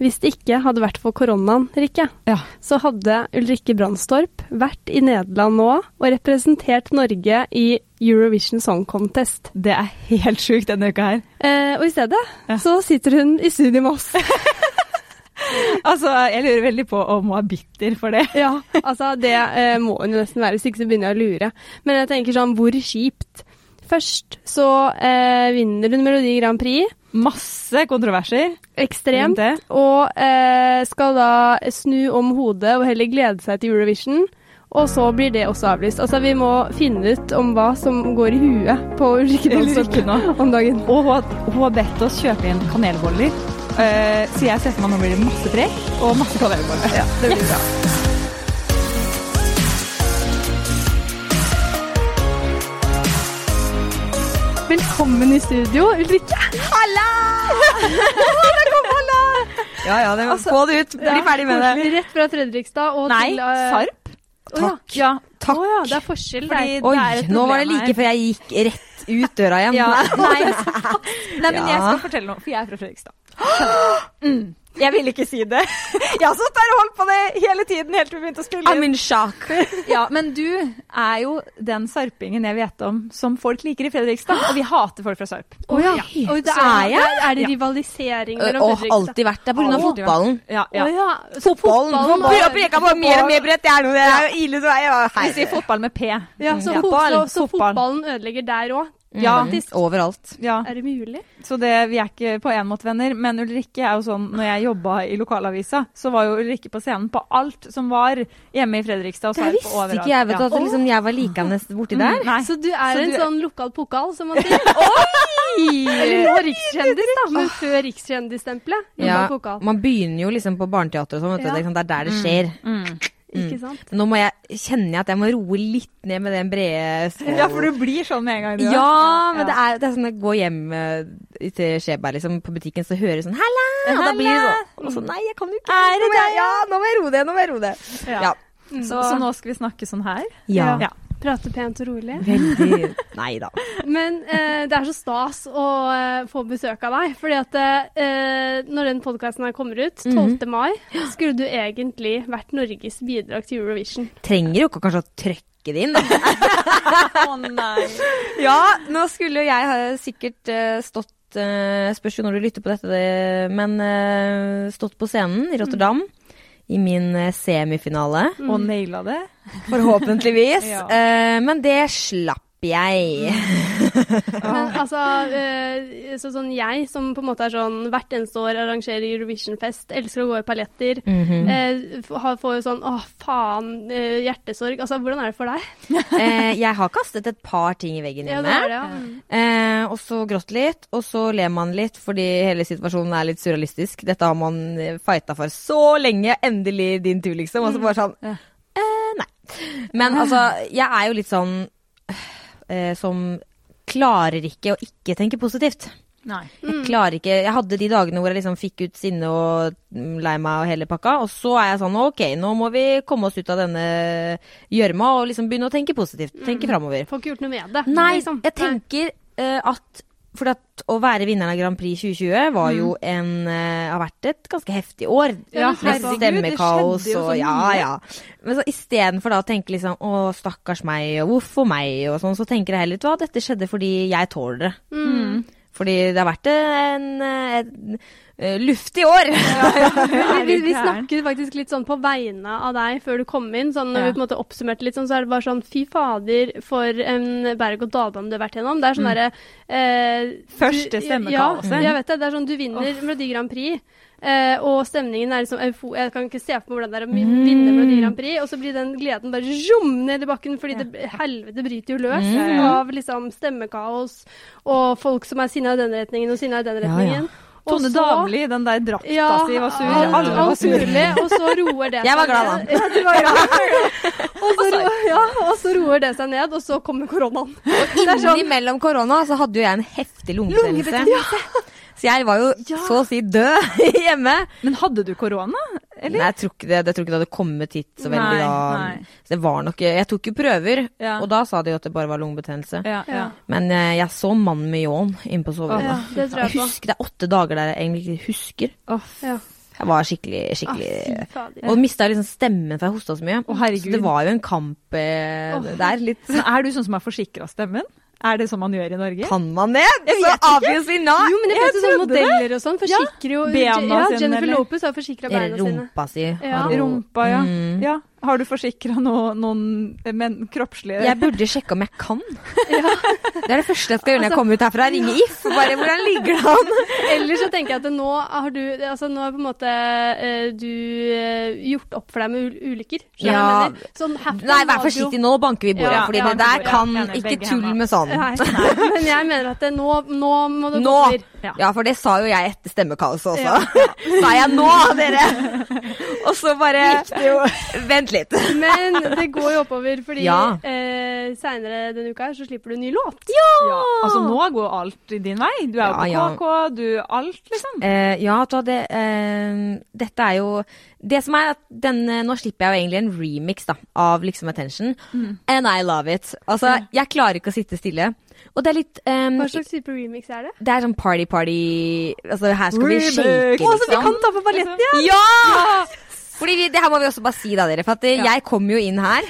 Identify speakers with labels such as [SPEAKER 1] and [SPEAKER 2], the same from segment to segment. [SPEAKER 1] Hvis det ikke hadde vært for koronaen, Rikke,
[SPEAKER 2] Ja.
[SPEAKER 1] så hadde Ulrikke Brandstorp vært i Nederland nå og representert Norge i Eurovision Song Contest.
[SPEAKER 2] Det er helt sjukt denne uka her.
[SPEAKER 1] Eh, og i stedet
[SPEAKER 2] Ja.
[SPEAKER 1] så sitter hun i studio med oss.
[SPEAKER 2] Altså, jeg lurer veldig på om hun er bitter for det.
[SPEAKER 1] ja, altså det eh, må hun jo nesten være, hvis ikke så begynner jeg å lure. Men jeg tenker sånn, hvor kjipt? Først så eh, vinner hun Melodi Grand Prix,
[SPEAKER 2] Masse kontroverser. rundt
[SPEAKER 1] ekstremt,
[SPEAKER 2] Det.
[SPEAKER 1] og eh, skal da snu om hodet og heller glede seg til Eurovision. Og så blir det også avlyst. Altså, vi må finne ut om hva som går i huet på Ulrikke
[SPEAKER 2] Eller
[SPEAKER 1] Dahlstorp
[SPEAKER 2] ikke nå.
[SPEAKER 1] om dagen.
[SPEAKER 2] Og hun, har- hun har bedt oss kjøpe inn kanelboller. Eh, så jeg ser for meg nå blir det masse prek og masse kanelboller. Ja, det blir bra.
[SPEAKER 1] Velkommen i studio, Ulrikke.
[SPEAKER 3] Ja, ja, det,
[SPEAKER 2] Altså,
[SPEAKER 3] få det ut. Bli ferdig med det.
[SPEAKER 1] Koselig. Rett fra Fredrikstad og
[SPEAKER 2] Nei,
[SPEAKER 1] til eh,
[SPEAKER 2] Sarp.
[SPEAKER 1] å ja.
[SPEAKER 3] Takk.
[SPEAKER 2] Ja.
[SPEAKER 1] Å
[SPEAKER 3] Takk.
[SPEAKER 1] ja, det er forskjell. der.
[SPEAKER 2] Fordi-
[SPEAKER 3] Oi,
[SPEAKER 2] det er et
[SPEAKER 3] nå var det
[SPEAKER 2] problem
[SPEAKER 3] like før jeg gikk rett ut døra igjen.
[SPEAKER 2] Ja, nei, nei, men
[SPEAKER 3] Ja.
[SPEAKER 2] jeg skal fortelle noe, for jeg er fra Fredrikstad. Mm. Jeg ville ikke si det. Jeg har stått der og holdt på det hele tiden helt til vi begynte å spille inn.
[SPEAKER 3] I'm in shock.
[SPEAKER 2] Ja, men du er jo den sarpingen jeg vet om som folk liker i Fredrikstad. Og vi hater folk fra Sarp.
[SPEAKER 1] Å ja.
[SPEAKER 3] Oi,
[SPEAKER 1] Og det
[SPEAKER 3] så er
[SPEAKER 1] er,
[SPEAKER 3] jeg?
[SPEAKER 1] er det rivalisering mellom
[SPEAKER 3] Og
[SPEAKER 1] Fredrikstad
[SPEAKER 3] alltid vært der pga.
[SPEAKER 2] Alltid vært.
[SPEAKER 3] fotballen.
[SPEAKER 2] Ja, ja.
[SPEAKER 1] Å ja. Så
[SPEAKER 3] Fotballen.
[SPEAKER 1] fotballen
[SPEAKER 3] Begynner å
[SPEAKER 1] var-
[SPEAKER 3] preke på mer og mer brett. Det er noe det er jo ille. Så er jeg bare,
[SPEAKER 2] Vi sier fotball med P.
[SPEAKER 1] Ja, så,
[SPEAKER 2] Ja.
[SPEAKER 1] fot, så, så
[SPEAKER 2] Fotball.
[SPEAKER 1] fotballen ødelegger der òg.
[SPEAKER 2] Ja,
[SPEAKER 3] Hei. Mm. Overalt.
[SPEAKER 2] ja.
[SPEAKER 1] Er det mulig?
[SPEAKER 2] Så det, vi er ikke på en måte venner. Men Ulrikke er jo sånn Når jeg jobba i lokalavisa, så var jo Ulrikke på scenen på alt som var hjemme i Fredrikstad. Og
[SPEAKER 3] Det
[SPEAKER 2] Sarp og
[SPEAKER 3] visste
[SPEAKER 2] overalt.
[SPEAKER 3] ikke jeg, vet du.
[SPEAKER 2] Ja.
[SPEAKER 3] At det liksom, jeg var likandes borti der.
[SPEAKER 2] Mm, Nei.
[SPEAKER 1] Så du er
[SPEAKER 2] Så
[SPEAKER 1] en
[SPEAKER 2] du-
[SPEAKER 1] sånn lokal pokal, som man sier. Eller nå rikskjendis, da. Men før rikskjendisstempelet.
[SPEAKER 3] Ja,
[SPEAKER 1] Lokal pokal.
[SPEAKER 3] man begynner jo liksom på barneteater og sånn. vet du.
[SPEAKER 1] Ja.
[SPEAKER 3] Det er liksom- Det er der det skjer.
[SPEAKER 2] Mm.
[SPEAKER 1] Ikke sant?
[SPEAKER 3] Nå må jeg, kjenner jeg at jeg må roe litt ned med den brede skålen.
[SPEAKER 2] Ja, for du blir sånn med en gang. du, ja.
[SPEAKER 3] Ja,
[SPEAKER 2] Ja.
[SPEAKER 3] men det er, det er sånn at jeg går hjem eh, til Skjeberg liksom, på butikken, så hører jeg sånn Halla! Og da blir det sånn, og så, Nei, jeg kan jo ikke.
[SPEAKER 2] Er det
[SPEAKER 3] nå må jeg,
[SPEAKER 2] deg?
[SPEAKER 3] ja, nå må jeg roe det, nå må jeg roe det.
[SPEAKER 2] Ja. Mm.
[SPEAKER 3] Ja.
[SPEAKER 2] Så, så nå skal vi snakke sånn her?
[SPEAKER 3] ja.
[SPEAKER 2] Ja.
[SPEAKER 1] Prate pent og rolig.
[SPEAKER 3] Veldig Nei da.
[SPEAKER 1] Men eh, det er så stas å eh, få besøk av deg. Fordi at eh, når den podkasten her kommer ut,
[SPEAKER 2] Mhm.
[SPEAKER 1] 12. mai, skulle du egentlig vært Norges bidrag til Eurovision.
[SPEAKER 3] Trenger jo ikke kanskje å trøkke det inn, da.
[SPEAKER 2] Å nei.
[SPEAKER 3] Ja, nå skulle jo jeg ha sikkert eh, stått eh, Spørs jo når du lytter på dette, det, men eh, stått på scenen i Rotterdam. I min eh, semifinale,
[SPEAKER 2] Og naila det?
[SPEAKER 3] forhåpentligvis.
[SPEAKER 2] Ja.
[SPEAKER 3] Eh, men det slapp jeg.
[SPEAKER 1] Men altså, eh, så sånn jeg som på en måte er sånn hvert eneste år arrangerer Eurovision-fest, elsker å gå i paljetter,
[SPEAKER 3] Mhm.
[SPEAKER 1] eh, f- har- får jo sånn å faen, eh, hjertesorg. Altså, hvordan er det for deg?
[SPEAKER 3] Eh, jeg har kastet et par ting i veggen
[SPEAKER 1] Ja,
[SPEAKER 3] hjemme.
[SPEAKER 1] det er det, ja. Mm.
[SPEAKER 3] Eh, og så grått litt, og så ler man litt fordi hele situasjonen er litt surrealistisk. Dette har man eh, fighta for så lenge. Endelig din tur, liksom. Og så bare sånn
[SPEAKER 2] Ja.
[SPEAKER 3] eh, Nei. Men altså, jeg er jo litt sånn eh, som klarer ikke å ikke tenke positivt.
[SPEAKER 2] Nei.
[SPEAKER 3] Jeg klarer ikke Jeg hadde de dagene hvor jeg liksom fikk ut sinne og mm, lei meg og hele pakka, og så er jeg sånn OK, nå må vi komme oss ut av denne gjørma og liksom begynne å tenke positivt.
[SPEAKER 2] Mm.
[SPEAKER 3] Tenke framover.
[SPEAKER 1] Får ikke gjort noe med det.
[SPEAKER 3] Nei,
[SPEAKER 1] liksom.
[SPEAKER 3] jeg tenker eh, at for at å være vinneren av Grand Prix 2020 var jo
[SPEAKER 2] Mm.
[SPEAKER 3] en, eh, har vært et ganske heftig år.
[SPEAKER 1] Ja,
[SPEAKER 3] Med
[SPEAKER 2] herregud, det
[SPEAKER 3] stemmekaos
[SPEAKER 2] skjedde jo
[SPEAKER 3] og
[SPEAKER 2] så
[SPEAKER 3] ja,
[SPEAKER 2] mye.
[SPEAKER 3] ja. Men så istedenfor da å tenke liksom å, stakkars meg, og hvorfor meg, og sånn, så tenker jeg heller vet du hva, dette skjedde fordi jeg tåler det.
[SPEAKER 1] Mm.
[SPEAKER 3] Fordi det har vært en, en, eh, luftig år.
[SPEAKER 1] Men Vi, vi, vi
[SPEAKER 2] Er du gæren?
[SPEAKER 1] snakket faktisk litt sånn på vegne av deg før du kom inn. Sånn, når
[SPEAKER 2] Ja.
[SPEAKER 1] vi på en måte oppsummerte litt sånn, så er det bare sånn fy fader for en berg-og-dal-bane du har vært gjennom. Det er sånn derre eh,
[SPEAKER 2] Mm. Første
[SPEAKER 1] du-
[SPEAKER 2] stemmekaoset.
[SPEAKER 1] Ja, jeg vet det. Det er sånn du vinner Melodi Grand Prix. eh, og stemningen er liksom eufo Jeg kan ikke se for meg hvordan det er å min-
[SPEAKER 2] Mm.
[SPEAKER 1] vinne Melodi Grand Prix. Og så blir den gleden bare zoom ned i bakken, fordi det, helvete bryter jo løs
[SPEAKER 2] Mm.
[SPEAKER 1] av liksom stemmekaos og folk som er sinna i den retningen og sinna i den
[SPEAKER 3] ja.
[SPEAKER 1] retningen. Og
[SPEAKER 2] Tone
[SPEAKER 1] så- ah,
[SPEAKER 2] Damli, den der drakta si, var sur.
[SPEAKER 1] alt,
[SPEAKER 2] Alle var
[SPEAKER 1] alt
[SPEAKER 2] sur.
[SPEAKER 1] mulig, og så roer det
[SPEAKER 3] Jeg
[SPEAKER 1] seg
[SPEAKER 3] var glad,
[SPEAKER 1] ned. Ja, du var glad. og, så roer, ja, og så roer det seg ned, og så kommer koronaen.
[SPEAKER 3] Det er sånn, Innimellom korona så hadde jo jeg en heftig lungebetennelse. Så jeg var jo så å si død hjemme.
[SPEAKER 2] Men hadde du korona? Eller?
[SPEAKER 3] Nei, jeg tror ikke det, jeg tror ikke det hadde kommet hit så
[SPEAKER 2] Nei,
[SPEAKER 3] veldig da.
[SPEAKER 2] nei.
[SPEAKER 3] Så det var nok, jeg tok jo prøver,
[SPEAKER 2] Ja.
[SPEAKER 3] og da sa de jo at det bare var lungebetennelse.
[SPEAKER 2] Ja, ja.
[SPEAKER 3] Men eh, jeg så mannen med ljåen inne på soverommet.
[SPEAKER 1] Ja, det tror jeg
[SPEAKER 3] jeg
[SPEAKER 1] på.
[SPEAKER 3] husker, det er åtte dager der jeg egentlig ikke husker.
[SPEAKER 2] Å, f-
[SPEAKER 1] Ja.
[SPEAKER 3] Jeg var skikkelig, skikkelig
[SPEAKER 1] Ah, fy fader.
[SPEAKER 3] Og mista liksom stemmen, for jeg hosta så mye.
[SPEAKER 2] Å, herregud.
[SPEAKER 3] så det var jo en kamp eh,
[SPEAKER 1] Å.
[SPEAKER 3] der. Litt
[SPEAKER 2] Men er du sånn som er forsikra stemmen? Er det sånn man gjør i Norge?
[SPEAKER 3] Kan man det? Så obviously not!
[SPEAKER 1] Jo, men det
[SPEAKER 2] jeg
[SPEAKER 1] finnes jo sånne
[SPEAKER 2] trodde det.
[SPEAKER 1] modeller og sånn. Forsikrer jo
[SPEAKER 2] Ja, bena
[SPEAKER 1] Ja,
[SPEAKER 2] sine,
[SPEAKER 1] Jennifer
[SPEAKER 2] eller?
[SPEAKER 1] Lopez har forsikra
[SPEAKER 3] Eller
[SPEAKER 1] beina sine.
[SPEAKER 3] rumpa si.
[SPEAKER 1] Ja.
[SPEAKER 3] Hallo.
[SPEAKER 2] Rumpa, ja.
[SPEAKER 3] Mm.
[SPEAKER 2] ja. Har du forsikra no, noen eh, men, kroppslige
[SPEAKER 3] Jeg burde sjekke om jeg kan. Det er det første jeg skal
[SPEAKER 2] Altså,
[SPEAKER 3] gjøre når jeg kommer ut herfra. Ringe If. Bare hvordan ligger det an?
[SPEAKER 1] Ellers så tenker jeg at nå har du altså nå har på en måte eh, du eh, gjort opp for deg med ul- ulykker. skjønner du hva
[SPEAKER 3] Ja.
[SPEAKER 1] jeg mener? Sånn happen
[SPEAKER 3] Nei, vær
[SPEAKER 1] var det jo-
[SPEAKER 3] forsiktig, nå banker vi bordet.
[SPEAKER 1] Ja,
[SPEAKER 3] fordi
[SPEAKER 2] ja,
[SPEAKER 3] det der
[SPEAKER 2] ja,
[SPEAKER 3] kan
[SPEAKER 2] enig,
[SPEAKER 3] ikke
[SPEAKER 2] begge
[SPEAKER 3] tull
[SPEAKER 2] hender.
[SPEAKER 3] med sånn.
[SPEAKER 1] Nei, men jeg mener at det, nå, nå må det
[SPEAKER 3] Nå!
[SPEAKER 1] gå over.
[SPEAKER 2] Ja.
[SPEAKER 3] Ja, for det sa jo jeg etter stemmekaoset også. Sa jeg nå, dere! Og så bare Vent litt.
[SPEAKER 1] Men det går jo oppover, fordi
[SPEAKER 3] Ja.
[SPEAKER 1] eh, seinere denne uka her så slipper du en ny låt.
[SPEAKER 2] Ja, altså nå går alt din vei. Du er jo på
[SPEAKER 3] Ja, ja.
[SPEAKER 2] KK, du alt, liksom.
[SPEAKER 3] Eh, ja, vet du hva, det, eh, dette er jo Det som er at den, eh, Nå slipper jeg jo egentlig en remix da, av liksom Attention.
[SPEAKER 2] Mm.
[SPEAKER 3] And I love it. Altså, jeg klarer ikke å sitte stille. Og det er litt eh,
[SPEAKER 1] Hva slags type remix er det?
[SPEAKER 3] Det er sånn party-party Altså, her skal vi shake,
[SPEAKER 2] Å, så vi
[SPEAKER 3] liksom.
[SPEAKER 2] kan ta på balletten, ja!
[SPEAKER 3] Ja! Fordi vi, det her må vi også bare si, da, dere. For at eh, jeg kommer jo inn her.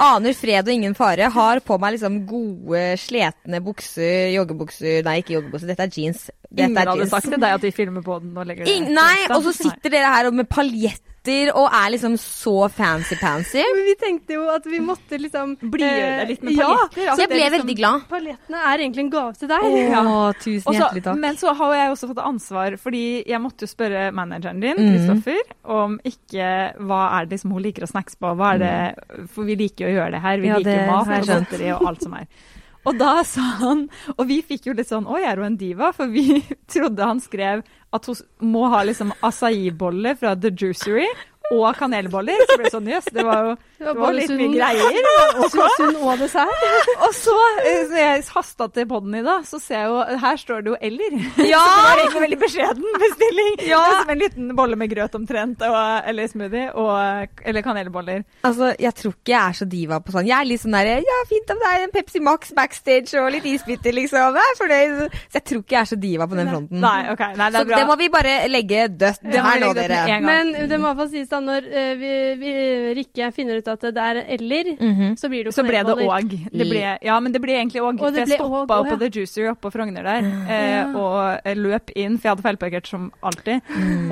[SPEAKER 3] Aner fred og ingen fare. Har på meg liksom gode, sletne bukser, joggebukser Nei, ikke joggebukser, dette er jeans. Dette
[SPEAKER 2] Ingen
[SPEAKER 3] er
[SPEAKER 2] hadde
[SPEAKER 3] jeans.
[SPEAKER 2] sagt til deg at vi filmer på den og legger det
[SPEAKER 3] Ing-
[SPEAKER 2] ut.
[SPEAKER 3] nei, og så
[SPEAKER 2] Nei.
[SPEAKER 3] sitter dere her og med paljetter og er liksom så fancy-pansy.
[SPEAKER 1] Men vi tenkte jo at vi måtte liksom
[SPEAKER 2] Blidgjøre deg litt med
[SPEAKER 1] eh,
[SPEAKER 2] paljetter,
[SPEAKER 1] Ja,
[SPEAKER 2] altså.
[SPEAKER 3] Så jeg ble
[SPEAKER 2] det er liksom-
[SPEAKER 3] veldig glad.
[SPEAKER 1] Paljettene er egentlig en gave til deg.
[SPEAKER 3] Å,
[SPEAKER 2] Ja.
[SPEAKER 3] tusen
[SPEAKER 2] Og så-
[SPEAKER 3] hjertelig takk.
[SPEAKER 2] men så har jeg også fått ansvar, fordi jeg måtte jo spørre manageren din,
[SPEAKER 3] Mm.
[SPEAKER 2] Kristoffer, om ikke hva er det liksom hun liker å snackse på, hva er det For vi liker jo å gjøre det her, vi
[SPEAKER 3] Mm. Ja,
[SPEAKER 2] liker
[SPEAKER 3] det
[SPEAKER 2] mat
[SPEAKER 3] har
[SPEAKER 2] og
[SPEAKER 3] jeg skjønt.
[SPEAKER 2] godteri og alt som er. Og da sa han, og vi fikk jo litt sånn Oi, er hun en diva? For vi trodde han skrev at hun s- må ha liksom acai-boller fra The Juicery og kanelboller. Så ble det sånn Jøss, det var jo
[SPEAKER 1] Det var
[SPEAKER 2] det var litt mye
[SPEAKER 1] bollesund-
[SPEAKER 2] greier. Og så
[SPEAKER 1] Sunn og dessert.
[SPEAKER 2] og så, eh, når jeg hasta til poden i dag, så ser jeg jo Her står det jo 'eller'. Så
[SPEAKER 3] Ja!
[SPEAKER 2] det var egentlig en veldig beskjeden bestilling. Ja! Det er som en liten bolle med grøt omtrent, og, eller smoothie, og, eller kanelboller.
[SPEAKER 3] Altså, Jeg tror ikke jeg er så diva på sånn. Jeg er litt sånn der Ja, fint om det er en Pepsi Max backstage og litt isbiter, liksom. Jeg er fornøyd. Så jeg tror ikke jeg er så diva på den fronten.
[SPEAKER 2] Nei, ok, nei, det
[SPEAKER 3] Mhm. Så
[SPEAKER 2] er bra.
[SPEAKER 3] det må vi bare legge dødt
[SPEAKER 2] Det må vi
[SPEAKER 3] her nå,
[SPEAKER 2] legge dødt med
[SPEAKER 3] dere.
[SPEAKER 2] en gang.
[SPEAKER 1] Men det må i hvert fall sies da, når eh, vi, vi, Rikke finner ut at det er eller, så blir det jo
[SPEAKER 2] så ble det
[SPEAKER 1] kanelboller.
[SPEAKER 2] òg. Det ble- Ja, men det ble egentlig òg.
[SPEAKER 1] Og
[SPEAKER 2] For
[SPEAKER 1] det
[SPEAKER 2] jeg
[SPEAKER 1] ble
[SPEAKER 2] stoppa
[SPEAKER 1] og,
[SPEAKER 2] opp
[SPEAKER 1] og,
[SPEAKER 2] på The Juicer oppe på Frogner der, eh, og eh, løp inn, for jeg hadde feilparkert som alltid.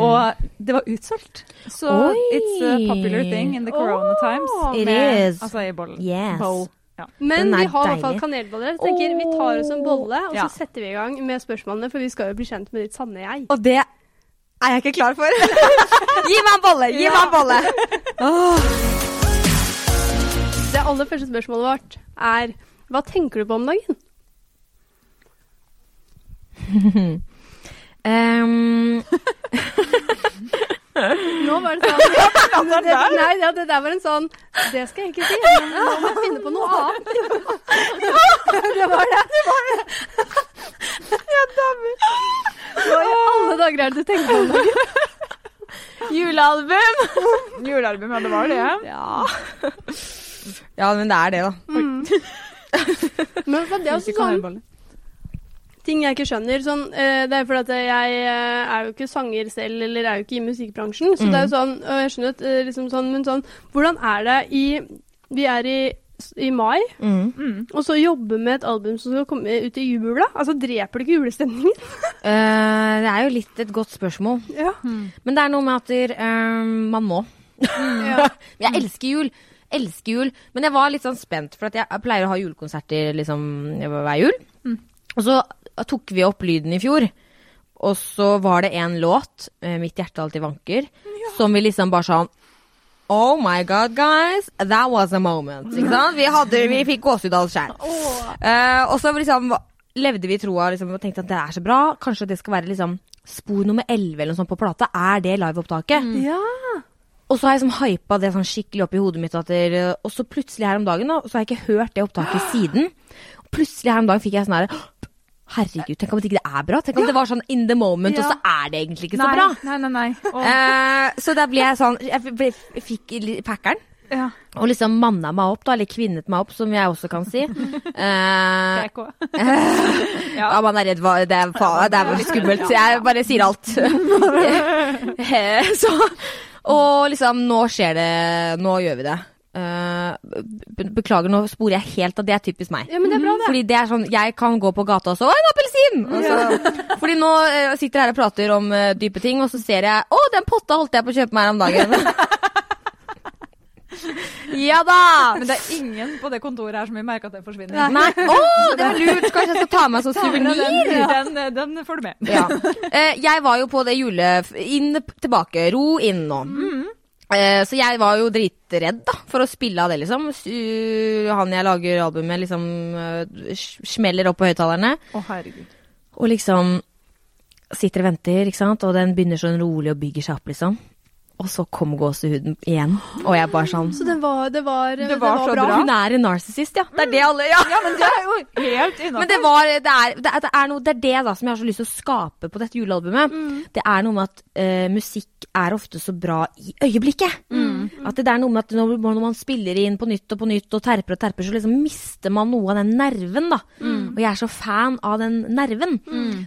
[SPEAKER 2] Og det var utsolgt. Så
[SPEAKER 3] Oi.
[SPEAKER 2] it's a popular thing in the corona
[SPEAKER 1] Åh.
[SPEAKER 2] times.
[SPEAKER 3] It
[SPEAKER 2] med
[SPEAKER 3] is.
[SPEAKER 2] acai-bollen.
[SPEAKER 3] Yes.
[SPEAKER 2] Bowl. Ja.
[SPEAKER 1] Men
[SPEAKER 3] Den er
[SPEAKER 1] vi har i hvert fall
[SPEAKER 3] deilig.
[SPEAKER 1] kanelboller. Jeg tenker Vi tar oss en bolle, og så
[SPEAKER 2] Ja.
[SPEAKER 1] setter vi i gang med spørsmålene, for vi skal jo bli kjent med ditt sanne jeg.
[SPEAKER 3] Og det er jeg ikke klar for. gi meg en bolle! Gi meg en bolle!
[SPEAKER 1] Det aller første spørsmålet vårt er hva tenker du på om dagen?
[SPEAKER 3] Ehm,
[SPEAKER 1] Nå var det sånn det, Nei, ja, det der var en sånn Det skal jeg ikke si, men nå må jeg finne på noe annet. Det var det. det, var det. Hva i alle dager er det du tenker på om dagen?
[SPEAKER 2] Julealbum! Julealbum, ja, det var det.
[SPEAKER 3] ja. ja, men det er det, da.
[SPEAKER 1] Men for det er også sånn ting jeg ikke skjønner. Sånn, eh, det er fordi at jeg eh, er jo ikke sanger selv, eller er jo ikke i musikkbransjen. Så det er jo sånn, og jeg skjønner at, eh, liksom sånn, men sånn, hvordan er det i Vi er i, i mai,
[SPEAKER 2] Mm.
[SPEAKER 1] og så jobbe med et album som skal komme ut i jula? Altså, dreper det ikke julestemningen?
[SPEAKER 3] Eh, det er jo litt et godt spørsmål.
[SPEAKER 1] Ja.
[SPEAKER 3] Men det er noe med at eh, man må.
[SPEAKER 1] ja.
[SPEAKER 3] Men jeg elsker jul. Elsker jul. Men jeg var litt sånn spent, for at jeg pleier å ha julekonserter liksom hver jul. Og så tok vi opp lyden i fjor. Og så var det en låt, eh, 'Mitt hjerte alltid vanker', som vi liksom bare sånn Oh my god, guys. That was a moment. Ikke sant? Vi, hadde, vi fikk gåsehud av oss sjæl. og så liksom levde vi i troa liksom, og tenkte at det er så bra. Kanskje det skal være liksom spor nummer 11 eller noe sånt på plata. Er det liveopptaket?
[SPEAKER 1] ja.
[SPEAKER 3] Og så har jeg liksom hypa det sånn skikkelig opp i hodet mitt. At det, og så plutselig her om dagen, da, så har jeg ikke hørt det opptaket siden. Og plutselig her om dagen fikk jeg sånn her Herregud, tenk om det ikke er bra? Tenk om det var sånn in the moment,
[SPEAKER 1] Ja.
[SPEAKER 3] og så er det egentlig ikke så
[SPEAKER 2] Nei,
[SPEAKER 3] bra.
[SPEAKER 2] nei, nei. nei. Og,
[SPEAKER 3] Eh, så da ble jeg sånn Jeg ble, fikk li- packeren.
[SPEAKER 2] Ja.
[SPEAKER 3] Og liksom manna meg opp, da, eller kvinnet meg opp, som jeg også kan si. Eh,
[SPEAKER 2] PK.
[SPEAKER 1] Eh.
[SPEAKER 3] ja. man er redd. hva- Det er, fa- det er vel skummelt. Jeg bare sier alt. Eh, Så, og liksom, nå skjer det. Nå gjør vi det. Eh, be- Beklager, nå sporer jeg helt av. Det er typisk meg.
[SPEAKER 1] Ja, men det er bra, det.
[SPEAKER 3] Fordi det er sånn, jeg kan gå på gata og så Å, en appelsin! Og så- Fordi nå eh, sitter jeg her og prater om eh, dype ting, og så ser jeg Å, den potta holdt jeg på å kjøpe meg her om dagen. ja da!
[SPEAKER 2] Men det er ingen på det kontoret her som vil merke at det forsvinner.
[SPEAKER 3] Nei. Å, det var lurt! Kanskje jeg skal ta med meg som suvenir?
[SPEAKER 2] Den, den, den får du med.
[SPEAKER 3] Ja. Eh, jeg var jo på det jule... Inn tilbake. Ro inn nå. Eh, Så jeg var jo dritredd da, for å spille av det, liksom. Su- Han jeg lager album med, liksom eh, sj- smeller opp på høyttalerne.
[SPEAKER 2] Å, herregud.
[SPEAKER 3] Og liksom sitter og venter, ikke sant? og den begynner sånn rolig og bygger seg opp, liksom. Og så kom gåsehuden igjen, og jeg bare sånn
[SPEAKER 1] Så det var, det var, eh, det
[SPEAKER 2] var så bra.
[SPEAKER 3] Hun er en narsissist, ja. Det er det alle Ja, men det er jo
[SPEAKER 2] Helt innafor.
[SPEAKER 3] men det, var, det, er, det, er, det er noe Det er det da som jeg har så lyst til å skape på dette julealbumet. Det er noe med at eh, musikk er ofte så bra i øyeblikket. At det, er noe med at når, når man spiller inn på nytt og på nytt og terper og terper, så liksom mister man noe av den nerven, da. Og jeg er så fan av den nerven.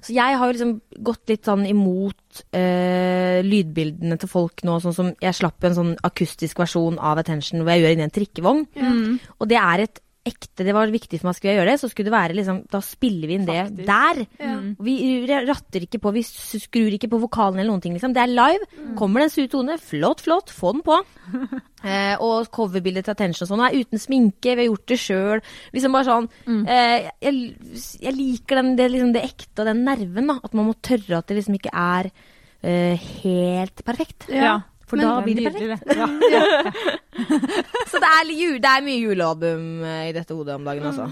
[SPEAKER 3] Så jeg har jo liksom gått litt sånn imot eh, lydbildene til folk nå, sånn som jeg slapp en sånn akustisk versjon av Attention hvor jeg gjør inn i en trikkevogn.
[SPEAKER 1] Mm.
[SPEAKER 2] Mm.
[SPEAKER 3] Og det er et ekte Det var viktig for meg skulle jeg gjøre det, så skulle det være liksom Da spiller vi inn det
[SPEAKER 2] Faktisk.
[SPEAKER 3] der.
[SPEAKER 1] Ja.
[SPEAKER 3] Vi ratter ikke på, vi skrur ikke på vokalen eller noen ting, liksom. Det er live. Kommer det en sur tone, flott, flott, få den på. Eh, og coverbildet til Attention og sånn er uten sminke, vi har gjort det sjøl. Liksom bare sånn eh, jeg, jeg liker den, det, liksom det ekte og den nerven, da. At man må tørre at det liksom ikke er eh, helt perfekt.
[SPEAKER 1] Ja.
[SPEAKER 3] For
[SPEAKER 1] Men-
[SPEAKER 3] da blir det perfekt.
[SPEAKER 2] Nydelig, det. Ja.
[SPEAKER 3] Så det er, ju- det er mye julealbum eh, i dette hodet om dagen, altså.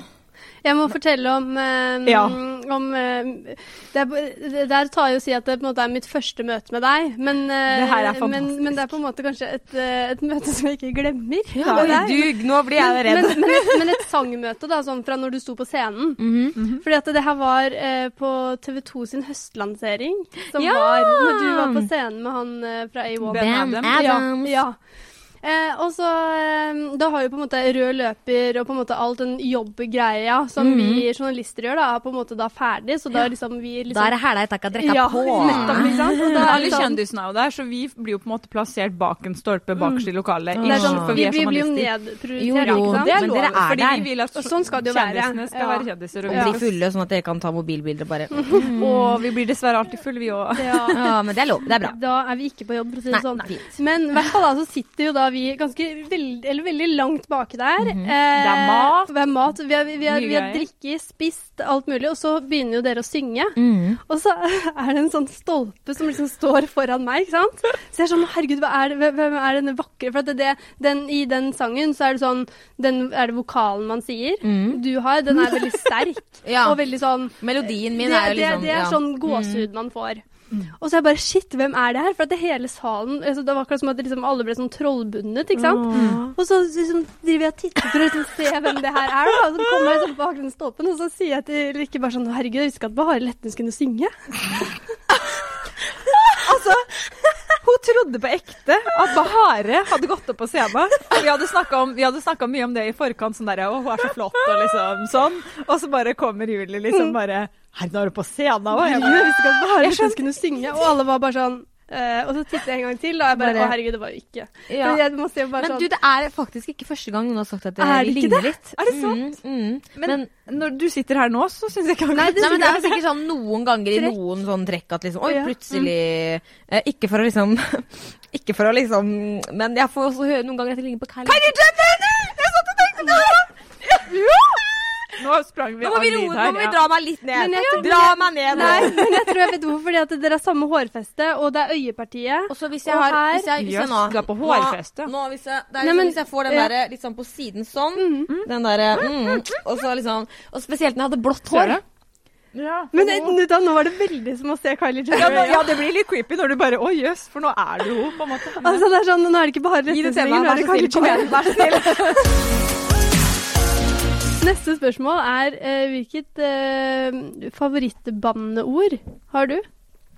[SPEAKER 1] Jeg må fortelle om, eh,
[SPEAKER 2] Ja.
[SPEAKER 1] om eh, det er, det- Der tar jeg å si at det på en måte er mitt første møte med deg. Men, eh,
[SPEAKER 2] Det her er fantastisk.
[SPEAKER 1] men, men det er på en måte kanskje et, eh, et møte som jeg ikke glemmer.
[SPEAKER 2] Ja.
[SPEAKER 1] Og jeg-
[SPEAKER 3] du, nå blir jeg
[SPEAKER 1] men, men, men, et, men et sangmøte, da, sånn fra når du sto på scenen.
[SPEAKER 3] Mhm.
[SPEAKER 2] Mhm.
[SPEAKER 1] Fordi at det her var eh, på TV 2 sin høstlansering. Som
[SPEAKER 3] Ja!
[SPEAKER 1] var når du var på scenen med han eh, fra A1.
[SPEAKER 2] Ben Adams.
[SPEAKER 1] Ja. ja. Eh, og så eh, Da har jo på en måte rød løper og på en måte all den jobbgreia som
[SPEAKER 3] Mhm.
[SPEAKER 1] vi journalister gjør, da, er på en måte da ferdig. Så da liksom vi liksom
[SPEAKER 3] Da er det hæla jeg takka drekka
[SPEAKER 1] ja,
[SPEAKER 3] på.
[SPEAKER 1] Nettopp, ikke sant? Og da er
[SPEAKER 2] Alle
[SPEAKER 1] det sånn-
[SPEAKER 2] kjendisene er jo der, så vi blir jo på en måte plassert bak en stolpe bakerst i lokalet.
[SPEAKER 1] det er sånn,
[SPEAKER 3] Ja.
[SPEAKER 2] for
[SPEAKER 1] vi,
[SPEAKER 2] vi er
[SPEAKER 1] vi blir jo
[SPEAKER 2] journalister.
[SPEAKER 1] nedprioritert,
[SPEAKER 3] Jo, jo.
[SPEAKER 1] ikke sant?
[SPEAKER 2] Det er
[SPEAKER 3] Men
[SPEAKER 2] lov,
[SPEAKER 3] dere er
[SPEAKER 2] fordi
[SPEAKER 3] der.
[SPEAKER 2] vi vil at
[SPEAKER 1] Og sånn skal det jo være.
[SPEAKER 2] kjendisene skal
[SPEAKER 1] Ja.
[SPEAKER 2] være kjendiser.
[SPEAKER 3] Og
[SPEAKER 2] Og,
[SPEAKER 3] bli
[SPEAKER 2] vi-
[SPEAKER 3] fulle, sånn at dere kan ta mobilbilder bare.
[SPEAKER 2] og vi blir dessverre alltid fulle, vi òg.
[SPEAKER 1] Ja.
[SPEAKER 3] Ja, men det er lov. Det er bra.
[SPEAKER 1] Da er vi ikke på jobb, for å si
[SPEAKER 3] Nei,
[SPEAKER 1] det sånn.
[SPEAKER 3] nei, fint.
[SPEAKER 1] Men i hvert fall da, så sitter jo da vi ganske veld, eller veldig langt baki der.
[SPEAKER 3] Mhm.
[SPEAKER 1] eh,
[SPEAKER 2] Det er mat.
[SPEAKER 1] Det er mat. Vi har, vi har,
[SPEAKER 2] Mye
[SPEAKER 1] vi har
[SPEAKER 2] greier.
[SPEAKER 1] drikket, spist, alt mulig. Og så begynner jo dere å synge.
[SPEAKER 3] Mm.
[SPEAKER 1] Og så er det en sånn stolpe som liksom står foran meg, ikke sant. Så jeg er sånn herregud, hva er det, hvem- hvem er denne vakre For at det, det, den, i den sangen så er det sånn den, Er det vokalen man sier? Du har, den er veldig sterk.
[SPEAKER 3] Mm. Ja.
[SPEAKER 1] Og veldig sånn
[SPEAKER 3] Melodien min
[SPEAKER 1] det,
[SPEAKER 3] er jo
[SPEAKER 1] det,
[SPEAKER 3] liksom
[SPEAKER 1] det er
[SPEAKER 3] ja. Mm.
[SPEAKER 1] sånn gåsehud man får. Og så er jeg bare Shit, hvem er det her? For at det hele salen altså, Det var akkurat som at liksom alle ble sånn trollbundet, ikke sant?
[SPEAKER 3] Mm.
[SPEAKER 1] Og så liksom, driver jeg og titter for å liksom, se hvem det her er, da. Og så kommer jeg sånn bak den stolpen, og så sier jeg til Rikke bare sånn «Å, Herregud, jeg visste ikke at Bahareh Letnes kunne synge.
[SPEAKER 2] Altså, Hun trodde på ekte at Bahare hadde gått opp på scenen. Og vi hadde snakka om, vi hadde snakket mye om det i forkant, sånn derre Å, hun er så flott, og liksom sånn. Og så bare kommer Julie liksom
[SPEAKER 3] Mm.
[SPEAKER 2] bare Herregud, nå er hun på scenen òg! Jeg
[SPEAKER 1] Herregud,
[SPEAKER 2] bare,
[SPEAKER 1] jeg visste ikke at Bahareh
[SPEAKER 2] Jeg skjønte-
[SPEAKER 1] Letnes kunne synge. Og alle var bare sånn eh, og så titter jeg en gang til, og jeg bare,
[SPEAKER 3] Bare-
[SPEAKER 1] Å, herregud, det var jo ikke
[SPEAKER 3] Ja.
[SPEAKER 1] Men jeg må si bare
[SPEAKER 3] Men
[SPEAKER 1] sånn
[SPEAKER 3] du, det er faktisk ikke første gang noen har sagt at det,
[SPEAKER 1] Er det
[SPEAKER 3] vi
[SPEAKER 1] ikke
[SPEAKER 3] ligner litt.
[SPEAKER 2] Er det sant?
[SPEAKER 3] Mm, mm. Men,
[SPEAKER 2] Men når du sitter her nå, så syns jeg ikke
[SPEAKER 3] nei,
[SPEAKER 2] akkurat
[SPEAKER 3] det, men det er sikkert sånn noen ganger i
[SPEAKER 1] Trekk.
[SPEAKER 3] noen sånn trekk at liksom Oi,
[SPEAKER 1] Ja.
[SPEAKER 3] plutselig eh, Ikke for å liksom Ikke for å liksom Men jeg får også høre noen ganger at jeg ligner på Kylie. Jeg satt og tenkte på det!
[SPEAKER 2] Nå sprang vi
[SPEAKER 3] Nå må vi roe, nå må vi dra meg litt
[SPEAKER 1] Men
[SPEAKER 3] ned.
[SPEAKER 1] jeg tror-
[SPEAKER 3] Dra meg ned.
[SPEAKER 1] Nei, men jeg tror jeg vet hvorfor. Fordi at dere har samme hårfeste, og det er øyepartiet.
[SPEAKER 3] Og så hvis
[SPEAKER 1] Og
[SPEAKER 3] jeg har
[SPEAKER 1] her-
[SPEAKER 3] hvis jeg, hvis jeg
[SPEAKER 2] Jøss,
[SPEAKER 3] nå,
[SPEAKER 2] du er på hårfest, ja.
[SPEAKER 3] nå, nå hvis, jeg, det er
[SPEAKER 1] Nei,
[SPEAKER 3] liksom,
[SPEAKER 1] men-
[SPEAKER 3] hvis jeg får den
[SPEAKER 1] ja.
[SPEAKER 3] derre litt sånn på siden sånn Den derre mm, Og så liksom Og spesielt når jeg hadde blått
[SPEAKER 2] Ser
[SPEAKER 3] hår.
[SPEAKER 2] du? Ja.
[SPEAKER 1] Men eh, nå- da, nå var det veldig som å se Kylie Jenner.
[SPEAKER 2] Ja, nå- ja, det blir litt creepy når du bare Å, jøs, for nå er du hun, på en måte.
[SPEAKER 1] Altså, det er sånn, nå er det ikke bare
[SPEAKER 2] Gi det
[SPEAKER 1] retningslinjer,
[SPEAKER 2] til
[SPEAKER 1] nå
[SPEAKER 2] meg,
[SPEAKER 1] er
[SPEAKER 2] vær
[SPEAKER 1] det
[SPEAKER 2] så snill.
[SPEAKER 1] Kylie
[SPEAKER 2] Kom
[SPEAKER 1] Jenner.
[SPEAKER 2] igjen, vær så snill.
[SPEAKER 1] Neste spørsmål er eh, hvilket eh, favorittbanneord har du?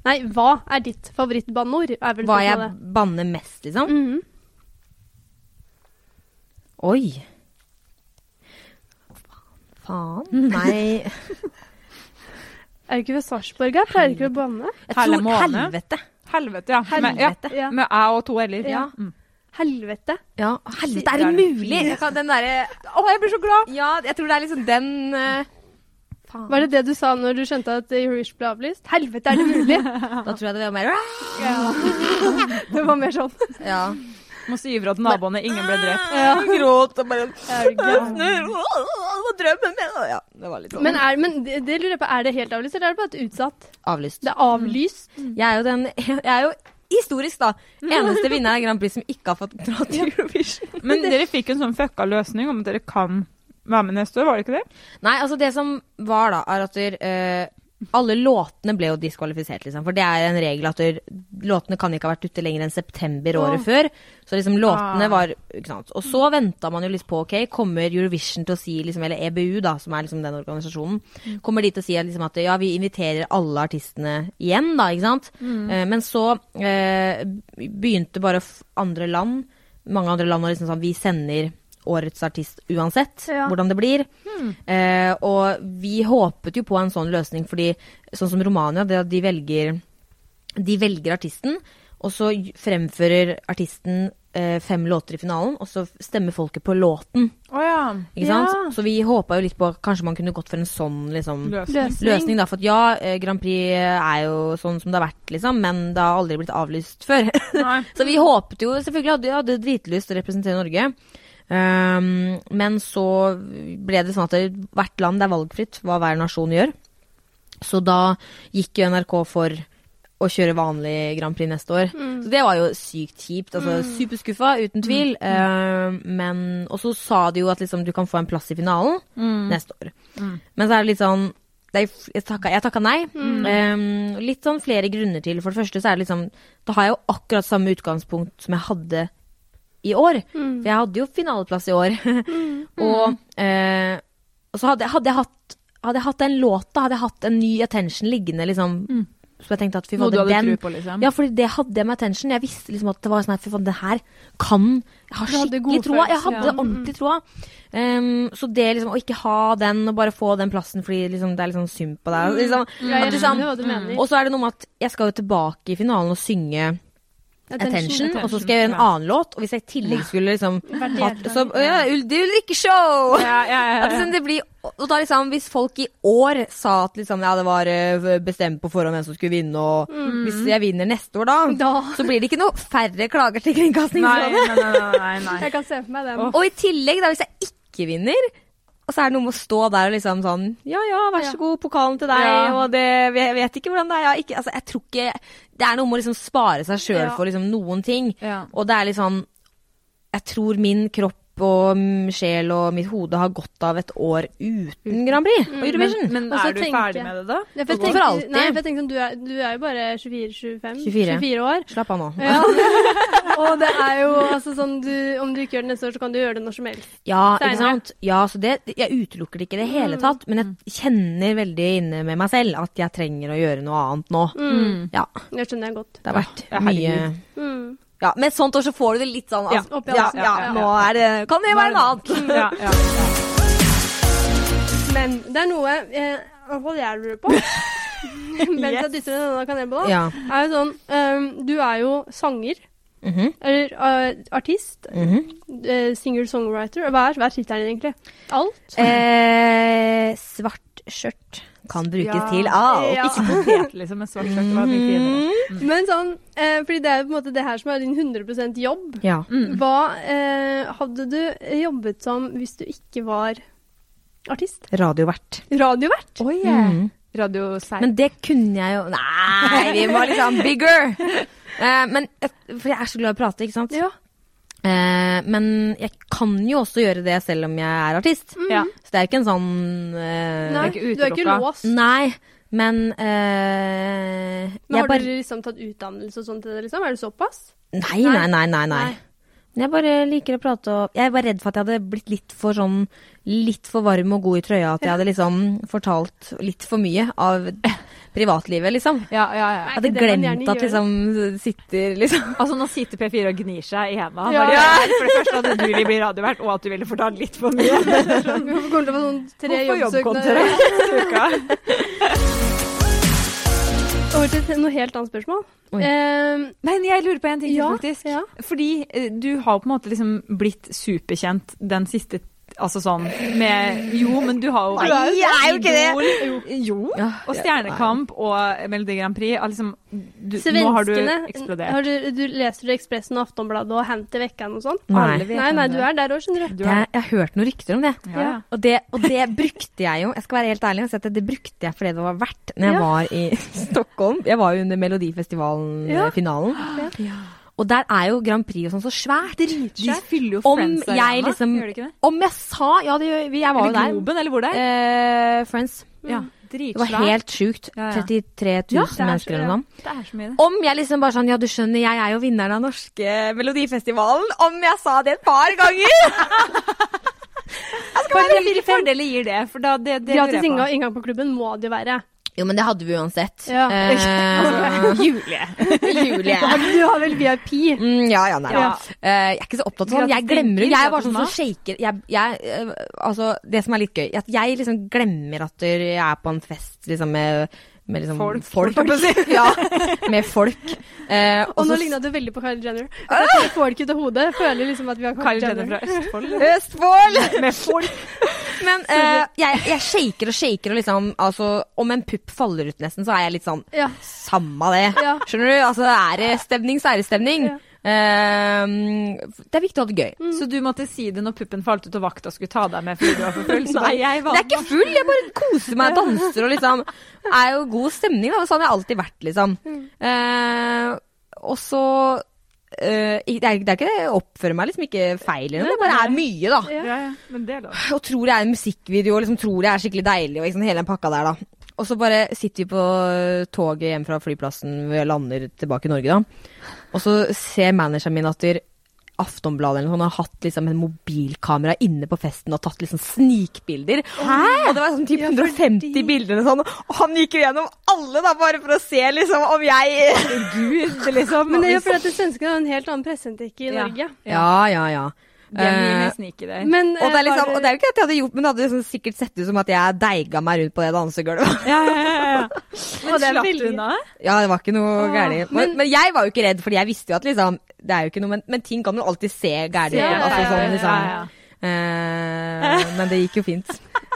[SPEAKER 1] Nei, hva er ditt favorittbanneord? Er vel Mhm.
[SPEAKER 3] Hva jeg
[SPEAKER 1] spørsmålet.
[SPEAKER 3] banner mest, liksom.
[SPEAKER 1] Mhm.
[SPEAKER 3] Oi. Faen. Nei.
[SPEAKER 1] Er det ikke ved Sarpsborg? Jeg pleier ikke å banne.
[SPEAKER 3] Jeg
[SPEAKER 2] Hele
[SPEAKER 3] tror
[SPEAKER 2] måned.
[SPEAKER 3] helvete.
[SPEAKER 2] Helvete, ja. Med, ja.
[SPEAKER 3] Helvete.
[SPEAKER 1] Ja.
[SPEAKER 2] Med æ og to l-er.
[SPEAKER 1] Ja.
[SPEAKER 2] Mm.
[SPEAKER 1] Helvete.
[SPEAKER 3] Ja, helvete, er
[SPEAKER 2] Sitter
[SPEAKER 3] det
[SPEAKER 2] den
[SPEAKER 3] mulig?
[SPEAKER 2] fine?
[SPEAKER 3] Jeg kan- Den derre
[SPEAKER 2] Å, jeg blir så glad!
[SPEAKER 3] Ja, jeg tror det er liksom den eh, Faen.
[SPEAKER 1] Var det det du sa når du skjønte at Eurovision ble avlyst? Helvete, er det mulig?
[SPEAKER 3] Da tror jeg det var mer
[SPEAKER 1] Det var mer sånn.
[SPEAKER 3] Ja. Ah.
[SPEAKER 2] Må si ifra til naboene. Ingen ble drept.
[SPEAKER 3] Gråt og bare
[SPEAKER 1] Er det gøy?
[SPEAKER 3] Drømmen min Ja, det var litt sånn.
[SPEAKER 1] Men, er, men det, det lurer jeg på, er det helt avlyst, eller er det bare et utsatt?
[SPEAKER 3] avlyst.
[SPEAKER 1] Det er avlyst.
[SPEAKER 3] Jeg er jo den Jeg er jo historisk, da. Eneste vinner av Grand Prix som ikke har fått dra til Eurovision.
[SPEAKER 2] Men dere fikk jo en sånn fucka løsning om at dere kan være med neste år, var det ikke det?
[SPEAKER 3] Nei, altså det som var da, er at eh, alle låtene ble jo diskvalifisert, liksom. For det er en regel at der, låtene kan ikke ha vært ute lenger enn september året før. Så liksom låtene
[SPEAKER 2] Ah.
[SPEAKER 3] var ikke sant? Og så venta man jo litt på, OK, kommer Eurovision til å si, liksom, eller EBU, da, som er liksom den organisasjonen, kommer de til å si liksom, at ja, vi inviterer alle artistene igjen, da, ikke sant? Eh, men så eh, begynte bare f andre land, mange andre land å liksom sånn, vi sender årets artist uansett
[SPEAKER 1] Ja.
[SPEAKER 3] hvordan det blir. Eh, og vi håpet jo på en sånn løsning, fordi sånn som Romania, det at de velger de velger artisten, og så j- fremfører artisten eh, fem låter i finalen, og så f- stemmer folket på låten.
[SPEAKER 2] Å ja.
[SPEAKER 3] Ikke
[SPEAKER 1] Ja.
[SPEAKER 3] sant? Så vi håpa jo litt på kanskje man kunne gått for en sånn liksom,
[SPEAKER 2] Mm.
[SPEAKER 1] Mm.
[SPEAKER 2] Løsning.
[SPEAKER 3] løsning. Da, for at ja, eh, Grand Prix er jo sånn som det har vært, liksom, men det har aldri blitt avlyst før.
[SPEAKER 2] Nei.
[SPEAKER 3] så vi håpet jo selvfølgelig hadde, hadde dritlyst til å representere Norge. Um, men så ble det sånn at det, hvert land det er valgfritt hva hver nasjon gjør. Så da gikk jo NRK for å kjøre vanlig Grand Prix neste år. Så det var jo sykt kjipt. Altså superskuffa, uten tvil. Eh, men Og så sa de jo at liksom du kan få en plass i finalen
[SPEAKER 2] Mm.
[SPEAKER 3] neste år. Men så er det litt sånn det er, jeg, takka, jeg takka nei.
[SPEAKER 1] Mm.
[SPEAKER 3] Eh, litt sånn flere grunner til. For det første så er det liksom Da har jeg jo akkurat samme utgangspunkt som jeg hadde i år.
[SPEAKER 1] Mm.
[SPEAKER 3] For jeg hadde jo finaleplass i år. og, eh, og så hadde, hadde jeg hatt hadde jeg hatt den låta, hadde jeg hatt en ny attention liggende, liksom.
[SPEAKER 1] Mm.
[SPEAKER 3] Så jeg tenkte at fy
[SPEAKER 2] Noe du
[SPEAKER 3] fader,
[SPEAKER 2] hadde
[SPEAKER 3] den
[SPEAKER 2] tro på, liksom.
[SPEAKER 3] Ja, fordi det hadde jeg med attention. Jeg visste liksom at det var sånn her, fy faen, det her kan Jeg har
[SPEAKER 1] Du hadde
[SPEAKER 3] skikkelig
[SPEAKER 1] god
[SPEAKER 3] troa. Jeg
[SPEAKER 1] følelse,
[SPEAKER 3] hadde
[SPEAKER 1] ja. Mm.
[SPEAKER 3] ordentlig troa. Um, så det liksom å ikke ha den, og bare få den plassen fordi liksom, det er litt sånn synd på deg liksom.
[SPEAKER 1] Mm. Ja,
[SPEAKER 3] At
[SPEAKER 1] jeg
[SPEAKER 3] du sånn-
[SPEAKER 1] skjønner hva du mener.
[SPEAKER 3] Og så er det noe med at jeg skal jo tilbake i finalen og synge Attention, og så skal jeg gjøre en
[SPEAKER 2] ja.
[SPEAKER 3] annen låt. Og hvis jeg i tillegg skulle liksom
[SPEAKER 1] Vært i
[SPEAKER 3] hatt,
[SPEAKER 1] Irland.
[SPEAKER 3] så, ja, Ul- Det er Ulrikke-show!
[SPEAKER 2] Ja, ja, ja,
[SPEAKER 3] At
[SPEAKER 2] ja.
[SPEAKER 3] liksom det blir, og da liksom, hvis folk i år sa at liksom, ja, det var eh, bestemt på forhånd hvem som skulle vinne, og hvis jeg vinner neste år da,
[SPEAKER 1] Da.
[SPEAKER 3] så blir det ikke noe færre klager til
[SPEAKER 2] Nei,
[SPEAKER 3] Kringkastingsrådet.
[SPEAKER 2] nei, nei, nei, nei.
[SPEAKER 1] Jeg kan se for meg det.
[SPEAKER 2] Åh.
[SPEAKER 3] Og i tillegg, da, hvis jeg ikke vinner, og så er det noe med å stå der og liksom sånn Ja ja, vær så god, pokalen til deg,
[SPEAKER 2] Ja.
[SPEAKER 3] og det Jeg vet ikke hvordan det er. Jeg, ikke, altså, jeg tror ikke Det er noe med å liksom spare seg sjøl
[SPEAKER 1] Ja.
[SPEAKER 3] for liksom noen ting.
[SPEAKER 2] Ja.
[SPEAKER 3] Og det er litt sånn Jeg tror min kropp og mm, sjel og mitt hode har godt av et år uten Mhm. Grand Prix og Eurovision.
[SPEAKER 2] Men, men
[SPEAKER 1] Og så
[SPEAKER 2] er du
[SPEAKER 1] tenker
[SPEAKER 2] ferdig
[SPEAKER 1] jeg-
[SPEAKER 2] med det, da?
[SPEAKER 1] Ja, for jeg
[SPEAKER 3] Og hvorfor
[SPEAKER 1] tenker-
[SPEAKER 3] alltid?
[SPEAKER 1] Nei, for jeg tenker sånn, du, er, du er jo bare 24-25.
[SPEAKER 3] 24.
[SPEAKER 1] 24 år.
[SPEAKER 3] Slapp av nå. Ja,
[SPEAKER 1] Ja. og det er jo altså sånn du, Om du ikke gjør det neste år, så kan du gjøre det når som helst.
[SPEAKER 3] ikke
[SPEAKER 1] Steinar.
[SPEAKER 3] sant? Ja, så det, jeg utelukker det ikke i det hele tatt, men jeg kjenner veldig inne med meg selv at jeg trenger å gjøre noe annet nå.
[SPEAKER 1] Mm.
[SPEAKER 2] Mm.
[SPEAKER 3] Ja,
[SPEAKER 1] Det skjønner jeg godt.
[SPEAKER 3] det har vært
[SPEAKER 2] Ja,
[SPEAKER 3] mye
[SPEAKER 2] herregud.
[SPEAKER 1] Mm.
[SPEAKER 3] Ja, men et sånt år så får du det litt sånn
[SPEAKER 2] Ja.
[SPEAKER 3] altså,
[SPEAKER 1] Opp i
[SPEAKER 3] ja,
[SPEAKER 1] halsen.
[SPEAKER 3] ja,
[SPEAKER 1] Ja.
[SPEAKER 3] nå er det Kan det være noe annet?
[SPEAKER 2] Ja, ja.
[SPEAKER 1] Men det er noe eh, i hvert fall jeg lurer på. Mens jeg dytter en annen kanelbolle.
[SPEAKER 3] Ja.
[SPEAKER 1] Er jo sånn ehm, Du er jo sanger.
[SPEAKER 3] Mhm,
[SPEAKER 1] Eller eh, artist.
[SPEAKER 3] mhm.
[SPEAKER 1] eh, Single songwriter. Hva er, hva er tittelen din, egentlig? Alt?
[SPEAKER 3] eh, svart skjørt kan brukes
[SPEAKER 2] Ja.
[SPEAKER 3] til alt.
[SPEAKER 1] Ja.
[SPEAKER 2] Ikke potet, liksom, men svart skjørt var mye finere.
[SPEAKER 1] Men sånn eh, Fordi det er jo på en måte det her som er din 100 jobb.
[SPEAKER 3] Ja.
[SPEAKER 2] Mm.
[SPEAKER 1] Hva eh, hadde du jobbet som hvis du ikke var artist?
[SPEAKER 3] Radiovert.
[SPEAKER 1] Radiovert?
[SPEAKER 2] Oi,
[SPEAKER 3] Mhm.
[SPEAKER 2] Radio Seid.
[SPEAKER 3] Men det kunne jeg jo Nei, vi må liksom bigger! Eh, men, for jeg er så glad i å prate, ikke sant?
[SPEAKER 1] Ja.
[SPEAKER 3] Eh, men jeg kan jo også gjøre det selv om jeg er artist.
[SPEAKER 2] Ja.
[SPEAKER 3] Så det er ikke en sånn eh,
[SPEAKER 1] Mm. Nei,
[SPEAKER 2] er ikke
[SPEAKER 1] du er ikke
[SPEAKER 2] utelukka.
[SPEAKER 1] låst.
[SPEAKER 3] Nei, men eh,
[SPEAKER 1] Men
[SPEAKER 3] jeg
[SPEAKER 1] har
[SPEAKER 3] bare
[SPEAKER 1] du liksom tatt utdannelse og sånt til det, liksom? Er det såpass?
[SPEAKER 3] Nei, nei, nei, nei. nei.
[SPEAKER 1] Nei.
[SPEAKER 3] Jeg bare liker å prate og Jeg var redd for at jeg hadde blitt litt for sånn Litt for varm og god i trøya. At jeg hadde liksom fortalt litt for mye av privatlivet, liksom.
[SPEAKER 2] Ja, ja, ja.
[SPEAKER 1] Nei.
[SPEAKER 3] Hadde
[SPEAKER 1] det man gjerne
[SPEAKER 3] glemt at
[SPEAKER 1] gjør.
[SPEAKER 3] liksom sitter liksom
[SPEAKER 2] Altså, nå sitter P4 og gnir seg i henda.
[SPEAKER 1] Ja.
[SPEAKER 2] Bare, "Ja, For det første hadde du ville bli radiovert, og at du ville fortalt litt for mye.
[SPEAKER 1] Vi kommer til å få sånn tre
[SPEAKER 2] Hvorfor
[SPEAKER 1] jobbsøknader.
[SPEAKER 2] jobbkontoret neste uka?
[SPEAKER 1] Over til et- noe helt annet spørsmål.
[SPEAKER 3] Oi.
[SPEAKER 1] Eh,
[SPEAKER 2] Nei, men jeg lurer på en ting til,
[SPEAKER 1] Ja,
[SPEAKER 2] faktisk.
[SPEAKER 1] ja.
[SPEAKER 2] Fordi eh, du har jo på en måte liksom blitt superkjent den siste Altså sånn med Jo, men du har jo
[SPEAKER 3] Nei, jeg er jo ikke det.
[SPEAKER 2] det! Jo.
[SPEAKER 3] Ja,
[SPEAKER 2] Og
[SPEAKER 3] ja,
[SPEAKER 2] Stjernekamp og Melodi Grand Prix har liksom du, Nå har du
[SPEAKER 1] Svenskene
[SPEAKER 2] eksplodert.
[SPEAKER 1] har du, du Leser du Ekspressen og Aftonbladet og Hent til vekkan og sånn?
[SPEAKER 3] Nei.
[SPEAKER 2] Alle vet
[SPEAKER 1] Nei,
[SPEAKER 2] om
[SPEAKER 1] nei,
[SPEAKER 2] det.
[SPEAKER 1] du er der òg, skjønner du.
[SPEAKER 2] Du
[SPEAKER 3] jeg,
[SPEAKER 2] er,
[SPEAKER 3] jeg har hørt noen rykter om det.
[SPEAKER 2] ja. ja.
[SPEAKER 3] Og det, og det brukte jeg jo. Jeg skal være helt ærlig og si at det brukte jeg for det det var verdt når jeg
[SPEAKER 1] Ja.
[SPEAKER 3] var i Stockholm. Jeg var jo under
[SPEAKER 1] Ja.
[SPEAKER 3] Melodifestivalen-finalen. Og der er jo Grand Prix og sånn så svært.
[SPEAKER 2] De fyller jo
[SPEAKER 3] Om
[SPEAKER 2] Friends
[SPEAKER 3] jeg
[SPEAKER 2] Arena,
[SPEAKER 3] liksom
[SPEAKER 2] gjør de ikke det?
[SPEAKER 3] Om jeg sa Ja, det, gjør- jeg var jo
[SPEAKER 2] Eller
[SPEAKER 3] der.
[SPEAKER 2] Globen, Mm. eller hvor det er.
[SPEAKER 3] Eh, Friends.
[SPEAKER 2] Ja,
[SPEAKER 3] Det var
[SPEAKER 2] Dritsvært.
[SPEAKER 3] helt sjukt.
[SPEAKER 2] Ja, ja.
[SPEAKER 3] 33 000
[SPEAKER 2] Ja, det er så-
[SPEAKER 3] mennesker eller noe. sånt.
[SPEAKER 2] Det er så mye, det.
[SPEAKER 3] Om jeg liksom bare sånn Ja, du skjønner, jeg er jo vinneren av norske Melodifestivalen. Om jeg sa det et par ganger!
[SPEAKER 2] Hva hvilke fordeler gir det? For da, det, det
[SPEAKER 1] Gratis
[SPEAKER 2] lurer
[SPEAKER 1] inngang,
[SPEAKER 2] jeg
[SPEAKER 1] inngang på klubben må det jo være.
[SPEAKER 3] Jo, men det hadde vi uansett.
[SPEAKER 1] Ja.
[SPEAKER 3] Eh,
[SPEAKER 2] på. Julie.
[SPEAKER 3] Julie.
[SPEAKER 1] Du har vel VIP?
[SPEAKER 3] Mm, ja, ja, nei.
[SPEAKER 2] Ja.
[SPEAKER 3] Eh, jeg er ikke så opptatt av sånn. Jeg
[SPEAKER 2] Gratis
[SPEAKER 3] glemmer det.
[SPEAKER 2] drinker,
[SPEAKER 3] Jeg er bare
[SPEAKER 2] gratis
[SPEAKER 3] sånn som shaker jeg, jeg, eh, Altså, det som er litt gøy, er at jeg liksom glemmer at jeg er på en fest liksom med, med liksom
[SPEAKER 2] Folk, holdt
[SPEAKER 3] folk. ja, med folk. Eh,
[SPEAKER 1] Og nå
[SPEAKER 3] så-
[SPEAKER 1] ligna du veldig på Kylie Jenner. Jeg får det ikke ut av hodet. Føler liksom at vi har
[SPEAKER 2] Kari
[SPEAKER 1] Kylie
[SPEAKER 2] Jenner fra
[SPEAKER 1] Jenner.
[SPEAKER 2] Østfold.
[SPEAKER 3] Østfold!
[SPEAKER 2] Med folk.
[SPEAKER 3] Men eh, jeg, jeg shaker og shaker og liksom Altså, om en pupp faller ut nesten, så er jeg litt sånn
[SPEAKER 1] Ja.
[SPEAKER 3] Samma det.
[SPEAKER 1] Ja.
[SPEAKER 3] Skjønner du? Altså, er det stemning, så er det stemning.
[SPEAKER 1] Ja.
[SPEAKER 3] Eh, det er viktig å ha det gøy.
[SPEAKER 1] Mm.
[SPEAKER 2] Så du måtte si det når puppen falt ut og vakta skulle ta deg med fordi du var for full? Så bare, jeg var
[SPEAKER 3] Det er ikke full, jeg bare koser meg, danser og liksom Er jo god stemning, da. Sånn har jeg alltid vært, liksom. Eh, og så eh, i- det, er, det er ikke det jeg oppfører meg liksom ikke feil eller noe, det bare er mye, da.
[SPEAKER 1] Ja.
[SPEAKER 2] ja, ja, men det er lov.
[SPEAKER 3] Og tror jeg er en musikkvideo, og liksom tror jeg er skikkelig deilig, og liksom hele den pakka der, da. Og så bare sitter vi på eh, toget hjem fra flyplassen, vi lander tilbake i Norge, da. Og så ser manageren min at der- Aftonbladet eller noe sånt har hatt liksom en mobilkamera inne på festen og tatt liksom snikbilder. Og det var sånn typ 150 bilder eller sånn. Og han gikk jo gjennom alle da, bare for å se liksom om jeg
[SPEAKER 2] Gud, liksom.
[SPEAKER 1] Men det er jo fordi at svenskene har en helt annen presentetikk i
[SPEAKER 2] Ja.
[SPEAKER 1] Norge.
[SPEAKER 3] Ja, ja, ja.
[SPEAKER 2] Det er mye
[SPEAKER 3] Eh,
[SPEAKER 2] mer snik i det.
[SPEAKER 1] Men
[SPEAKER 3] og det er,
[SPEAKER 1] eh,
[SPEAKER 3] liksom,
[SPEAKER 1] bare-
[SPEAKER 3] og det er jo ikke at jeg hadde gjort, men det hadde liksom sikkert sett ut som at jeg deiga meg rundt på det dansegulvet.
[SPEAKER 2] Ja, ja, ja, ja. Men
[SPEAKER 1] Og det er
[SPEAKER 2] slapp du
[SPEAKER 1] veldig-
[SPEAKER 2] unna?
[SPEAKER 3] Ja, det var ikke noe
[SPEAKER 1] Åh,
[SPEAKER 3] gærlig. Men,
[SPEAKER 1] Ah, men-
[SPEAKER 3] men jeg var jo ikke redd, fordi jeg visste jo at liksom Det er jo ikke noe, men, men ting kan jo alltid se gærlig ut.
[SPEAKER 1] Ja, ja,
[SPEAKER 3] altså, sånn,
[SPEAKER 1] ja,
[SPEAKER 3] liksom. Eh, men det gikk jo fint.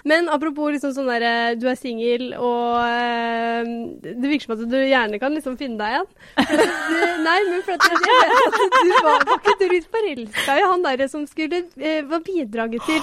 [SPEAKER 1] Men apropos liksom sånn derre du er singel og eh, Det virker som at du gjerne kan liksom finne deg igjen. Du, nei, men for at jeg vet at du var, var ikke du litt forelska i han derre som skulle eh, var bidraget til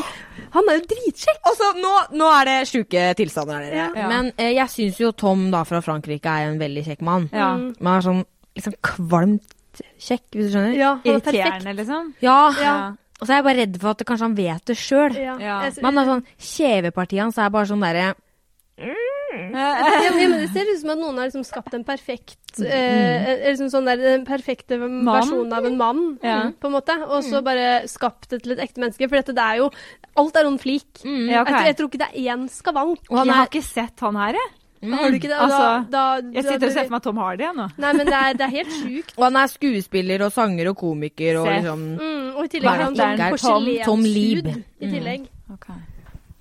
[SPEAKER 1] Han er jo dritsjekk!
[SPEAKER 3] Og så nå, nå er det sjuke tilstander her, dere.
[SPEAKER 2] Ja.
[SPEAKER 3] Men eh, jeg syns jo Tom da fra Frankrike er en veldig kjekk mann.
[SPEAKER 2] Ja.
[SPEAKER 1] Mm.
[SPEAKER 3] Men han er sånn liksom kvalmt kjekk, hvis du skjønner.
[SPEAKER 1] Ja, han er perfekt.
[SPEAKER 2] Irriterende, liksom.
[SPEAKER 3] Ja.
[SPEAKER 1] Ja.
[SPEAKER 3] Og så er jeg bare redd for at kanskje han vet det sjøl.
[SPEAKER 1] Ja.
[SPEAKER 2] Ja.
[SPEAKER 1] Jeg-
[SPEAKER 3] Men han er sånn, kjevepartiet hans er bare sånn derre
[SPEAKER 2] Ja.
[SPEAKER 1] Ja, men det ser ut som at noen har liksom skapt en perfekt eh,
[SPEAKER 3] Mm.
[SPEAKER 1] eh, liksom sånn der, den perfekte versjonen av en mann,
[SPEAKER 2] Ja.
[SPEAKER 1] på en måte. Og
[SPEAKER 3] Mm.
[SPEAKER 1] så bare skapt det til et ekte menneske. For dette det er jo Alt er on flik.
[SPEAKER 3] mm,
[SPEAKER 2] Ja, ok.
[SPEAKER 1] Jeg, tror- jeg tror ikke det er én skavank.
[SPEAKER 3] Og han
[SPEAKER 2] Jeg
[SPEAKER 3] er
[SPEAKER 2] har ikke sett han her, jeg.
[SPEAKER 1] Har
[SPEAKER 3] Mm.
[SPEAKER 1] du ikke det? Og
[SPEAKER 2] Altså,
[SPEAKER 1] da, da,
[SPEAKER 2] Jeg sitter og ser for meg Tom Hardy jeg, nå.
[SPEAKER 1] Nei, men det er, det er helt sjukt.
[SPEAKER 3] Og han er skuespiller og sanger og komiker og
[SPEAKER 2] Se.
[SPEAKER 3] liksom
[SPEAKER 1] Mm, og i tillegg
[SPEAKER 3] Hva
[SPEAKER 1] har
[SPEAKER 3] er
[SPEAKER 1] han
[SPEAKER 3] det?
[SPEAKER 1] sånn
[SPEAKER 3] Tom- Tom Lieb.
[SPEAKER 1] porselenshud i tillegg.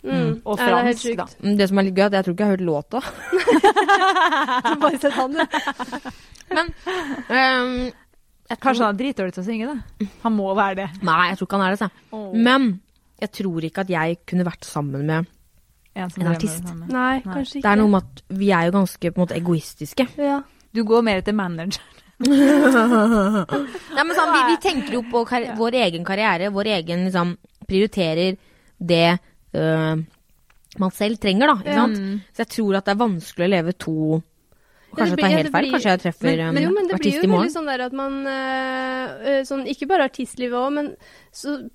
[SPEAKER 1] Mm.
[SPEAKER 2] Og
[SPEAKER 1] Nei, det er helt
[SPEAKER 2] fransk,
[SPEAKER 1] sjukt.
[SPEAKER 2] da.
[SPEAKER 3] Mm, Det som er litt gøy, er at jeg tror ikke jeg har hørt låta.
[SPEAKER 1] Bare sett han, ja.
[SPEAKER 3] Ehm, jeg tror-
[SPEAKER 2] Kanskje han er dritdårlig til å synge, da. Han må være det.
[SPEAKER 3] Nei, jeg tror ikke han er det. Så. Men jeg tror ikke at jeg kunne vært sammen med
[SPEAKER 2] En, som
[SPEAKER 3] En
[SPEAKER 2] drømmer
[SPEAKER 3] artist.
[SPEAKER 2] det samme.
[SPEAKER 1] Nei,
[SPEAKER 2] Nei.
[SPEAKER 1] kanskje
[SPEAKER 3] Det
[SPEAKER 1] ikke.
[SPEAKER 3] er noe med at vi er jo ganske på en måte egoistiske.
[SPEAKER 1] ja.
[SPEAKER 2] Du går mer etter manager.
[SPEAKER 3] Nei, men sånn, vi, vi tenker jo på kar vår egen karriere, vår egen liksom Prioriterer det øh, man selv trenger, da. Ikke
[SPEAKER 1] Ja. Mm.
[SPEAKER 3] sant? Så jeg tror at det er vanskelig å leve to
[SPEAKER 1] Ja, det
[SPEAKER 3] Kanskje jeg tar
[SPEAKER 1] blir-
[SPEAKER 3] helt
[SPEAKER 1] det
[SPEAKER 3] feil.
[SPEAKER 1] blir-
[SPEAKER 3] Kanskje jeg treffer
[SPEAKER 1] men, men, jo,
[SPEAKER 3] øhm,
[SPEAKER 1] men det blir
[SPEAKER 3] artist
[SPEAKER 1] jo
[SPEAKER 3] i morgen.
[SPEAKER 1] veldig sånn der at man eh, eh, sånn, Ikke bare artistlivet òg, men så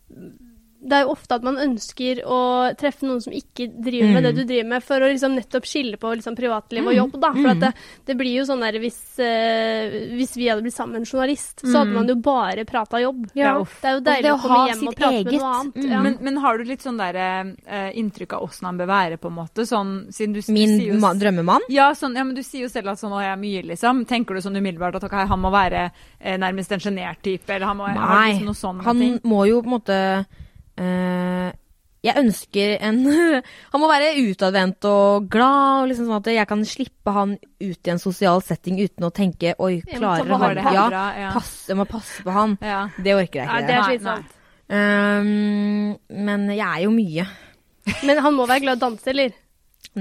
[SPEAKER 1] det er jo ofte at man ønsker å treffe noen som ikke driver med det
[SPEAKER 3] Mm.
[SPEAKER 1] du driver med, for å liksom nettopp skille på liksom privatliv og jobb. Da. For
[SPEAKER 3] Mm.
[SPEAKER 1] at det, det blir jo sånn der hvis, eh, hvis vi hadde blitt sammen med en journalist, så hadde man jo bare prata jobb.
[SPEAKER 2] Ja.
[SPEAKER 1] Det er jo
[SPEAKER 3] Mm. det
[SPEAKER 1] deilig
[SPEAKER 3] å
[SPEAKER 1] å komme
[SPEAKER 3] ha
[SPEAKER 1] hjem
[SPEAKER 3] sitt
[SPEAKER 1] og prate med
[SPEAKER 3] eget.
[SPEAKER 1] noe annet.
[SPEAKER 3] Mm.
[SPEAKER 1] Ja.
[SPEAKER 2] Men, men har du litt sånn der eh, inntrykk av åssen han bør være, på en måte? Sånn, siden du, du
[SPEAKER 3] Min
[SPEAKER 2] sier jo
[SPEAKER 3] ma- drømmemann?
[SPEAKER 2] Ja, sånn, ja, men du sier jo selv at sånn, å, jeg er mye, liksom. Tenker du sånn umiddelbart at ok, han må være eh, nærmest en sjenert type, eller han må ha
[SPEAKER 3] Nei,
[SPEAKER 2] liksom noe sånn
[SPEAKER 3] Han
[SPEAKER 2] ting?
[SPEAKER 3] må jo på en måte eh, Jeg ønsker en Han må være utadvendt og glad, og liksom sånn at jeg kan slippe han ut i en sosial setting uten å tenke Oi,
[SPEAKER 1] men
[SPEAKER 3] klarer
[SPEAKER 1] så må
[SPEAKER 2] Har
[SPEAKER 3] han
[SPEAKER 2] det
[SPEAKER 3] det?
[SPEAKER 2] her
[SPEAKER 3] Ja,
[SPEAKER 2] bra,
[SPEAKER 3] passe, jeg må passe på han.
[SPEAKER 2] ja.
[SPEAKER 3] Det orker jeg
[SPEAKER 1] Nei,
[SPEAKER 3] ikke.
[SPEAKER 1] det
[SPEAKER 3] det.
[SPEAKER 1] er
[SPEAKER 2] Nei,
[SPEAKER 1] slitsomt.
[SPEAKER 3] Um, men jeg er jo mye.
[SPEAKER 1] Men han må være glad i å danse, eller?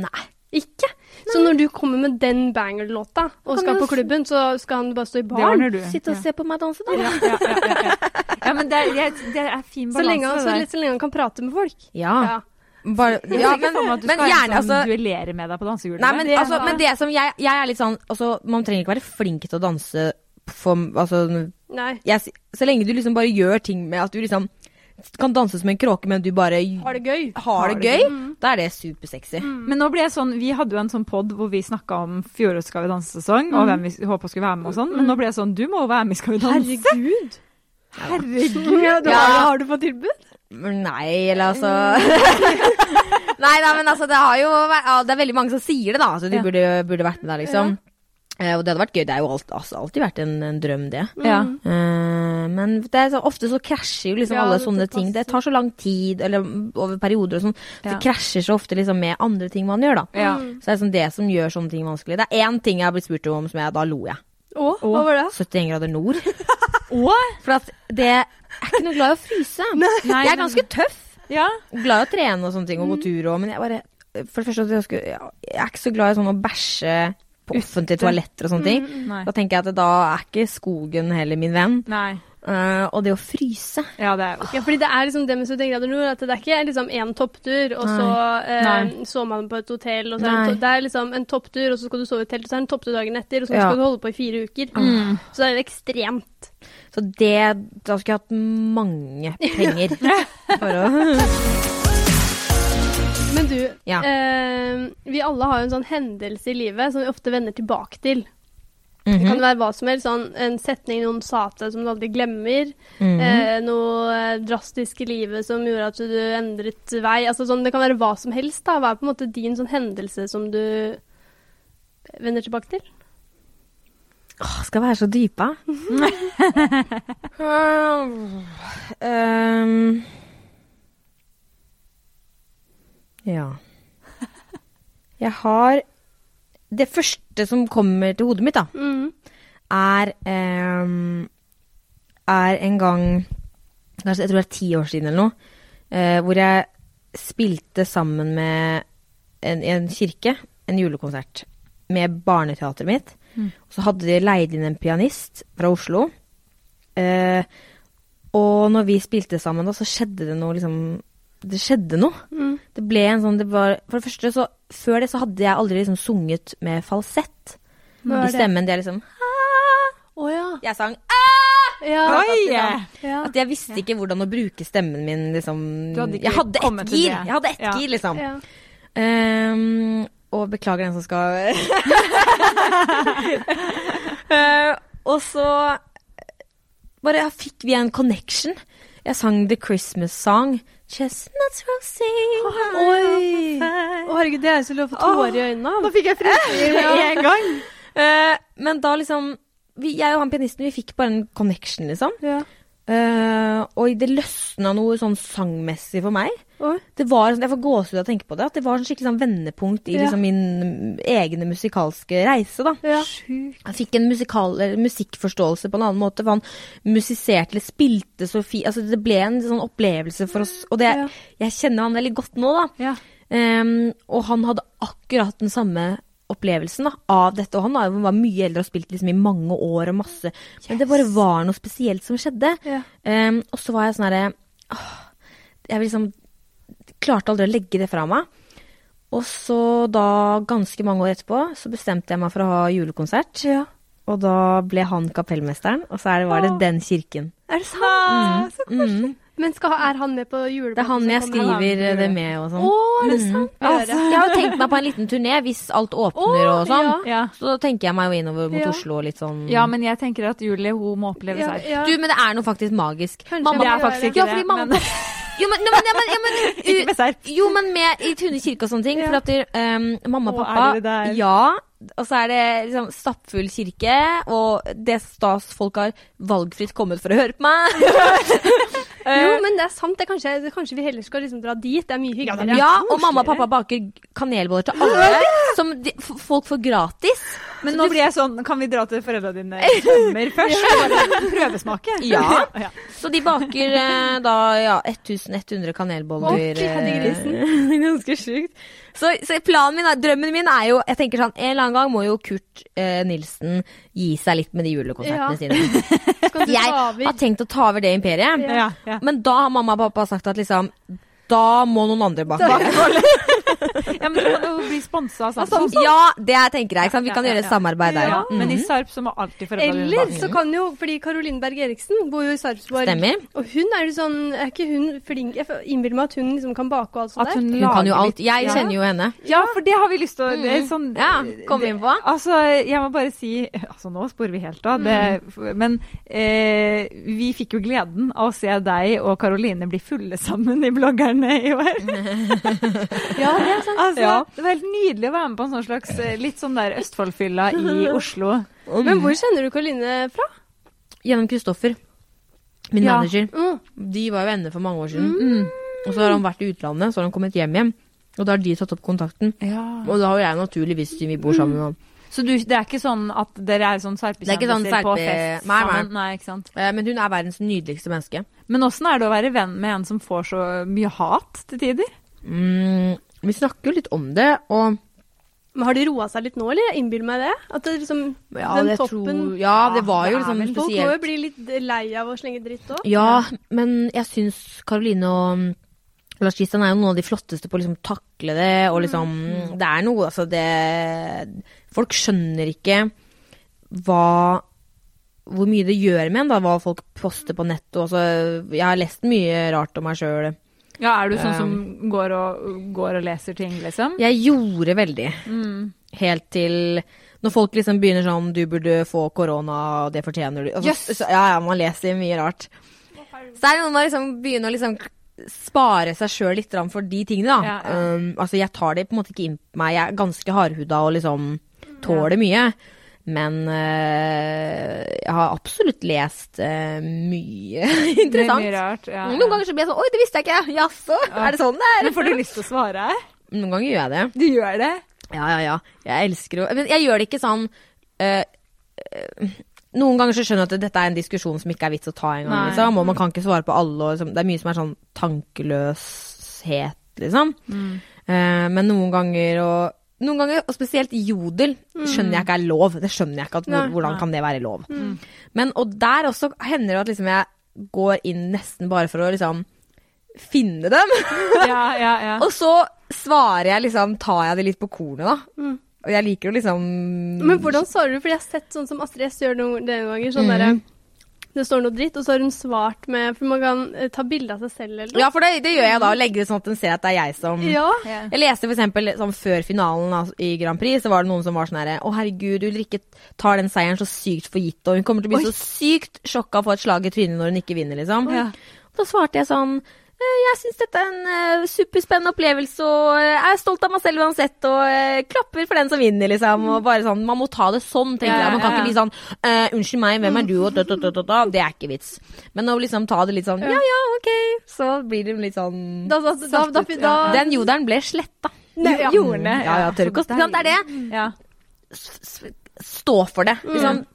[SPEAKER 3] Nei.
[SPEAKER 1] Ikke? Så når du kommer med den banger-låta og
[SPEAKER 3] kan
[SPEAKER 1] skal
[SPEAKER 3] jo
[SPEAKER 1] på
[SPEAKER 3] s-
[SPEAKER 1] klubben, så skal han bare stå i
[SPEAKER 2] Det ordner
[SPEAKER 1] baren?
[SPEAKER 2] du.
[SPEAKER 3] Sitte og
[SPEAKER 2] ja.
[SPEAKER 3] se på meg danse, da.
[SPEAKER 2] Ja, ja, ja, ja, ja. ja, men det er, jeg- det er fin
[SPEAKER 1] Så lenge,
[SPEAKER 2] balanse.
[SPEAKER 1] han,
[SPEAKER 2] det
[SPEAKER 1] så,
[SPEAKER 2] der.
[SPEAKER 1] litt- så lenge han kan prate med folk.
[SPEAKER 3] Ja.
[SPEAKER 1] Ja.
[SPEAKER 3] Bare, ja
[SPEAKER 2] Jeg ser ikke
[SPEAKER 3] men,
[SPEAKER 2] for meg at du
[SPEAKER 3] men
[SPEAKER 2] skal
[SPEAKER 3] gjerne,
[SPEAKER 2] liksom
[SPEAKER 3] altså.
[SPEAKER 2] duellere med deg på dansegulvet.
[SPEAKER 3] Nei, men,
[SPEAKER 2] Det-
[SPEAKER 3] altså, men det som jeg, jeg er litt sånn altså, Man trenger ikke være flink til å danse for, altså,
[SPEAKER 1] Nei.
[SPEAKER 3] jeg, s- Så lenge du liksom bare gjør ting med at du liksom kan danse som en kråke, men du bare
[SPEAKER 1] Har det Mm. gøy.
[SPEAKER 3] har det gøy, da er det supersexy.
[SPEAKER 1] Mm.
[SPEAKER 2] Men nå ble jeg sånn, vi hadde jo en sånn pod hvor vi snakka om fjorårets Skal vi danse-sesong,
[SPEAKER 1] Mm.
[SPEAKER 2] og hvem vi s- håpa skulle være med og sånn, men nå ble jeg sånn, du må jo være med i Skal vi danse.
[SPEAKER 1] Herregud.
[SPEAKER 2] Herregud.
[SPEAKER 1] du
[SPEAKER 3] Ja.
[SPEAKER 1] har, har du fått tilbud?
[SPEAKER 3] Men Nei, eller altså Nei, nei, men altså, det har jo væ- ja, Det er veldig mange som sier det, da. Så du
[SPEAKER 2] Ja.
[SPEAKER 3] burde, burde vært med der, liksom. Eh, og det hadde vært gøy. Det er jo alt, altså, alltid vært en, en drøm, det.
[SPEAKER 2] Ja.
[SPEAKER 3] Eh, men det er så, ofte så krasjer jo liksom
[SPEAKER 1] Ja,
[SPEAKER 3] alle
[SPEAKER 1] det
[SPEAKER 3] sånne
[SPEAKER 1] passer.
[SPEAKER 3] ting. Det tar så lang tid, eller mm, over perioder og sånn. så
[SPEAKER 2] Ja.
[SPEAKER 3] Det krasjer så ofte liksom med andre ting man gjør, da.
[SPEAKER 2] ja.
[SPEAKER 1] Mm.
[SPEAKER 3] Så det er sånn det som gjør sånne ting vanskelig. Det er én ting jeg har blitt spurt om som jeg Da lo jeg.
[SPEAKER 1] Å, hva var det?
[SPEAKER 3] 71 grader nord.
[SPEAKER 2] Og
[SPEAKER 3] For at det Jeg er ikke noe glad i å fryse. Jeg er ganske tøff.
[SPEAKER 2] Ja.
[SPEAKER 3] Glad i å trene og sånne ting, og
[SPEAKER 1] Mm.
[SPEAKER 3] gå tur og Men jeg bare For det første at jeg, skulle, ja, jeg er ikke så glad i sånn å bæsje på offentlige toaletter og sånne
[SPEAKER 1] Mm,
[SPEAKER 3] ting.
[SPEAKER 2] Nei.
[SPEAKER 3] Da tenker jeg at da er ikke skogen heller min venn.
[SPEAKER 2] Nei.
[SPEAKER 3] Eh, og det å fryse
[SPEAKER 2] Ja, det er
[SPEAKER 1] Ja, fordi det er liksom det med 71 grader nord, at det er ikke liksom én topptur, og så eh,
[SPEAKER 2] Nei.
[SPEAKER 1] så man på et hotell, og så er
[SPEAKER 3] Nei.
[SPEAKER 1] det en to- det er liksom en topptur, og så skal du sove i telt, og så er det en topptur dagen etter, og så
[SPEAKER 3] Ja. Ah.
[SPEAKER 1] skal du holde på i fire uker. Mm. Så det er jo ekstremt.
[SPEAKER 3] Så det Da skulle jeg hatt mange penger for å
[SPEAKER 1] Men du,
[SPEAKER 3] Ja.
[SPEAKER 1] eh, vi alle har jo en sånn hendelse i livet som vi ofte vender tilbake til. Det kan
[SPEAKER 3] Mhm.
[SPEAKER 1] være hva som helst. Sånn, en setning noen sa til deg som du aldri glemmer.
[SPEAKER 3] Mhm.
[SPEAKER 1] eh, noe eh, drastisk i livet som gjorde at du endret vei. Altså, sånn, det kan være hva som helst. Da. Hva er på en måte din sånn hendelse som du vender tilbake til?
[SPEAKER 3] Åh, skal være så dype. um, ja. Jeg har Det første som kommer til hodet mitt, da,
[SPEAKER 1] Mhm.
[SPEAKER 3] er um, Er en gang kanskje, Jeg tror det er ti år siden eller noe, eh, hvor jeg spilte sammen med en, i en kirke, en julekonsert, med barneteateret mitt. Så hadde de leid inn en pianist fra Oslo. Eh, og når vi spilte sammen da, så skjedde det noe liksom Det skjedde noe.
[SPEAKER 1] Mm.
[SPEAKER 3] Det ble en sånn det var, For det første, så før det så hadde jeg aldri liksom sunget med falsett
[SPEAKER 1] Hva
[SPEAKER 3] i
[SPEAKER 1] er det?
[SPEAKER 3] stemmen. Det er liksom
[SPEAKER 1] Å ja.
[SPEAKER 3] Jeg sang
[SPEAKER 1] ja.
[SPEAKER 2] Oi!
[SPEAKER 1] ja.
[SPEAKER 3] At jeg visste ikke hvordan å bruke stemmen min, liksom.
[SPEAKER 2] Du hadde ikke
[SPEAKER 3] jeg hadde
[SPEAKER 2] kommet
[SPEAKER 3] ett
[SPEAKER 2] til
[SPEAKER 3] gir!
[SPEAKER 2] det.
[SPEAKER 3] Jeg hadde ett
[SPEAKER 2] Ja.
[SPEAKER 3] gir, liksom.
[SPEAKER 1] Ja.
[SPEAKER 3] Ehm, og beklager den som skal Eh, Og så bare fikk vi en connection. Jeg sang The Christmas Song. Chestnuts roasting
[SPEAKER 1] Oi. Å, herregud, det er så lov å få tårer i øynene av.
[SPEAKER 2] fikk jeg frysninger med en gang.
[SPEAKER 3] Eh, Men da liksom vi, Jeg og han pianisten vi fikk bare en connection, liksom.
[SPEAKER 1] Ja.
[SPEAKER 3] Eh, og det løsna noe sånn sangmessig for meg.
[SPEAKER 1] Oi.
[SPEAKER 3] Det var, sånn- jeg får gåsehud av å tenke på det. At det var sånn skikkelig sånn vendepunkt i
[SPEAKER 1] Ja.
[SPEAKER 3] liksom, min mm, egne musikalske reise. da.
[SPEAKER 1] Ja.
[SPEAKER 3] Jeg fikk en musikal, eller musikkforståelse på en annen måte, for han musiserte eller spilte så fint. Altså, det ble en sånn opplevelse for oss, og det,
[SPEAKER 1] Ja.
[SPEAKER 3] jeg kjenner han veldig godt nå, da.
[SPEAKER 2] Ja.
[SPEAKER 3] Ehm, og han hadde akkurat den samme opplevelsen da, av dette, og han da, var mye eldre og spilt liksom, i mange år og masse. Men det bare var noe spesielt som skjedde.
[SPEAKER 1] Ja.
[SPEAKER 3] Ehm, og så var jeg sånn herre åh, Jeg liksom klarte aldri å legge det fra meg. Og så da, ganske mange år etterpå, så bestemte jeg meg for å ha julekonsert.
[SPEAKER 1] Ja.
[SPEAKER 3] Og da ble han kapellmesteren, og så er det, var det den kirken.
[SPEAKER 2] Mm.
[SPEAKER 1] Er det sant?
[SPEAKER 2] Så koselig.
[SPEAKER 1] Men skal, ha- er han med Mhm. på
[SPEAKER 3] Det er
[SPEAKER 1] juleplaten?
[SPEAKER 3] han jeg
[SPEAKER 1] som kommer her, da?
[SPEAKER 3] skriver eh, det med og sånn.
[SPEAKER 1] Å, er det sant?
[SPEAKER 3] Altså, jeg har jo tenkt meg på en liten turné hvis alt åpner
[SPEAKER 1] Å,
[SPEAKER 3] og sånn.
[SPEAKER 1] ja.
[SPEAKER 2] Ja.
[SPEAKER 3] Så tenker jeg meg jo innover mot
[SPEAKER 1] Ja.
[SPEAKER 3] Oslo og litt sånn
[SPEAKER 2] ja, men jeg tenker at Julie hun må oppleve
[SPEAKER 1] Ja,
[SPEAKER 2] seg.
[SPEAKER 1] ja.
[SPEAKER 3] Du, men det er noe faktisk magisk.
[SPEAKER 1] Kanskje
[SPEAKER 3] Mamma,
[SPEAKER 1] jeg må
[SPEAKER 2] Det er faktisk
[SPEAKER 1] gjøre
[SPEAKER 2] ikke
[SPEAKER 3] Ja, fordi
[SPEAKER 2] det,
[SPEAKER 3] mamma-
[SPEAKER 2] men
[SPEAKER 3] Jo, men, ja, men, ja, men, ja, men,
[SPEAKER 2] ikke med serp.
[SPEAKER 3] Jo, men med i Tune kirke og sånne ting.
[SPEAKER 1] Ja.
[SPEAKER 3] For at ehm, mamma og
[SPEAKER 2] Å,
[SPEAKER 3] pappa
[SPEAKER 2] er dere der?
[SPEAKER 3] Ja. Og så er det liksom stappfull kirke, og det er stas folk har valgfritt kommet for å høre på meg.
[SPEAKER 1] Jo,
[SPEAKER 3] Eh,
[SPEAKER 1] men det er sant. Det er kanskje, det er kanskje vi heller skal liksom dra dit. Det er mye hyggeligere.
[SPEAKER 3] Ja, og mamma og pappa baker kanelboller til alle, som de, f- folk får gratis.
[SPEAKER 2] Men nå blir jeg sånn Kan vi dra til foreldra dine i sommer først? Bare Prøvesmake?
[SPEAKER 3] Ja.
[SPEAKER 2] ja.
[SPEAKER 3] Så de baker eh, da ja, 1100 kanelboller.
[SPEAKER 1] Å, kødde
[SPEAKER 3] eh, Ganske sjukt. Så, så planen min, er, drømmen min er jo Jeg tenker sånn, En eller annen gang må jo Kurt eh, Nilsen gi seg litt med de
[SPEAKER 1] Ja.
[SPEAKER 3] julekonsertene sine.
[SPEAKER 1] Skal du
[SPEAKER 3] Jeg
[SPEAKER 1] ta over?
[SPEAKER 3] har tenkt å ta over det imperiet,
[SPEAKER 2] Ja, ja.
[SPEAKER 3] men da har mamma og pappa sagt at liksom da må noen andre bake.
[SPEAKER 2] ja, men du kan jo bli sponsa av Samsung.
[SPEAKER 3] Ja, det jeg tenker jeg. Ikke sant? Vi kan
[SPEAKER 2] Ja, ja,
[SPEAKER 3] gjøre et samarbeid der. Mm,
[SPEAKER 2] Ja,
[SPEAKER 3] ja.
[SPEAKER 2] men i Sarp så må alltid foreldra dine
[SPEAKER 1] Eller
[SPEAKER 2] bake.
[SPEAKER 1] så kan jo Fordi Caroline Berg Eriksen bor jo i Sarpsborg.
[SPEAKER 3] Stemmer.
[SPEAKER 1] Og hun er jo sånn Er ikke hun flink Jeg innbiller meg at hun liksom kan bake og alt sånt
[SPEAKER 2] At hun
[SPEAKER 1] der.
[SPEAKER 3] Hun kan jo
[SPEAKER 2] lager
[SPEAKER 3] alt.
[SPEAKER 2] litt-
[SPEAKER 3] Jeg
[SPEAKER 2] Ja.
[SPEAKER 3] kjenner jo henne.
[SPEAKER 2] Ja, for det har vi lyst til å det er sånn,
[SPEAKER 3] Ja, kom inn på.
[SPEAKER 2] Altså, jeg må bare si Altså, nå sporer vi helt av. Det, men eh, vi fikk jo gleden av å se deg og Karoline bli fulle sammen i bloggerne i år.
[SPEAKER 1] Ja, det er sant.
[SPEAKER 2] Altså,
[SPEAKER 3] Ja.
[SPEAKER 2] Det var helt nydelig å være med på en sånn slags eh, litt sånn der Østfoldfylla i Oslo.
[SPEAKER 1] Men hvor kjenner du Caroline fra?
[SPEAKER 3] Gjennom Kristoffer, min
[SPEAKER 2] Ja. Mm.
[SPEAKER 3] manager.
[SPEAKER 1] Mm.
[SPEAKER 3] De var jo venner for mange år siden. Og så har han vært i utlandet, så har han kommet hjem igjen. Og da har de tatt opp kontakten.
[SPEAKER 2] Ja.
[SPEAKER 3] Og da har jo jeg naturligvis siden vi bor sammen
[SPEAKER 2] Mm.
[SPEAKER 3] nå.
[SPEAKER 2] Så du, det er ikke sånn at dere er sånn
[SPEAKER 3] Det er ikke sånn
[SPEAKER 2] sarpekjendiser på
[SPEAKER 3] serpe-
[SPEAKER 2] fest
[SPEAKER 3] Nei, nei.
[SPEAKER 2] sammen? Nei, ikke sant.
[SPEAKER 3] Eh, Men hun er verdens nydeligste menneske.
[SPEAKER 2] Men åssen er det å være venn med en som får så mye hat til tider?
[SPEAKER 3] Mm, vi snakker jo litt om det, og
[SPEAKER 1] Men Har det roa seg litt nå, eller? Jeg innbiller meg det. At det liksom
[SPEAKER 3] ja,
[SPEAKER 1] Den
[SPEAKER 3] det
[SPEAKER 1] toppen
[SPEAKER 3] tror, ja, det var jo
[SPEAKER 2] Ja, det er
[SPEAKER 3] liksom
[SPEAKER 2] vel-
[SPEAKER 1] Folk må jo
[SPEAKER 3] spesielt.
[SPEAKER 1] bli litt lei av å slenge dritt òg.
[SPEAKER 3] Ja, men jeg syns Karoline og mm, Lars Kristian er jo noen av de flotteste på å liksom takle det,
[SPEAKER 1] Mm.
[SPEAKER 3] og liksom Det er noe, altså det Folk skjønner ikke hva Hvor mye det gjør med en, da, hva folk poster på nettet. og så- jeg har lest mye rart om meg sjøl.
[SPEAKER 2] Ja, er du sånn som går og, går og leser ting, liksom? Mm.
[SPEAKER 3] Jeg gjorde veldig. Helt til når folk liksom begynner sånn 'Du burde få korona, og det fortjener du'. Altså,
[SPEAKER 2] Jøss.
[SPEAKER 3] så, ja, ja, man leser mye rart. Så er det noe med å liksom begynne å liksom spare seg sjøl litt grann for de tingene, da.
[SPEAKER 2] Ja, ja.
[SPEAKER 3] Um, altså, jeg tar det på en måte ikke inn på meg. Jeg er ganske hardhuda og liksom tåler mye. Men øh, jeg har absolutt lest øh, mye interessant.
[SPEAKER 2] Mye rart, ja.
[SPEAKER 3] Noen ganger så blir jeg sånn 'Oi, det visste jeg ikke'. Jaså, er det sånn det er?
[SPEAKER 2] Men får du lyst til å svare?
[SPEAKER 3] Noen ganger gjør jeg det.
[SPEAKER 2] Du gjør det?
[SPEAKER 3] Ja, ja, ja. Jeg elsker jo Men jeg gjør det ikke sånn øh, øh, Noen ganger så skjønner jeg at dette er en diskusjon som ikke er vits å ta engang,
[SPEAKER 2] Nei.
[SPEAKER 3] liksom. Og man kan ikke svare på alle, og liksom, det er mye som er sånn tankeløshet, liksom.
[SPEAKER 2] Mm.
[SPEAKER 3] Eh, men noen ganger og noen ganger, og spesielt jodel, skjønner jeg ikke er lov. Det skjønner jeg ikke. At,
[SPEAKER 1] Nei.
[SPEAKER 3] hvordan kan det være lov?
[SPEAKER 2] Mm.
[SPEAKER 3] Men, og der også hender det at liksom jeg går inn nesten bare for å liksom finne dem.
[SPEAKER 2] Ja, ja, ja.
[SPEAKER 3] Og så svarer jeg liksom Tar jeg det litt på kornet, da.
[SPEAKER 1] Mm.
[SPEAKER 3] Og jeg liker jo liksom
[SPEAKER 1] Men hvordan svarer du? Fordi jeg har sett sånn som Astrid S gjør noen, noen ganger. Sånn derre Det står noe dritt, og så har hun svart med For man kan eh, ta bilde av seg selv, eller
[SPEAKER 3] Ja, for det, det gjør jeg da. Legger det sånn at den ser at det er jeg som
[SPEAKER 1] Ja.
[SPEAKER 3] Jeg leste for eksempel sånn før finalen av- i Grand Prix, så var det noen som var sånn herre Å, herregud, Ulrikke tar den seieren så sykt for gitt, og hun kommer til å bli
[SPEAKER 2] Oi.
[SPEAKER 3] så sykt sjokka og få et slag i trynet når hun ikke vinner, liksom.
[SPEAKER 2] Ja.
[SPEAKER 3] Da svarte jeg sånn «Eh, jeg syns dette er en eh, superspennende opplevelse, og eh, jeg er stolt av meg selv uansett, og eh, klapper for den som vinner, liksom. Og bare sånn, Man må ta det sånn, tenker
[SPEAKER 2] Ja,
[SPEAKER 3] jeg. Man kan
[SPEAKER 2] ja, ja.
[SPEAKER 3] ikke bli sånn «Eh, Unnskyld meg, hvem er du? Og da, da, da, da, da. Det er ikke vits. Men å liksom ta det litt sånn ja ja, ok, så blir det litt sånn
[SPEAKER 1] Da, da, da, da, da, da
[SPEAKER 3] Den jodelen ble sletta.
[SPEAKER 2] Nei, ja. Jordene,
[SPEAKER 3] Mm. Ja, ja, tør ikke å
[SPEAKER 2] Så
[SPEAKER 3] ikke sant, Det er det.
[SPEAKER 2] deilig. Ja.
[SPEAKER 3] S- s- Stå for det. Liksom.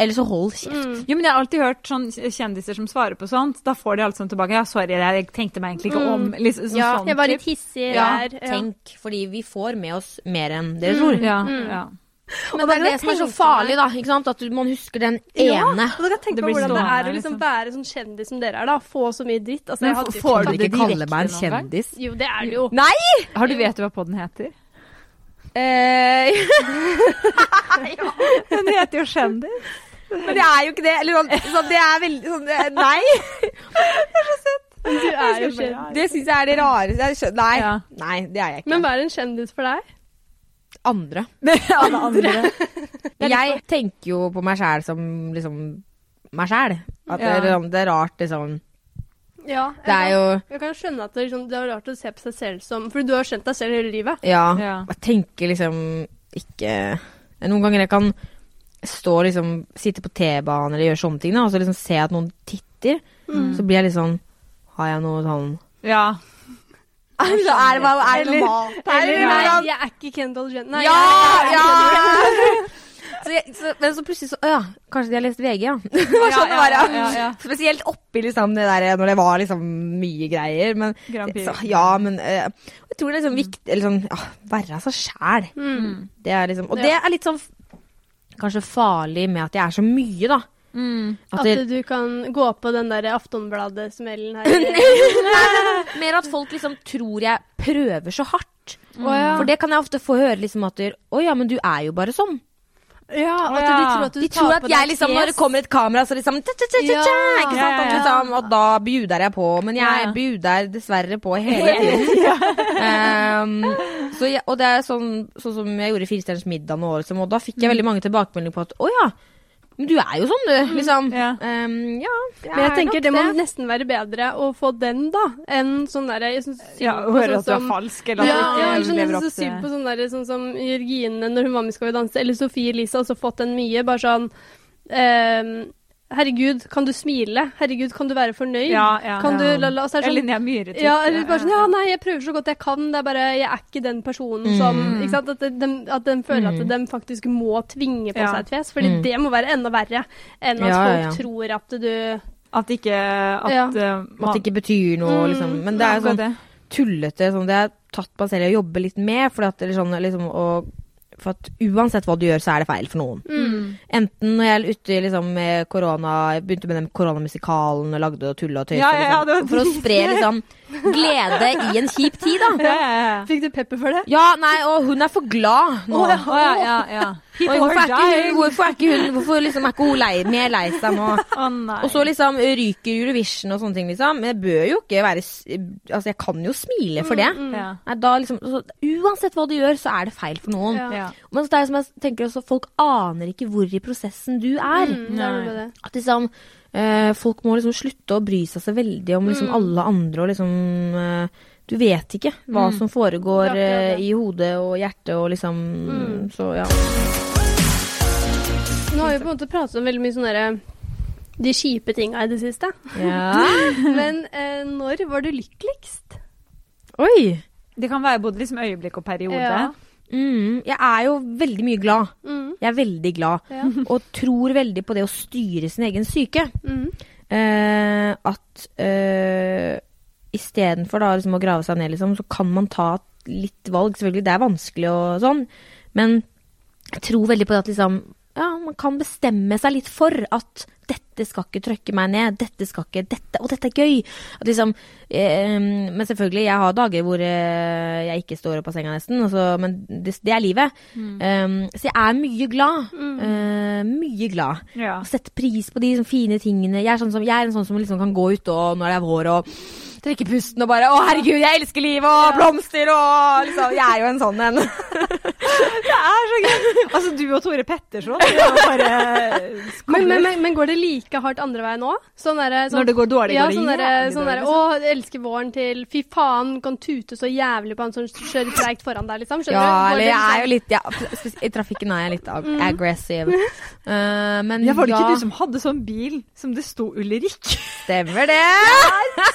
[SPEAKER 3] Eller så hold kjeft.
[SPEAKER 2] Jo, men jeg har alltid hørt sånn kjendiser som svarer på sånt. Da får de alt sånt tilbake. Ja, sorry, jeg tenkte meg egentlig ikke om. Liksom, sånn,
[SPEAKER 3] Mm. Ja,
[SPEAKER 2] sånn
[SPEAKER 1] Jeg var
[SPEAKER 2] typ.
[SPEAKER 1] litt hissig
[SPEAKER 3] Ja,
[SPEAKER 1] der. ja.
[SPEAKER 3] tenk, fordi vi får med oss mer enn dere tror.
[SPEAKER 2] Ja, ja.
[SPEAKER 3] Mm. Men det er det som er så farlig, da. Ikke sant? At du- man husker den ene.
[SPEAKER 1] Og da kan jeg
[SPEAKER 2] Det
[SPEAKER 1] tenke
[SPEAKER 2] blir
[SPEAKER 1] meg hvordan det
[SPEAKER 2] stående,
[SPEAKER 1] er å liksom
[SPEAKER 2] liksom.
[SPEAKER 1] være sånn kjendis som dere er, da. Få så mye dritt. Altså,
[SPEAKER 2] Men
[SPEAKER 1] jeg hadde
[SPEAKER 2] f-
[SPEAKER 1] jo
[SPEAKER 2] får du
[SPEAKER 3] Kan du
[SPEAKER 2] det
[SPEAKER 3] ikke kalle meg en
[SPEAKER 2] direkte noen gang?
[SPEAKER 3] kjendis?
[SPEAKER 1] ikke- Jo, det er det jo.
[SPEAKER 3] Nei!
[SPEAKER 2] Har du vet du hva podden heter?
[SPEAKER 3] Eh,
[SPEAKER 2] Den heter jo Kjendis.
[SPEAKER 3] eh, men det er jo ikke det. Eller sånn, sånn det er veldig sånn det er- Nei!
[SPEAKER 1] Du er jo
[SPEAKER 2] skal bare-
[SPEAKER 1] kjendis.
[SPEAKER 3] Det syns jeg er det rareste jeg skjønner. Nei,
[SPEAKER 2] Ja.
[SPEAKER 3] nei, det er jeg ikke.
[SPEAKER 1] Men hva er en kjendis for deg?
[SPEAKER 3] andre.
[SPEAKER 2] Alle andre.
[SPEAKER 3] Jeg tenker jo på meg sjæl som liksom meg sjæl. At
[SPEAKER 2] Ja.
[SPEAKER 3] det, er- det er rart, liksom.
[SPEAKER 1] Ja, jeg,
[SPEAKER 3] Det er jo
[SPEAKER 1] kan, jeg kan skjønne at det, liksom, det er rart å se på seg selv som For du har skjønt deg selv hele livet.
[SPEAKER 3] Ja.
[SPEAKER 2] Ja.
[SPEAKER 3] Jeg tenker liksom ikke eh, Noen ganger jeg kan stå og liksom Sitte på T-banen eller gjøre sånne ting, da, og så liksom se at noen titter. Så blir jeg litt sånn Har jeg noe sånn
[SPEAKER 2] ja.
[SPEAKER 3] Er det, er det
[SPEAKER 2] Eller-
[SPEAKER 3] normalt?
[SPEAKER 2] eller-
[SPEAKER 3] Eller,
[SPEAKER 1] Nei,
[SPEAKER 2] Ja.
[SPEAKER 1] jeg er ikke Kendal Jenner. Nei,
[SPEAKER 3] Ja!
[SPEAKER 1] jeg er ikke Kendall Jenner.
[SPEAKER 3] Så jeg, så, men så plutselig så Å ja, kanskje de har lest VG, ja. Det var sånn det var, ja.
[SPEAKER 2] ja, ja, ja.
[SPEAKER 3] Spesielt oppi liksom det der når det var liksom mye greier. Men
[SPEAKER 2] Grand Prix.
[SPEAKER 3] så, Ja, men eh, jeg tror det er liksom viktig Eller sånn ja, være seg sjæl.
[SPEAKER 1] Mm.
[SPEAKER 3] Det er liksom Og
[SPEAKER 1] Ja.
[SPEAKER 3] det er litt sånn f- kanskje farlig med at jeg er så mye, da. At
[SPEAKER 2] Mm.
[SPEAKER 1] At
[SPEAKER 3] det,
[SPEAKER 1] du kan gå på den der Aftonbladet-smellen her.
[SPEAKER 3] mer at folk liksom tror jeg prøver så hardt.
[SPEAKER 1] Å ja.
[SPEAKER 3] For det kan jeg ofte få høre liksom at Å ja, men du er jo bare sånn.
[SPEAKER 1] ja, at
[SPEAKER 2] Å ja.
[SPEAKER 1] de tror at du
[SPEAKER 3] De
[SPEAKER 1] tar
[SPEAKER 3] tror at
[SPEAKER 1] på
[SPEAKER 3] jeg
[SPEAKER 1] deg
[SPEAKER 3] liksom,
[SPEAKER 1] fjes.
[SPEAKER 3] når det kommer et kamera, så liksom tja, tja, tja, tja,
[SPEAKER 1] Ja.
[SPEAKER 3] tja, Ikke sant?
[SPEAKER 2] Ja, ja,
[SPEAKER 3] At
[SPEAKER 2] ja.
[SPEAKER 3] liksom, og da bjuder jeg på. Men jeg
[SPEAKER 2] Ja, ja.
[SPEAKER 3] bjuder dessverre på hele tiden. um, så jeg, og det er sånn, sånn som jeg gjorde i Firestjerners middag nå, liksom, og da fikk
[SPEAKER 1] Mm.
[SPEAKER 3] jeg veldig mange tilbakemeldinger på at å ja, men du er jo sånn,
[SPEAKER 1] Mm,
[SPEAKER 3] du. Liksom.
[SPEAKER 2] Ja.
[SPEAKER 3] Um, ja, jeg
[SPEAKER 1] Men jeg
[SPEAKER 3] er
[SPEAKER 1] tenker
[SPEAKER 3] nok
[SPEAKER 1] det må nesten være bedre å få den, da, enn sånn der jeg synes synd
[SPEAKER 2] ja
[SPEAKER 1] på
[SPEAKER 2] og
[SPEAKER 1] sånn
[SPEAKER 2] høre at du er
[SPEAKER 1] som-
[SPEAKER 2] falsk, eller
[SPEAKER 1] Ja,
[SPEAKER 2] at
[SPEAKER 1] ja,
[SPEAKER 2] du
[SPEAKER 1] jeg
[SPEAKER 2] ikke lever
[SPEAKER 1] skjønner
[SPEAKER 2] opp
[SPEAKER 1] så
[SPEAKER 2] til
[SPEAKER 1] sykt på sånn der, sånn som Jørgine når hun var med i Skal vi danse, eller Sofie Elise, altså fått en mye, bare sånn ehm, Herregud, kan du smile? Herregud, kan du være fornøyd?
[SPEAKER 2] Ja, ja.
[SPEAKER 1] kan
[SPEAKER 3] Ja.
[SPEAKER 1] du la, la, altså, det er
[SPEAKER 2] Eller
[SPEAKER 1] sånn,
[SPEAKER 2] Linnea Myhre. typ.
[SPEAKER 1] ja, eller bare sånn Ja, nei, jeg prøver så godt jeg kan. Det er bare Jeg er ikke den personen som Ikke sant? At de, at den føler at de faktisk må tvinge på
[SPEAKER 2] Ja.
[SPEAKER 1] seg et fjes. Fordi det må være enda verre enn at
[SPEAKER 3] Ja, ja,
[SPEAKER 1] folk
[SPEAKER 3] ja.
[SPEAKER 1] tror at du
[SPEAKER 2] At ikke At,
[SPEAKER 1] Ja.
[SPEAKER 2] eh,
[SPEAKER 3] At det ikke betyr noe,
[SPEAKER 1] Mm.
[SPEAKER 3] liksom. Men det er
[SPEAKER 2] Akkurat
[SPEAKER 3] sånn tullete sånn, Det har jeg tatt på meg selv å jobbe litt med. Fordi at, eller sånn, liksom, og, for at uansett hva du gjør, så er det feil for noen.
[SPEAKER 2] Mm.
[SPEAKER 3] Enten når jeg er ute liksom, med korona Jeg begynte med den koronamusikalen og lagde og tulla og tøysa.
[SPEAKER 2] Ja, ja, ja, det var
[SPEAKER 3] liksom, for å spre liksom, glede i en kjip tid, da.
[SPEAKER 2] Ja, ja, ja.
[SPEAKER 1] Fikk du pepper for det?
[SPEAKER 3] Ja, nei, og hun er for glad nå.
[SPEAKER 2] Å, ja, ja, ja.
[SPEAKER 3] Oi, hvorfor, er ikke hun, hvorfor er ikke hun Hvorfor liksom, er ikke hun lei, mer lei seg nå?
[SPEAKER 2] Å nei.
[SPEAKER 3] Og så liksom ryker Eurovision og sånne ting, liksom. Men jeg bør jo ikke være s- Altså, jeg kan jo smile for det.
[SPEAKER 2] ja.
[SPEAKER 3] Nei, da liksom, så, uansett hva du gjør, så er det feil for noen.
[SPEAKER 1] Ja.
[SPEAKER 2] Ja.
[SPEAKER 3] Men så det er som jeg tenker også, folk aner ikke hvor i prosessen du er.
[SPEAKER 1] Mm, det er noe
[SPEAKER 2] Nei.
[SPEAKER 1] med det.
[SPEAKER 3] At liksom, eh, folk må liksom slutte å bry seg så veldig om
[SPEAKER 1] Mm.
[SPEAKER 3] liksom, alle andre og liksom eh, Du vet ikke hva som
[SPEAKER 1] Mm.
[SPEAKER 3] foregår
[SPEAKER 1] Det er akkurat det. Mm.
[SPEAKER 3] eh, i hodet og hjertet og liksom Så ja.
[SPEAKER 1] Nå har vi på en måte pratet om veldig mye sånne derre de kjipe tinga i det siste.
[SPEAKER 3] ja.
[SPEAKER 1] Men eh, når var du lykkeligst?
[SPEAKER 3] Oi!
[SPEAKER 2] Det kan være både liksom øyeblikk og periode.
[SPEAKER 1] Ja.
[SPEAKER 3] Mm, jeg er jo veldig mye glad.
[SPEAKER 1] Mm,
[SPEAKER 3] Jeg er veldig glad.
[SPEAKER 1] ja.
[SPEAKER 3] Og tror veldig på det å styre sin egen syke.
[SPEAKER 1] Mm,
[SPEAKER 3] eh, at eh, istedenfor da liksom, å grave seg ned, liksom, så kan man ta litt valg. Selvfølgelig, det er vanskelig og sånn, men jeg tror veldig på det at liksom ja, man kan bestemme seg litt for at dette skal ikke trøkke meg ned, dette skal ikke dette, og dette er gøy. At liksom, eh, men selvfølgelig, jeg har dager hvor eh, jeg ikke står opp av senga nesten, og så- men det, det er livet. Eh, så jeg er mye glad. Eh, mye glad.
[SPEAKER 2] Ja.
[SPEAKER 3] Og sette pris på de sånn, fine tingene. Jeg er, sånn som, jeg er en sånn som liksom kan gå ut og når det er vår og trekke pusten og bare Å, herregud, jeg elsker livet og blomster og liksom Jeg er jo en sånn en.
[SPEAKER 2] Det er så gøy! Altså, du og Tore Petterson det er jo bare
[SPEAKER 1] Men, men, men, men går det like hardt andre veien òg? Sånn derre- sånn,
[SPEAKER 2] Når det går dårlig,
[SPEAKER 1] ja,
[SPEAKER 2] går det
[SPEAKER 1] sånn derre-
[SPEAKER 2] jævlig
[SPEAKER 1] sånn
[SPEAKER 2] dårlig,
[SPEAKER 1] derre,
[SPEAKER 2] liksom.
[SPEAKER 1] Å, jeg elsker våren til Fy faen, kan tute så jævlig på han som kjører treigt foran deg, liksom. Skjønner
[SPEAKER 3] Ja,
[SPEAKER 1] du? Går
[SPEAKER 3] eller
[SPEAKER 1] det
[SPEAKER 3] jeg er jo
[SPEAKER 1] liksom-
[SPEAKER 3] litt ja, spes- I trafikken er jeg litt ag aggressive. Eh,
[SPEAKER 2] Mm.
[SPEAKER 3] men
[SPEAKER 2] Ja,
[SPEAKER 3] ja,
[SPEAKER 2] var det ikke du som hadde sånn bil som det sto Ulrik?
[SPEAKER 3] stemmer det!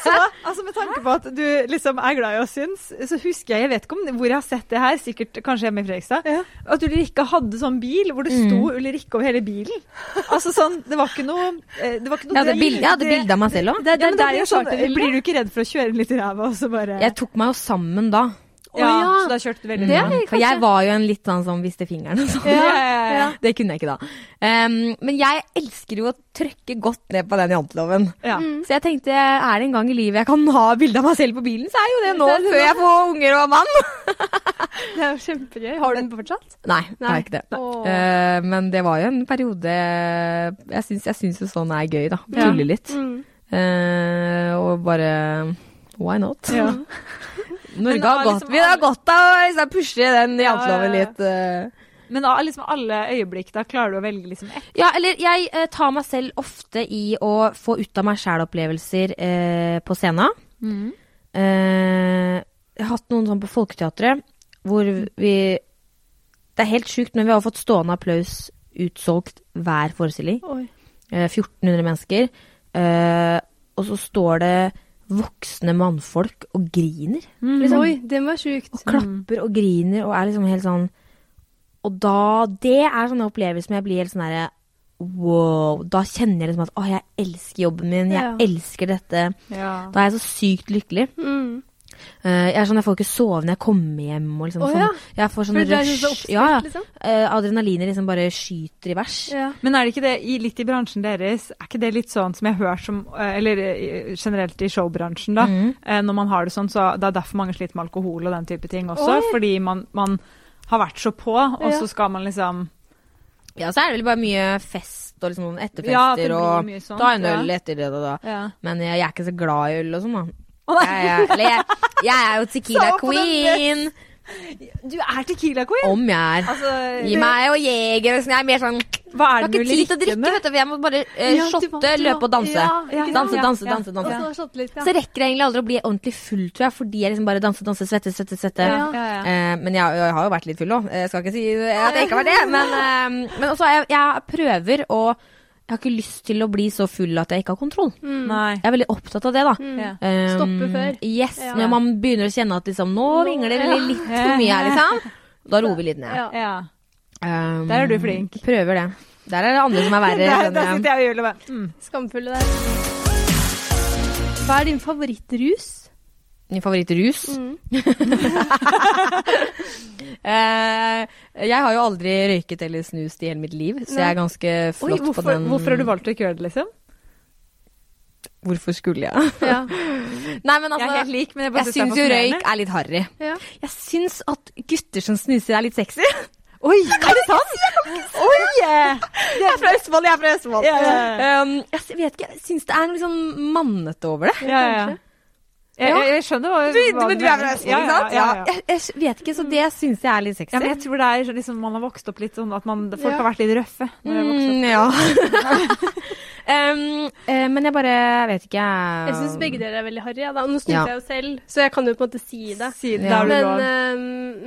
[SPEAKER 2] Så, altså Med tanke på at du liksom er glad i å syns, så husker jeg jeg vet ikke om hvor jeg har sett det her, sikkert kanskje hjemme i Fredrikstad, at Ulrikke hadde sånn bil hvor det sto
[SPEAKER 1] Mm.
[SPEAKER 2] Ulrikke over hele bilen. Altså sånn, Det var ikke noe eh, Det var ikke noe
[SPEAKER 3] Jeg hadde
[SPEAKER 2] driv.
[SPEAKER 3] bilde, jeg hadde
[SPEAKER 2] Det-
[SPEAKER 3] bilde av meg selv òg.
[SPEAKER 1] Det,
[SPEAKER 2] Ja, men da
[SPEAKER 1] der
[SPEAKER 2] blir,
[SPEAKER 1] jeg
[SPEAKER 2] det sånn,
[SPEAKER 1] starter, Vilde.
[SPEAKER 2] blir du ikke redd for å kjøre litt i ræva og så bare
[SPEAKER 3] Jeg tok meg jo sammen da. Mm,
[SPEAKER 1] Å, ja.
[SPEAKER 2] Så da kjørte du veldig
[SPEAKER 1] Det
[SPEAKER 2] bra.
[SPEAKER 1] er
[SPEAKER 3] For jeg var jo en litt sånn som viste fingeren og sånn.
[SPEAKER 2] Ja, ja, ja.
[SPEAKER 3] Det kunne jeg ikke da. Ehm, men jeg elsker jo å trykke godt ned på den janteloven.
[SPEAKER 2] Ja. Mm.
[SPEAKER 3] Mm. Så jeg tenkte, er det en gang i livet jeg kan ha bilde av meg selv på bilen, så er jo det nå,
[SPEAKER 1] Det er det
[SPEAKER 3] før
[SPEAKER 1] nå.
[SPEAKER 3] jeg får unger og mann.
[SPEAKER 1] Det er jo kjempegøy. Har du den fortsatt?
[SPEAKER 3] Nei, det
[SPEAKER 1] Nei.
[SPEAKER 3] er ikke det.
[SPEAKER 1] Åh.
[SPEAKER 3] Eh, men det var jo en periode Jeg syns, jeg syns jo sånn er gøy, da. Tulle litt.
[SPEAKER 1] Mm.
[SPEAKER 3] Eh, og bare why not?
[SPEAKER 2] Ja. Men
[SPEAKER 3] Norge
[SPEAKER 2] da
[SPEAKER 3] har
[SPEAKER 2] er
[SPEAKER 3] godt,
[SPEAKER 2] liksom
[SPEAKER 3] vi har
[SPEAKER 2] alle-
[SPEAKER 3] godt av å liksom, pushe den
[SPEAKER 2] ja,
[SPEAKER 3] janteloven
[SPEAKER 2] ja.
[SPEAKER 3] litt. eh.
[SPEAKER 2] Men av liksom alle øyeblikk, da klarer du å velge liksom ett?
[SPEAKER 3] Ja, eller jeg eh, tar meg selv ofte i å få ut av meg sjæl-opplevelser eh, på scenen.
[SPEAKER 2] Mm.
[SPEAKER 3] Eh, jeg har hatt noen sånn på Folketeatret hvor vi Det er helt sjukt, men vi har fått stående applaus utsolgt hver forestilling.
[SPEAKER 1] Oi.
[SPEAKER 3] Eh, 1400 mennesker. Eh, og så står det voksne mannfolk og griner. Liksom.
[SPEAKER 1] Mm. Oi, det må være sjukt.
[SPEAKER 3] Og klapper og griner og er liksom helt sånn Og da Det er sånne opplevelser som jeg blir helt sånn derre Wow. Da kjenner jeg liksom at å, jeg elsker jobben min, jeg
[SPEAKER 1] Ja.
[SPEAKER 3] elsker dette.
[SPEAKER 2] Ja.
[SPEAKER 3] Da er jeg så sykt lykkelig.
[SPEAKER 1] Mm.
[SPEAKER 3] Eh, jeg er sånn, jeg får ikke sove når jeg kommer hjem. Og liksom,
[SPEAKER 1] Å,
[SPEAKER 3] sånn,
[SPEAKER 1] ja.
[SPEAKER 3] Jeg får sånn
[SPEAKER 1] Fordi du er
[SPEAKER 3] rush.
[SPEAKER 1] så oppstyrt,
[SPEAKER 3] ja, ja.
[SPEAKER 1] liksom?
[SPEAKER 3] Eh, adrenalinet liksom bare skyter i vers.
[SPEAKER 1] Ja.
[SPEAKER 2] Men er det ikke det, i, litt i bransjen deres, er ikke det litt sånn som jeg har hørt som eh, Eller eh, generelt i showbransjen, da. eh, Når man har det sånn, så det er derfor mange sliter med alkohol og den type ting også.
[SPEAKER 1] Oi.
[SPEAKER 2] Fordi man, man har vært så på, og
[SPEAKER 1] Ja.
[SPEAKER 2] så skal man liksom
[SPEAKER 3] Ja, så er det vel bare mye fest og liksom noen
[SPEAKER 2] Ja, at det
[SPEAKER 3] etterfester
[SPEAKER 2] blir
[SPEAKER 3] og
[SPEAKER 2] mye sånt,
[SPEAKER 3] ta en
[SPEAKER 2] ja.
[SPEAKER 3] øl etter det og da.
[SPEAKER 2] Ja.
[SPEAKER 3] Men jeg, jeg er ikke så glad i øl og sånn, da.
[SPEAKER 2] Å, nei.
[SPEAKER 3] Jeg, jeg, eller jeg, jeg er jo Tequila
[SPEAKER 2] Sa på den
[SPEAKER 3] Queen,
[SPEAKER 2] Du er Tequila Queen!
[SPEAKER 3] om jeg er.
[SPEAKER 2] Altså,
[SPEAKER 3] Gi meg og jeger. og sånn. Jeg er mer sånn Jeg
[SPEAKER 2] hva er
[SPEAKER 3] har
[SPEAKER 2] det
[SPEAKER 3] ikke
[SPEAKER 2] du
[SPEAKER 3] tid til å
[SPEAKER 2] liker
[SPEAKER 3] drikke,
[SPEAKER 2] med?
[SPEAKER 3] vet du. for Jeg må bare eh,
[SPEAKER 1] Ja, du må-
[SPEAKER 3] shotte,
[SPEAKER 1] du må-
[SPEAKER 3] løpe og danse.
[SPEAKER 1] Ja, ikke sant?
[SPEAKER 3] Danse, danse,
[SPEAKER 2] Ja.
[SPEAKER 3] danse.
[SPEAKER 1] Og
[SPEAKER 3] danse.
[SPEAKER 1] så slått litt, ja.
[SPEAKER 3] Så rekker jeg egentlig aldri å bli ordentlig full, tror jeg, fordi jeg liksom bare danser, danser, svette, svette, svette.
[SPEAKER 1] Ja.
[SPEAKER 2] Ja, ja.
[SPEAKER 3] Eh, men jeg, jeg har jo vært litt full òg, jeg skal ikke si at jeg ikke har vært det. Men, eh, men også, jeg, jeg prøver å Jeg har ikke lyst til å bli så full at jeg ikke har kontroll.
[SPEAKER 1] Mm.
[SPEAKER 2] Nei.
[SPEAKER 3] Jeg er veldig opptatt av det, da.
[SPEAKER 2] Ja.
[SPEAKER 3] Um,
[SPEAKER 1] Stoppe før.
[SPEAKER 3] Yes,
[SPEAKER 1] Ja.
[SPEAKER 3] Når man begynner å kjenne at liksom, nå vingler det litt for mye her, liksom. Da roer vi litt
[SPEAKER 1] Ja.
[SPEAKER 3] ned.
[SPEAKER 2] Ja.
[SPEAKER 3] Um,
[SPEAKER 2] Der er du flink.
[SPEAKER 3] Prøver det. Der er det andre som er verre.
[SPEAKER 2] Der, der
[SPEAKER 3] skjønner jeg.
[SPEAKER 2] sitter jeg og gjør det bare mm.
[SPEAKER 1] Skamfulle der. Hva er din favorittrus?
[SPEAKER 3] Min favorittrus.
[SPEAKER 2] Mm.
[SPEAKER 3] Eh, jeg har jo aldri røyket eller snust i hele mitt liv, så jeg er ganske
[SPEAKER 2] Oi,
[SPEAKER 3] flott
[SPEAKER 2] hvorfor,
[SPEAKER 3] på den.
[SPEAKER 2] hvorfor har du valgt å ikke gjøre det, liksom?
[SPEAKER 3] Hvorfor skulle jeg?
[SPEAKER 1] Ja.
[SPEAKER 3] Nei, men
[SPEAKER 2] Jeg
[SPEAKER 3] altså,
[SPEAKER 2] er helt lik, men jeg bare
[SPEAKER 3] jeg
[SPEAKER 2] synes det er
[SPEAKER 3] syns jo
[SPEAKER 2] fascinerende.
[SPEAKER 3] røyk er litt harry.
[SPEAKER 1] ja.
[SPEAKER 3] Jeg syns at gutter som snuser, er litt sexy.
[SPEAKER 2] Oi, er det sant? Oi! eh.
[SPEAKER 3] Jeg er fra Østfold, jeg er fra Østfold.
[SPEAKER 2] Ja, ja,
[SPEAKER 3] Um, jeg s- vet ikke, jeg syns det er noe sånn mannete over det.
[SPEAKER 2] Ja, ja. Jeg, jeg, jeg skjønner hva,
[SPEAKER 3] Du,
[SPEAKER 2] hva
[SPEAKER 3] men du er
[SPEAKER 2] mener.
[SPEAKER 3] fra Østfold,
[SPEAKER 2] Ja,
[SPEAKER 3] ikke sant?
[SPEAKER 2] Ja, ja, ja.
[SPEAKER 3] Jeg, jeg vet ikke, så det syns jeg er litt sexy.
[SPEAKER 2] Ja, men jeg tror det er liksom man har vokst opp litt sånn at man, folk
[SPEAKER 1] Ja.
[SPEAKER 2] har vært litt røffe. Når de har vokst opp.
[SPEAKER 3] Mm, ja. Mm, um, eh, men jeg bare vet ikke.
[SPEAKER 1] Jeg syns begge dere er veldig harry. Ja, da. Nå snudde
[SPEAKER 3] Um. Ja.
[SPEAKER 1] jeg jo selv, så jeg kan jo på en måte
[SPEAKER 2] Mm.
[SPEAKER 1] si det.
[SPEAKER 2] Siden
[SPEAKER 3] Ja.
[SPEAKER 2] da er
[SPEAKER 1] Men,
[SPEAKER 2] du lov.
[SPEAKER 1] eh,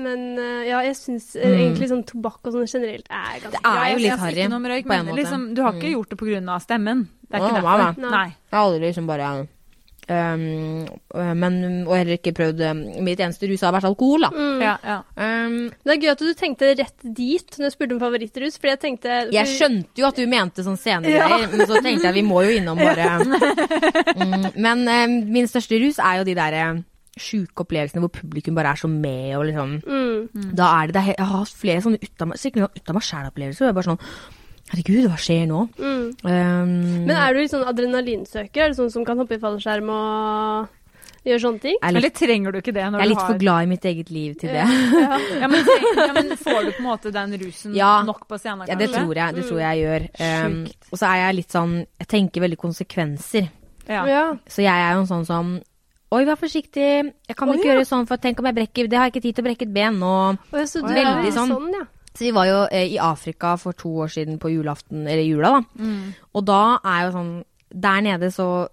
[SPEAKER 1] men eh, ja, jeg syns eh, egentlig sånn tobakk og sånn generelt er ganske
[SPEAKER 3] Det er jo litt
[SPEAKER 2] Jeg snakker
[SPEAKER 3] harry,
[SPEAKER 2] ikke noe om røyk,
[SPEAKER 3] på en
[SPEAKER 2] men
[SPEAKER 3] måte. Mm.
[SPEAKER 2] Liksom, du har ikke gjort det pga. stemmen. Det er
[SPEAKER 3] Å,
[SPEAKER 2] ikke
[SPEAKER 3] nei,
[SPEAKER 2] derfor.
[SPEAKER 1] nei.
[SPEAKER 2] Nei.
[SPEAKER 3] Jeg har aldri liksom bare um, men, Og heller ikke prøvd um, Mitt eneste rus har vært alkohol, da.
[SPEAKER 2] Ja, ja.
[SPEAKER 3] Um,
[SPEAKER 1] Men Det er gøy at du tenkte rett dit når jeg spurte om favorittrus, fordi jeg tenkte
[SPEAKER 3] jeg skjønte jo at du mente sånn scenegreier, men så tenkte jeg vi må jo innom bare mm, Men um, min største rus er jo de derre sjuke opplevelsene hvor publikum bare er så med og liksom
[SPEAKER 1] Mm.
[SPEAKER 3] Da er det, det er, he- Jeg har hatt flere sånne ut av meg- skikkelig sånn ut av meg sjæl-opplevelser. hvor Jeg er bare sånn Herregud, hva skjer nå?
[SPEAKER 1] Mm.
[SPEAKER 3] Um,
[SPEAKER 1] Men er du litt sånn adrenalinsøker? Er du sånn som kan hoppe i fallskjerm og gjøre sånne ting?
[SPEAKER 3] jeg er litt,
[SPEAKER 2] Eller trenger du ikke det når
[SPEAKER 3] jeg er litt
[SPEAKER 2] du har
[SPEAKER 3] for glad i mitt eget liv til det.
[SPEAKER 2] Ja, men, trenger, ja, men får du på en måte den rusen
[SPEAKER 3] Ja.
[SPEAKER 2] nok på scenen,
[SPEAKER 3] Ja,
[SPEAKER 2] kanskje? Mm.
[SPEAKER 3] det tror jeg, det tror jeg gjør. Um, og så er jeg litt sånn Jeg tenker veldig konsekvenser.
[SPEAKER 2] Ja.
[SPEAKER 1] Ja.
[SPEAKER 3] Så jeg er jo en sånn som Oi, vær forsiktig. Jeg kan ikke gjøre sånn, for tenk om jeg brekker Det har jeg ikke tid til å brekke et ben nå.
[SPEAKER 1] Og jeg, så du
[SPEAKER 3] Veldig
[SPEAKER 1] er
[SPEAKER 3] sånn.
[SPEAKER 1] sånn, ja.
[SPEAKER 3] Så vi var jo eh, i Afrika for to år siden på julaften, eller jula, da.
[SPEAKER 2] Mm.
[SPEAKER 3] Og da er jo sånn Der nede så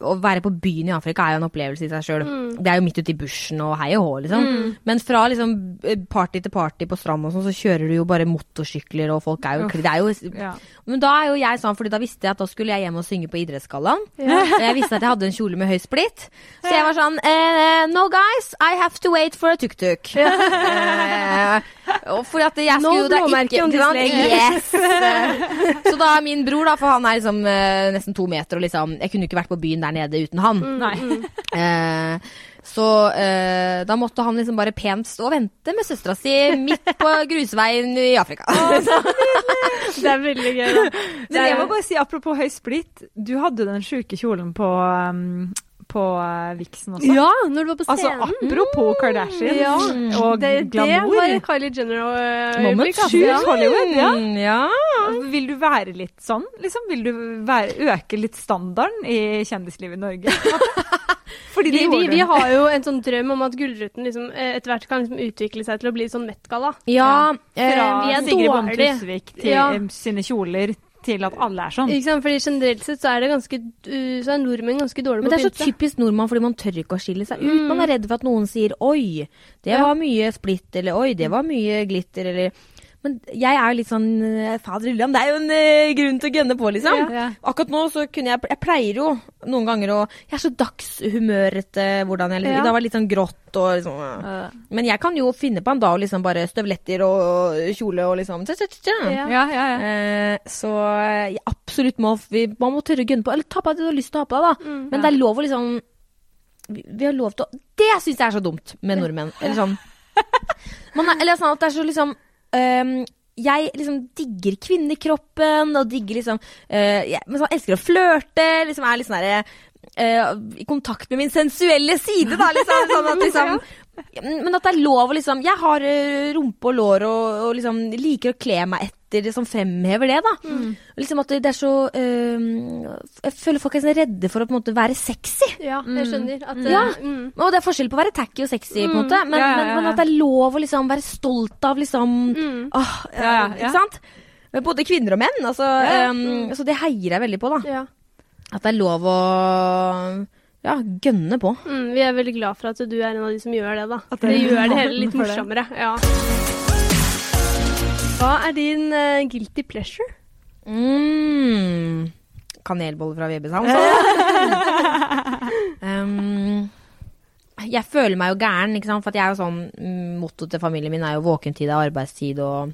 [SPEAKER 3] Å være på byen i Afrika er jo en opplevelse i seg sjøl. Det er jo midt ute i bushen og hei og hå, liksom. Men fra liksom eh, party til party på stranda og sånn, så kjører du jo bare motorsykler og folk er jo Det er jo
[SPEAKER 2] Ja.
[SPEAKER 3] men da er jo jeg sånn, fordi da visste jeg at da skulle jeg hjem og synge på Idrettsgallaen. Og jeg visste at jeg hadde en kjole med høy splitt. Så jeg var sånn eh, No guys, I have to wait for a tuk-tuk. Eh, og fordi at jeg
[SPEAKER 1] No
[SPEAKER 3] skulle jo da
[SPEAKER 1] blåmerke
[SPEAKER 3] ikke
[SPEAKER 1] on this
[SPEAKER 3] ikke sant?
[SPEAKER 1] leg.
[SPEAKER 3] Yes. Eh, Så da min bror, da, for han er liksom eh, nesten to meter og liksom Jeg kunne jo ikke vært på byen der nede uten han.
[SPEAKER 2] Nei.
[SPEAKER 1] Mm,
[SPEAKER 3] Eh, så eh, da måtte han liksom bare pent stå og vente med søstera si midt på grusveien i Afrika.
[SPEAKER 1] Det er veldig gøy, da.
[SPEAKER 2] Men jeg må bare si, apropos høy splitt, du hadde den sjuke kjolen på, um, på eh, Vixen også.
[SPEAKER 1] Ja, når du var på
[SPEAKER 2] Altså,
[SPEAKER 1] scenen.
[SPEAKER 2] apropos Kardashian
[SPEAKER 1] Ja,
[SPEAKER 2] og
[SPEAKER 1] det, det
[SPEAKER 2] glamour.
[SPEAKER 1] var Kylie Jenner og eh,
[SPEAKER 2] Moment
[SPEAKER 1] øyeblikk, altså.
[SPEAKER 2] shoot
[SPEAKER 1] Ja.
[SPEAKER 2] Hollywood, ja.
[SPEAKER 3] Mm, ja.
[SPEAKER 2] altså, Vil du være litt sånn? Liksom, vil du være, øke litt standarden i kjendislivet i Norge? Fordi det
[SPEAKER 1] Vi, vi,
[SPEAKER 2] gjorde
[SPEAKER 1] vi
[SPEAKER 2] hun.
[SPEAKER 1] har jo en sånn drøm om at Gullruten liksom, eh, etter hvert kan liksom utvikle seg til å bli sånn Met-galla.
[SPEAKER 3] Ja,
[SPEAKER 1] Fra-
[SPEAKER 3] eh, vi er
[SPEAKER 1] dårlige.
[SPEAKER 2] Sigrid Bonde Tusvik til
[SPEAKER 1] Ja.
[SPEAKER 2] eh, sine kjoler til at alle er sånn.
[SPEAKER 1] Ikke sant? Fordi generelt sett så er det ganske uh, Så er nordmenn ganske dårlige
[SPEAKER 3] Men
[SPEAKER 1] på
[SPEAKER 3] det er så
[SPEAKER 1] pynte.
[SPEAKER 3] typisk nordmann, fordi man tør ikke å skille seg ut.
[SPEAKER 1] Mm.
[SPEAKER 3] Man er redd for at noen sier 'oi, det
[SPEAKER 1] Ja.
[SPEAKER 3] var mye splitt', eller 'oi, det var mye glitter', eller Men jeg er jo litt sånn eh, Fader Ulland, det er jo en eh, grunn til å gønne på, liksom.
[SPEAKER 2] Ja.
[SPEAKER 3] Akkurat nå så kunne jeg Jeg pleier jo noen ganger å Jeg er så dagshumørete hvordan jeg liksom
[SPEAKER 1] Ja.
[SPEAKER 3] I dag var det litt sånn grått og liksom eh.
[SPEAKER 2] Eh,
[SPEAKER 3] Men jeg kan jo finne på en dag og liksom bare støvletter og kjole og liksom tja, tja, tja, tja.
[SPEAKER 1] Ja.
[SPEAKER 2] Ja, ja, ja.
[SPEAKER 3] Eh, så eh, absolutt må vi, man må tørre å gunne på. Eller ta på deg det du har lyst til å ha på deg, da.
[SPEAKER 1] Mm.
[SPEAKER 3] Men det er lov å liksom Vi, vi har lov til å Det syns jeg er så dumt med nordmenn. Eller sånn. Man er, eller sånn at det er så liksom ehm, jeg liksom digger kvinnekroppen og digger liksom eh, jeg, men sånn, elsker å flørte. Liksom er litt sånn derre eh, I kontakt med min sensuelle side, da, liksom. Sånn at liksom men at det er lov å liksom Jeg har eh, rumpe og lår og, og liksom liker å kle meg etter det som fremhever det, da.
[SPEAKER 2] Mm.
[SPEAKER 3] Liksom at det, det er så eh, Jeg føler folk er sånn redde for å på en måte være sexy.
[SPEAKER 1] Ja, jeg skjønner. At, eh,
[SPEAKER 3] Ja.
[SPEAKER 1] mm.
[SPEAKER 3] Og det er forskjell på å være tacky og sexy, på en måte, men,
[SPEAKER 2] Mm. Ja, ja, ja,
[SPEAKER 3] Men,
[SPEAKER 2] ja.
[SPEAKER 3] men at det er lov å liksom være stolt av liksom
[SPEAKER 1] Mm.
[SPEAKER 3] åh, eh,
[SPEAKER 2] Ja, ja, ja.
[SPEAKER 3] Ikke sant? Både kvinner og menn. Altså,
[SPEAKER 2] ja. Mm.
[SPEAKER 3] eh, Så det heier jeg veldig på, da.
[SPEAKER 1] Ja.
[SPEAKER 3] At det er lov å ja, gønne på.
[SPEAKER 1] Mm, vi er veldig glad for at du er en av de som gjør det, da.
[SPEAKER 2] At
[SPEAKER 1] det
[SPEAKER 2] dere
[SPEAKER 1] gjør det
[SPEAKER 2] er
[SPEAKER 1] hele litt
[SPEAKER 2] åpne for det.
[SPEAKER 1] morsommere. Ja. Hva er din eh, guilty pleasure?
[SPEAKER 3] Mm. Kanelboller fra Vebbesan, så. um, jeg føler meg jo gæren, ikke sant? for at jeg er jo sånn mm, Motto til familien min er jo 'våkentid er arbeidstid' og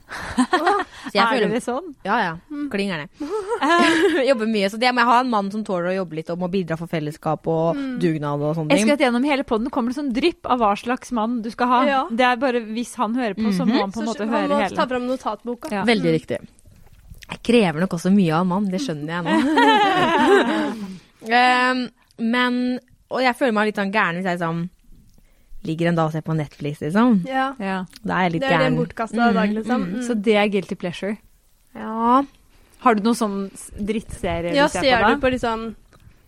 [SPEAKER 3] Så jeg
[SPEAKER 2] Er
[SPEAKER 3] føler
[SPEAKER 2] dere sånn?
[SPEAKER 3] Ja ja. Kling gæren, jeg. Jobber mye. Så det må jeg ha en mann som tåler å jobbe litt og må bidra for fellesskap og dugnad og sånne
[SPEAKER 2] Mm. Jeg
[SPEAKER 3] ting.
[SPEAKER 2] skulle hatt gjennom hele podden kommer det sånn drypp av hva slags mann du skal ha.
[SPEAKER 1] Ja. Mhm.
[SPEAKER 2] Det er bare hvis han hører på, så må han på en måte
[SPEAKER 1] så man
[SPEAKER 2] høre
[SPEAKER 1] må ta
[SPEAKER 2] hele.
[SPEAKER 1] fram notatboka.
[SPEAKER 2] Ja.
[SPEAKER 3] Veldig riktig. Jeg krever nok også mye av en mann, det skjønner jeg nå. um, men Og jeg føler meg litt sånn gæren hvis jeg liksom ligger en dag og ser på Netflix, liksom.
[SPEAKER 1] Ja.
[SPEAKER 2] Ja.
[SPEAKER 3] Da er jeg litt
[SPEAKER 1] Det er
[SPEAKER 3] gæren.
[SPEAKER 1] den bortkasta dag, liksom. Mm.
[SPEAKER 2] Så det er guilty pleasure.
[SPEAKER 3] Ja.
[SPEAKER 2] Har du noen sånn s- drittserie
[SPEAKER 1] ja,
[SPEAKER 2] du ser,
[SPEAKER 1] ser du
[SPEAKER 2] på, da?
[SPEAKER 1] på liksom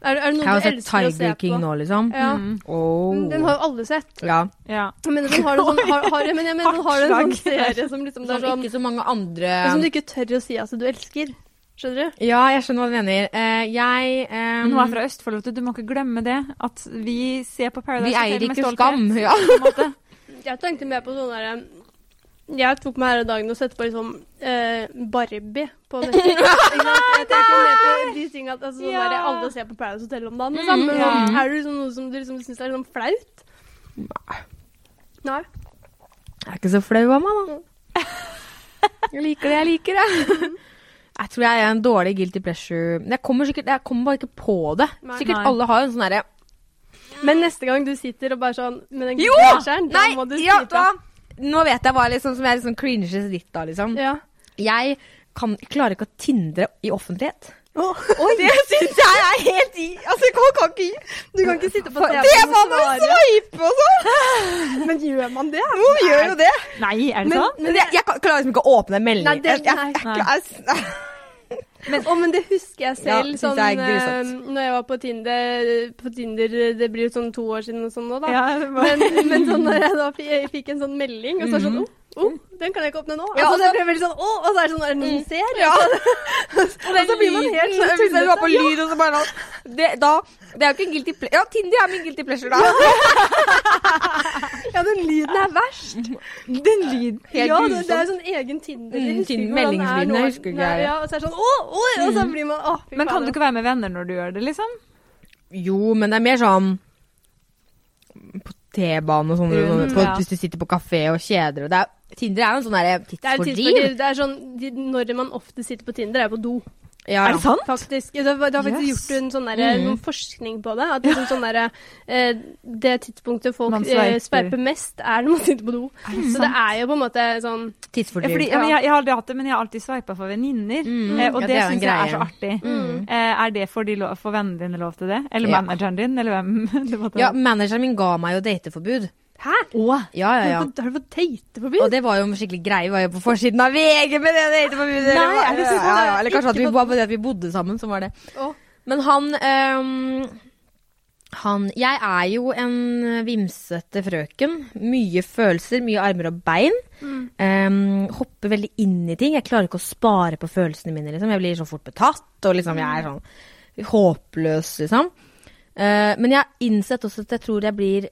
[SPEAKER 1] Er, er det
[SPEAKER 3] Jeg
[SPEAKER 1] noe
[SPEAKER 3] har
[SPEAKER 1] du
[SPEAKER 3] sett
[SPEAKER 1] elsker å se
[SPEAKER 3] Tiger
[SPEAKER 1] på?
[SPEAKER 3] King nå, liksom.
[SPEAKER 1] Ja.
[SPEAKER 2] Mm.
[SPEAKER 3] Oh.
[SPEAKER 1] Den har jo alle sett.
[SPEAKER 3] Ja.
[SPEAKER 2] Ja.
[SPEAKER 1] Jeg mener, den har, en sånn, har, har, jeg mener, jeg mener, den har en sånn serie som liksom det er
[SPEAKER 3] Som
[SPEAKER 1] sånn,
[SPEAKER 3] ikke så mange andre
[SPEAKER 1] som du ikke tør å si at du elsker. Skjønner du?
[SPEAKER 3] Ja, jeg skjønner hva du mener. Eh, jeg eh,
[SPEAKER 2] Men hun er fra Østfold, vet du. Du må ikke glemme det. At vi ser på Paradise
[SPEAKER 3] Vi eier
[SPEAKER 2] Hotel med
[SPEAKER 3] ikke
[SPEAKER 2] stolthet,
[SPEAKER 3] Skam. Ja.
[SPEAKER 2] på en måte.
[SPEAKER 1] Jeg tenkte mer på sånn derre Jeg tok meg her om dagen og satte på liksom eh, Barbie på Netflix. ikke sant? Jeg tenkte mer på de tingene at altså, sånn
[SPEAKER 2] Ja.
[SPEAKER 1] derre alle ser på Paradise Hotel om dagen. Liksom. Men
[SPEAKER 2] ja.
[SPEAKER 3] Mm.
[SPEAKER 1] sånn, er det liksom noe som du liksom syns er liksom flaut? Nei.
[SPEAKER 3] Jeg er ikke så flau av meg, da. Jeg liker det jeg liker, jeg. Jeg tror jeg er en dårlig guilty pleasure Men Jeg kommer, sikkert, jeg kommer bare ikke på det.
[SPEAKER 1] Nei.
[SPEAKER 3] sikkert
[SPEAKER 2] Nei.
[SPEAKER 3] alle har jo en sånn derre
[SPEAKER 1] Men neste gang du sitter og bare sånn med den
[SPEAKER 3] Jo!
[SPEAKER 1] glasjeren, da
[SPEAKER 3] Nei,
[SPEAKER 1] må du si
[SPEAKER 3] ja,
[SPEAKER 1] fra.
[SPEAKER 3] da- Nå vet jeg hva liksom, som jeg liksom cringes litt av, liksom.
[SPEAKER 1] Ja.
[SPEAKER 3] Jeg kan, klarer ikke å tindre i offentlighet. Det syns jeg er helt i Altså, kan, kan ikke
[SPEAKER 1] Du kan ikke sitte på
[SPEAKER 3] For-
[SPEAKER 1] TV
[SPEAKER 3] Det
[SPEAKER 1] og
[SPEAKER 3] var noe
[SPEAKER 1] svare.
[SPEAKER 3] sveipe og sånn!
[SPEAKER 1] Men gjør man det?
[SPEAKER 3] Noen gjør jo det.
[SPEAKER 2] Nei, er det
[SPEAKER 1] Men-
[SPEAKER 2] sånn?
[SPEAKER 3] Men jeg, jeg kan- klarer liksom ikke å åpne en melding.
[SPEAKER 1] Nei, det-
[SPEAKER 3] Jeg- jeg-
[SPEAKER 1] nei.
[SPEAKER 3] jeg- jeg- jeg-
[SPEAKER 1] Men, å, men det husker jeg
[SPEAKER 3] Ja,
[SPEAKER 1] selv.
[SPEAKER 3] synes
[SPEAKER 1] sånn,
[SPEAKER 3] jeg er
[SPEAKER 1] eh,
[SPEAKER 3] grusomt.
[SPEAKER 1] når jeg var på Tinder, på Tinder Det blir jo sånn to år siden og sånn nå, da.
[SPEAKER 2] Ja, det var-
[SPEAKER 1] Men, men sånn, når jeg da fi- jeg fikk en sånn melding, og så er det sånn oh, oh, den kan jeg ikke åpne nå.
[SPEAKER 3] Mhm. Ja,
[SPEAKER 1] altså,
[SPEAKER 3] altså-
[SPEAKER 1] det blir veldig sånn, oh, og så er det sånn Er det noen som ser?
[SPEAKER 3] Ja.
[SPEAKER 1] Og så blir man helt sånn
[SPEAKER 3] Hvis du var på
[SPEAKER 1] tullete.
[SPEAKER 3] lyd, og så bare sånn det, da, det er jo ikke en guilty pleasure. Ja, Tinder er min guilty pleasure, da.
[SPEAKER 1] Ja, den lyden er verst.
[SPEAKER 2] Den lyden
[SPEAKER 1] ja,
[SPEAKER 3] Helt
[SPEAKER 1] det,
[SPEAKER 3] grusomt.
[SPEAKER 1] det er sånn egen Tinder. Jeg
[SPEAKER 3] Mm,
[SPEAKER 1] husker
[SPEAKER 3] Tinder-
[SPEAKER 1] ikke hvordan den er
[SPEAKER 3] meldingslyden,
[SPEAKER 1] nå.
[SPEAKER 3] jeg husker ikke
[SPEAKER 1] Nei,
[SPEAKER 3] jeg. Mm.
[SPEAKER 1] Ja, og så er det sånn oh, oh, Og så blir man åh, fy
[SPEAKER 2] Men kan
[SPEAKER 1] faen,
[SPEAKER 2] du ikke være med venner når du gjør det, liksom?
[SPEAKER 3] Jo, men det er mer sånn på T-banen og sånn,
[SPEAKER 2] Rundt,
[SPEAKER 3] på-
[SPEAKER 2] ja.
[SPEAKER 3] hvis du sitter på kafé og kjeder og det er, Tinder er jo en sånn derre
[SPEAKER 1] det er,
[SPEAKER 3] tidsfordriv.
[SPEAKER 1] tidsfordriv. det er sånn, de, Når man ofte sitter på Tinder, er på do.
[SPEAKER 3] Ja,
[SPEAKER 2] Er det sant?
[SPEAKER 1] Faktisk. Det var, det var faktisk
[SPEAKER 2] Yes. Mm.
[SPEAKER 1] gjort en sånn derre- noen forskning på det. At liksom sånn derre, eh, det tidspunktet folk
[SPEAKER 2] Man
[SPEAKER 1] eh,
[SPEAKER 2] sveiper.
[SPEAKER 1] sveiper mest, er når man sitter på do.
[SPEAKER 2] Er det
[SPEAKER 1] Så det er jo på en måte sånn
[SPEAKER 2] Ja,
[SPEAKER 3] Tidsfordriv.
[SPEAKER 2] fordi, ja, men jeg, jeg har aldri hatt det, men jeg har alltid sveipa for venninner.
[SPEAKER 3] Mm.
[SPEAKER 2] Eh, og det,
[SPEAKER 3] Ja, det er jo en
[SPEAKER 2] syns jeg er
[SPEAKER 3] greie.
[SPEAKER 2] så artig.
[SPEAKER 1] Mm.
[SPEAKER 2] Eh, er det for, de lo for vennene dine lov til det? Eller
[SPEAKER 3] Ja.
[SPEAKER 2] manageren din, eller hvem? Du måtte-
[SPEAKER 3] ja, manageren min ga meg jo dateforbud.
[SPEAKER 1] Hæ?
[SPEAKER 2] Å,
[SPEAKER 3] Ja, ja, ja.
[SPEAKER 1] Har du fått- Har du fått dateforbud?
[SPEAKER 3] Og det var jo en skikkelig greie. Vi var jo på forsiden av VG med det
[SPEAKER 1] Nei,
[SPEAKER 3] dateforbudet. Eller hva-
[SPEAKER 1] er det sant?
[SPEAKER 3] Ja, ja, eller kanskje at vi,
[SPEAKER 1] Ikke på-
[SPEAKER 3] bare fordi at vi bodde sammen, så var det.
[SPEAKER 1] Å.
[SPEAKER 3] Men han ehm, han, Jeg er jo en vimsete frøken. Mye følelser, mye armer og bein. Ehm, hopper veldig inn i ting. Jeg klarer ikke å spare på følelsene mine. Liksom. Jeg blir så fort betatt, og liksom, jeg er sånn håpløs, liksom. Eh, men jeg har innsett også at jeg tror jeg blir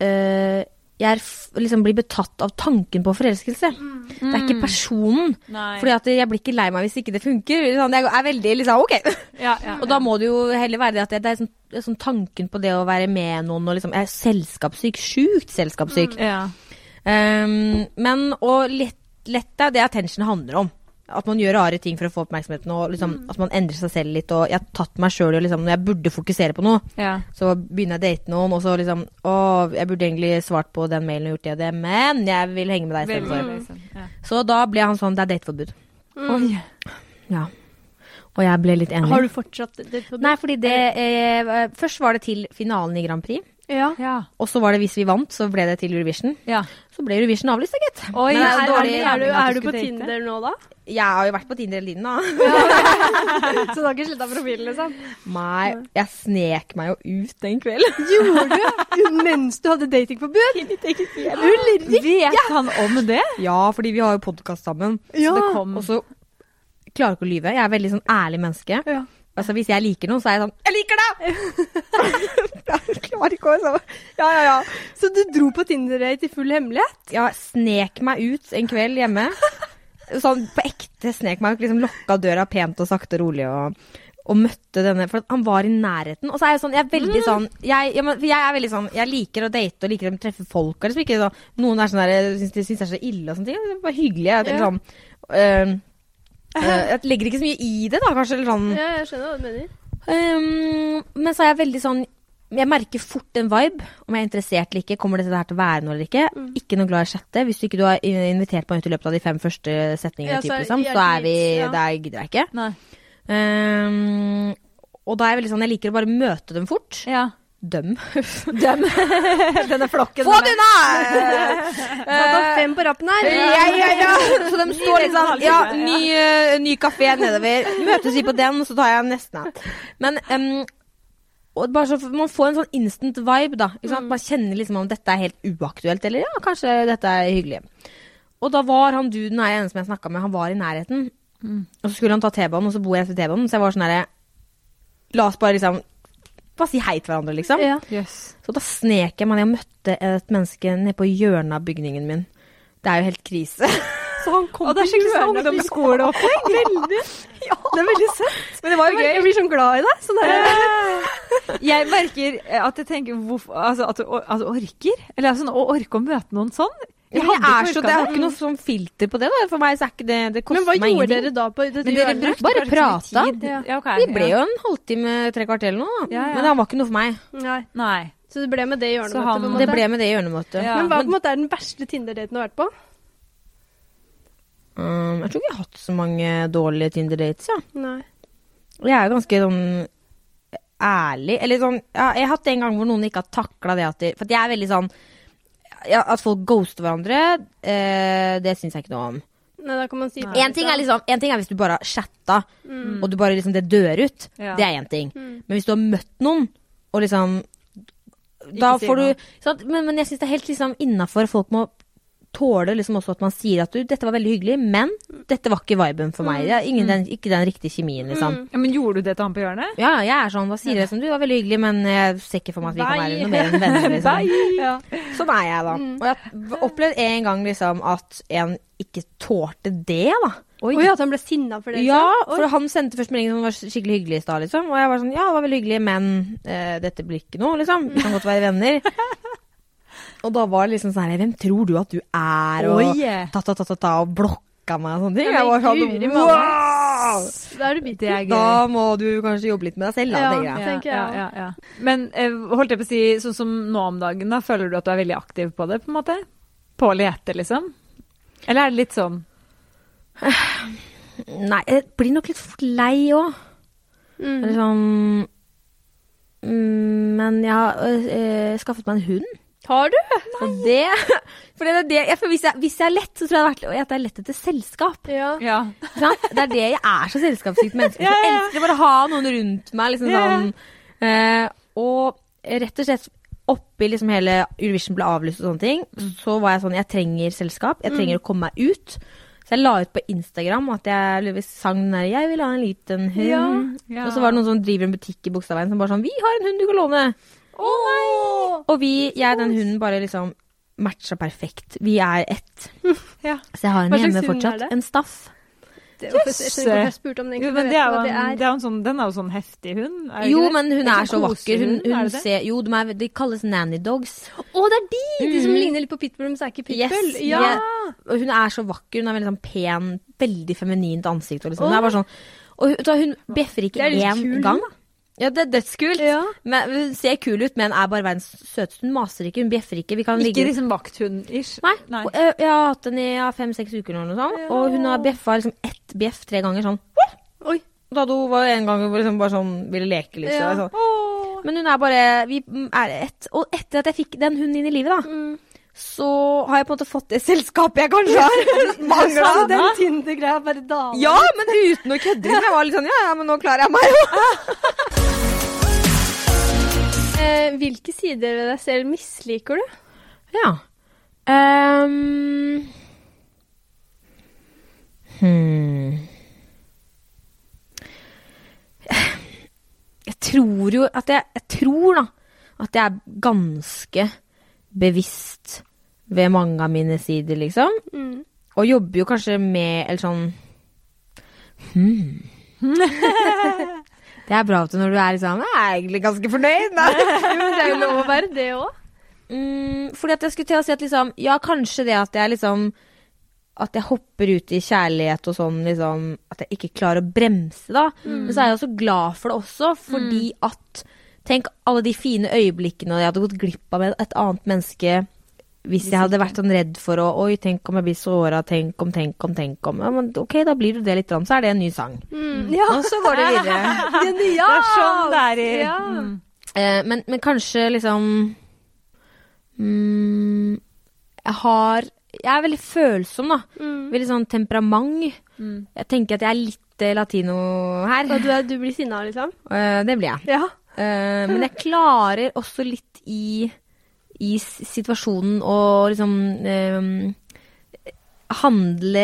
[SPEAKER 3] eh, Jeg er f liksom blir betatt av tanken på forelskelse. Det er ikke personen.
[SPEAKER 2] Nei.
[SPEAKER 3] Fordi at jeg blir ikke lei meg hvis ikke det funker. Sånn, jeg er veldig liksom OK.
[SPEAKER 2] Ja, ja.
[SPEAKER 3] Og da må det jo heller være det at det, det er sånn, det er sånn tanken på det å være med noen og liksom Jeg er selskapssyk. Sjukt selskapssyk.
[SPEAKER 2] ja.
[SPEAKER 3] Um, men og lett, lett er det attention handler om. At man gjør rare ting for å få oppmerksomheten, og liksom, at man endrer seg selv litt. Og jeg har tatt meg sjøl i å liksom, når jeg burde fokusere på noe,
[SPEAKER 2] Ja.
[SPEAKER 3] så begynner jeg å date noen, og så liksom Å, jeg burde egentlig svart på den mailen og gjort det og det, men jeg vil henge med deg
[SPEAKER 2] Veldig,
[SPEAKER 3] istedenfor.
[SPEAKER 2] liksom. Ja.
[SPEAKER 3] Så da ble han sånn Det er dateforbud.
[SPEAKER 2] Oi.
[SPEAKER 3] Ja. Og jeg ble litt enig.
[SPEAKER 1] Har du fortsatt dateforbud?
[SPEAKER 3] Nei, fordi det eh, Først var det til finalen i Grand Prix.
[SPEAKER 1] Ja.
[SPEAKER 2] Ja.
[SPEAKER 3] Og så var det hvis vi vant, så ble det til Eurovision.
[SPEAKER 2] ja.
[SPEAKER 3] Så ble Eurovision avlyst, da, gitt.
[SPEAKER 2] Oi,
[SPEAKER 3] Men det
[SPEAKER 1] Er,
[SPEAKER 3] er
[SPEAKER 1] er,
[SPEAKER 3] jo dårlig
[SPEAKER 1] er, du,
[SPEAKER 2] timing
[SPEAKER 1] er
[SPEAKER 2] at du
[SPEAKER 1] du på
[SPEAKER 2] skulle date.
[SPEAKER 1] Tinder nå, da?
[SPEAKER 3] Jeg har jo vært på Tinder hele tiden, da.
[SPEAKER 1] Så du har ikke sletta profilen, liksom?
[SPEAKER 3] Nei, jeg snek meg jo ut den kvelden.
[SPEAKER 1] Gjorde du? Mens du hadde datingforbud? Ulrik!
[SPEAKER 2] Vet han om det?
[SPEAKER 3] Ja, fordi vi har jo podkast sammen.
[SPEAKER 1] Ja.
[SPEAKER 2] Så det kom
[SPEAKER 3] Og så klarer jeg ikke å lyve. Jeg er veldig sånn ærlig menneske.
[SPEAKER 1] Ja.
[SPEAKER 3] Altså Hvis jeg liker noen, så er jeg sånn Jeg liker deg! jeg klarer ikke å sånn. så- Ja, ja, ja.
[SPEAKER 1] Så du dro på Tinder-date i full hemmelighet?
[SPEAKER 3] Jeg snek meg ut en kveld hjemme. Sånn på ekte snek meg ut. Liksom lokka døra pent og sakte og rolig og, og møtte denne For at han var i nærheten. Og så er jeg sånn, jeg er
[SPEAKER 1] Mm.
[SPEAKER 3] veldig sånn jeg, ja, men, for jeg er veldig sånn Jeg liker å date og liker å treffe folk. Og liksom ikke sånn, Noen er sånn der, syns, de syns det er så ille og sånne ting. Det er bare hyggelig. Jeg, tenker
[SPEAKER 1] Ja.
[SPEAKER 3] sånn, øhm, øh, jeg legger ikke så mye i det, da, kanskje. Eller sånn.
[SPEAKER 2] Mm.
[SPEAKER 1] Ja, jeg skjønner hva du mener.
[SPEAKER 3] Ehm, men så er jeg veldig sånn Jeg merker fort en vibe. Om jeg er interessert eller ikke. Kommer dette her til å være noe eller ikke?
[SPEAKER 1] Mm.
[SPEAKER 3] Ikke noe glad i å chatte. Hvis du ikke du har i- invitert meg ut i løpet av de fem første setningene,
[SPEAKER 1] Ja,
[SPEAKER 3] typ,
[SPEAKER 1] så er-
[SPEAKER 3] liksom,
[SPEAKER 1] jeg
[SPEAKER 3] så er
[SPEAKER 1] gidder,
[SPEAKER 3] vi
[SPEAKER 1] ja.
[SPEAKER 3] Der gidder jeg ikke.
[SPEAKER 2] Nei.
[SPEAKER 3] Ehm, og da er jeg veldig sånn Jeg liker å bare møte dem fort.
[SPEAKER 2] Ja.
[SPEAKER 3] Døm.
[SPEAKER 2] Dem. Denne flokken.
[SPEAKER 3] Få det unna!
[SPEAKER 1] Satt opp fem på rappen her.
[SPEAKER 3] Ja, ja, ja. Så de står litt sånn Ja, ny, eh, ny kafé nedover. Møtes vi på den, så tar jeg nesten av. Men em, og bare så, man får en sånn instant vibe, da. Ikke sant? Man kjenner liksom om dette er helt uaktuelt, eller ja, kanskje dette er hyggelig. Og da var han duden og jeg ene som jeg snakka med, han var i nærheten. Og så skulle han ta T-banen, og så bor jeg ved T-banen, så jeg var sånn herre La oss bare liksom Bare si hei til hverandre, liksom.
[SPEAKER 1] Ja.
[SPEAKER 2] Jøss.
[SPEAKER 3] Så da snek jeg meg ned og møtte et menneske nede på hjørnet av bygningen min. Det er jo helt krise.
[SPEAKER 1] Så han kom
[SPEAKER 2] Og det er skikkelig sånn ungdomsskoleopplegg. Veldig.
[SPEAKER 1] Det er veldig søtt.
[SPEAKER 2] Men det var jo gøy.
[SPEAKER 1] Jeg blir sånn glad i deg. Sånn der.
[SPEAKER 2] Jeg merker eh, at jeg tenker hvorfor, altså, at du or- altså, orker. Eller altså, å orke å møte noen sånn.
[SPEAKER 3] Jeg,
[SPEAKER 2] hadde
[SPEAKER 3] er
[SPEAKER 2] ikke
[SPEAKER 3] så,
[SPEAKER 2] orket
[SPEAKER 3] det er jo
[SPEAKER 2] det.
[SPEAKER 3] ikke noe sånn filter på det. Da. For meg så er ikke det Det koster
[SPEAKER 1] Men hva
[SPEAKER 3] meg
[SPEAKER 1] gjorde
[SPEAKER 3] ingenting.
[SPEAKER 1] dere da på dette
[SPEAKER 3] Men dere
[SPEAKER 1] hjørnet?
[SPEAKER 3] brukte bare prata.
[SPEAKER 2] Tid.
[SPEAKER 1] Ja.
[SPEAKER 2] Ja, ok.
[SPEAKER 3] Vi ble
[SPEAKER 2] Ja.
[SPEAKER 3] jo en halvtime, tre kvarter eller noe. da.
[SPEAKER 2] Ja, ja.
[SPEAKER 3] Men han var ikke noe for meg.
[SPEAKER 1] Nei.
[SPEAKER 2] Nei.
[SPEAKER 1] Så det ble med det i hjørnet.
[SPEAKER 2] Så
[SPEAKER 1] på en
[SPEAKER 2] han-
[SPEAKER 1] måte.
[SPEAKER 3] Det ble med det hjørnemøtet.
[SPEAKER 2] Ja.
[SPEAKER 1] Men hva på en måte er den verste Tinder-daten du har vært på?
[SPEAKER 3] Um, jeg tror ikke jeg har hatt så mange dårlige Tinder-dates, ja.
[SPEAKER 1] Nei.
[SPEAKER 3] Og jeg er jo ganske sånn ærlig. Eller sånn ja, Jeg har hatt en gang hvor noen ikke har takla det at de For at jeg er veldig sånn ja, At folk ghoster hverandre, eh, det syns jeg ikke noe om.
[SPEAKER 1] Nei, da kan man si
[SPEAKER 3] En ting, er liksom, en ting er hvis du bare har chatta, og du bare liksom det dør ut.
[SPEAKER 2] Mm. Ja.
[SPEAKER 3] Det er én ting.
[SPEAKER 1] Mm.
[SPEAKER 3] Men hvis du har møtt noen, og liksom Da
[SPEAKER 2] Ikke si
[SPEAKER 3] får du
[SPEAKER 2] noe.
[SPEAKER 3] sant? men, men jeg syns det er helt liksom innafor. Folk må tåle liksom også at man sier at du, dette var veldig hyggelig, men dette var ikke viben for
[SPEAKER 2] Mm.
[SPEAKER 3] meg. Det er ingen, den, ikke den riktige kjemien, liksom.
[SPEAKER 1] Mm.
[SPEAKER 2] Ja, men gjorde du det til han på hjørnet?
[SPEAKER 3] Ja, jeg er sånn. Da sier jeg som du var veldig hyggelig, men jeg ser ikke for meg at vi
[SPEAKER 1] Bye.
[SPEAKER 3] kan være noe mer enn venner. Liksom.
[SPEAKER 1] Ja.
[SPEAKER 3] Sånn er jeg, da.
[SPEAKER 2] Mm.
[SPEAKER 3] Og jeg har opplevd en gang liksom at en ikke tålte det, da.
[SPEAKER 1] Oi, at han ble sinna for det?
[SPEAKER 3] Ja,
[SPEAKER 1] liksom?
[SPEAKER 3] for han sendte først melding som var skikkelig hyggelig i stad, liksom. Og jeg var sånn ja, det var veldig hyggelig, men eh, dette blir ikke noe, liksom. Vi kan godt være venner. Og da var det liksom sånn her Hvem tror du at du er? Og
[SPEAKER 2] Oi.
[SPEAKER 3] ta, ta, ta, ta, ta, og blokka sjekka meg og sånne ting.
[SPEAKER 1] Ja,
[SPEAKER 3] Jeg var
[SPEAKER 1] men
[SPEAKER 3] sånn
[SPEAKER 1] guri malla.
[SPEAKER 3] wow!
[SPEAKER 1] Da er du bitter.
[SPEAKER 2] Det er gøy.
[SPEAKER 3] Da må du kanskje jobbe litt med deg selv, da,
[SPEAKER 1] Ja.
[SPEAKER 3] tenker jeg.
[SPEAKER 1] Ja. tenker jeg
[SPEAKER 2] Ja, ja, ja. Men eh, holdt jeg på å si, sånn som nå om dagen, da, føler du at du er veldig aktiv på det, på en måte? På å lete, liksom? Eller er det litt sånn
[SPEAKER 3] Nei, jeg blir nok litt fort lei òg.
[SPEAKER 1] Mm.
[SPEAKER 3] Liksom mm, Men jeg har øh, øh, skaffet meg en hund.
[SPEAKER 1] Har du?
[SPEAKER 3] Så det, for det er det, jeg, for hvis, jeg, hvis jeg er lett, så tror jeg det er vært- at jeg er lett etter selskap.
[SPEAKER 1] Ja.
[SPEAKER 2] Ja.
[SPEAKER 3] Ikke sant? Det er det jeg er så selskapssykt menneske.
[SPEAKER 2] Ja, ja,
[SPEAKER 3] Jeg
[SPEAKER 2] ja.
[SPEAKER 3] elsker å bare ha noen rundt meg. Liksom,
[SPEAKER 2] Ja, ja.
[SPEAKER 3] sånn, eh, og rett og slett oppi liksom hele Eurovision ble avlyst og sånne ting,
[SPEAKER 2] Mm.
[SPEAKER 3] så var jeg sånn Jeg trenger selskap. Jeg trenger å komme meg ut. Så jeg la ut på Instagram at jeg liksom sang den der 'Jeg vil ha en liten hund'.
[SPEAKER 2] Ja.
[SPEAKER 3] Og så var det noen som driver en butikk i Bogstadveien som bare sånn 'Vi har en hund du kan låne'. Og vi, jeg og den hunden bare liksom matcha perfekt. Vi er ett.
[SPEAKER 2] Ja.
[SPEAKER 3] Så jeg
[SPEAKER 1] Hva
[SPEAKER 3] har henne
[SPEAKER 1] slags hund
[SPEAKER 3] hjemme
[SPEAKER 1] er
[SPEAKER 3] fortsatt.
[SPEAKER 1] det?
[SPEAKER 3] En staff.
[SPEAKER 1] Det var først- jeg skjønner ikke hvorfor jeg spurte om det,
[SPEAKER 2] Jo,
[SPEAKER 1] egentlig.
[SPEAKER 2] men
[SPEAKER 1] Jeg
[SPEAKER 2] det er jo
[SPEAKER 1] vet ikke
[SPEAKER 2] en,
[SPEAKER 1] hva
[SPEAKER 2] det er jo en sånn, den er jo sånn heftig hund. er det
[SPEAKER 3] Jo,
[SPEAKER 2] ikke det?
[SPEAKER 3] men hun
[SPEAKER 2] Det
[SPEAKER 3] er så
[SPEAKER 2] sånn
[SPEAKER 3] vakker. Hun,
[SPEAKER 2] kosehund, er
[SPEAKER 3] hun
[SPEAKER 2] det det?
[SPEAKER 3] ser, jo, de, er, de kalles nanny dogs.
[SPEAKER 1] Å, det er de! De som
[SPEAKER 3] Mm.
[SPEAKER 1] ligner litt på pitbull, men så er ikke pitbull.
[SPEAKER 3] Yes,
[SPEAKER 1] Ja.
[SPEAKER 3] jeg- Og hun er så vakker. Hun har veldig sånn pen, veldig feminint ansikt. Og, liksom. det er bare sånn, og hun, så hun bjeffer
[SPEAKER 1] Det
[SPEAKER 3] ikke
[SPEAKER 1] er litt
[SPEAKER 3] én
[SPEAKER 1] kul,
[SPEAKER 3] gang. Ja, det er dødskult.
[SPEAKER 1] Ja.
[SPEAKER 3] Men, hun ser kul ut, men er bare verdens søteste. Hun maser ikke, hun bjeffer ikke. Vi kan
[SPEAKER 2] Ikke
[SPEAKER 3] ligge
[SPEAKER 2] liksom vakthund-ish.
[SPEAKER 3] Nei.
[SPEAKER 2] Nei.
[SPEAKER 3] Og, ø, Jeg har hatt henne i ja, fem-seks uker nå, eller noe sånt,
[SPEAKER 1] Ja.
[SPEAKER 3] og hun har bjeffa liksom ett bjeff tre ganger sånn.
[SPEAKER 1] Oi.
[SPEAKER 3] Da hun var en gang hun liksom bare sånn ville leke, liksom.
[SPEAKER 1] Ja.
[SPEAKER 3] Sånn. Men hun er bare Vi mm, er ett. Og etter at jeg fikk den hunden inn i livet, da,
[SPEAKER 1] Mm.
[SPEAKER 3] så har jeg på en måte fått det selskapet jeg kanskje har
[SPEAKER 1] Så
[SPEAKER 3] mangla.
[SPEAKER 1] den Tinder-greia er bare dame.
[SPEAKER 3] Ja, men uten å kødde. liksom. Jeg var litt sånn ja, ja, men nå klarer jeg meg jo.
[SPEAKER 1] Eh, hvilke sider ved deg selv misliker du?
[SPEAKER 3] Ja. Ehm. hmm. Jeg tror jo at jeg, jeg tror da at jeg er ganske bevisst ved mange av mine sider, liksom.
[SPEAKER 1] Mm.
[SPEAKER 3] Og jobber jo kanskje med eller sånn hmm. Det er bra at du når du er liksom Jeg er egentlig ganske fornøyd. Da.
[SPEAKER 1] Det er jo lov å være det òg.
[SPEAKER 3] Mm, fordi at jeg skulle til å si at liksom Ja, kanskje det at jeg liksom At jeg hopper ut i kjærlighet og sånn liksom At jeg ikke klarer å bremse, da. Men så er jeg også glad for det også, fordi at Tenk alle de fine øyeblikkene jeg hadde gått glipp av med et annet menneske hvis jeg hadde vært sånn redd for å Oi, tenk om jeg blir såra. Tenk om, tenk om, tenk om. Ja, men OK, da blir du det litt, grann, så er det en ny sang.
[SPEAKER 1] Ja.
[SPEAKER 3] Og så går Mm. det videre.
[SPEAKER 2] Det er sånn det er i
[SPEAKER 1] Ja.
[SPEAKER 2] mm.
[SPEAKER 3] Eh, men, men kanskje liksom mm, Jeg har Jeg er veldig følsom, da.
[SPEAKER 1] Mm.
[SPEAKER 3] Veldig sånn temperament.
[SPEAKER 2] Mm.
[SPEAKER 3] Jeg tenker at jeg er litt eh, latino her.
[SPEAKER 1] Og du, er, du blir sinna, liksom?
[SPEAKER 3] Eh, det blir jeg.
[SPEAKER 1] Ja.
[SPEAKER 3] Eh, men jeg klarer også litt i, i s- situasjonen å liksom eh, Handle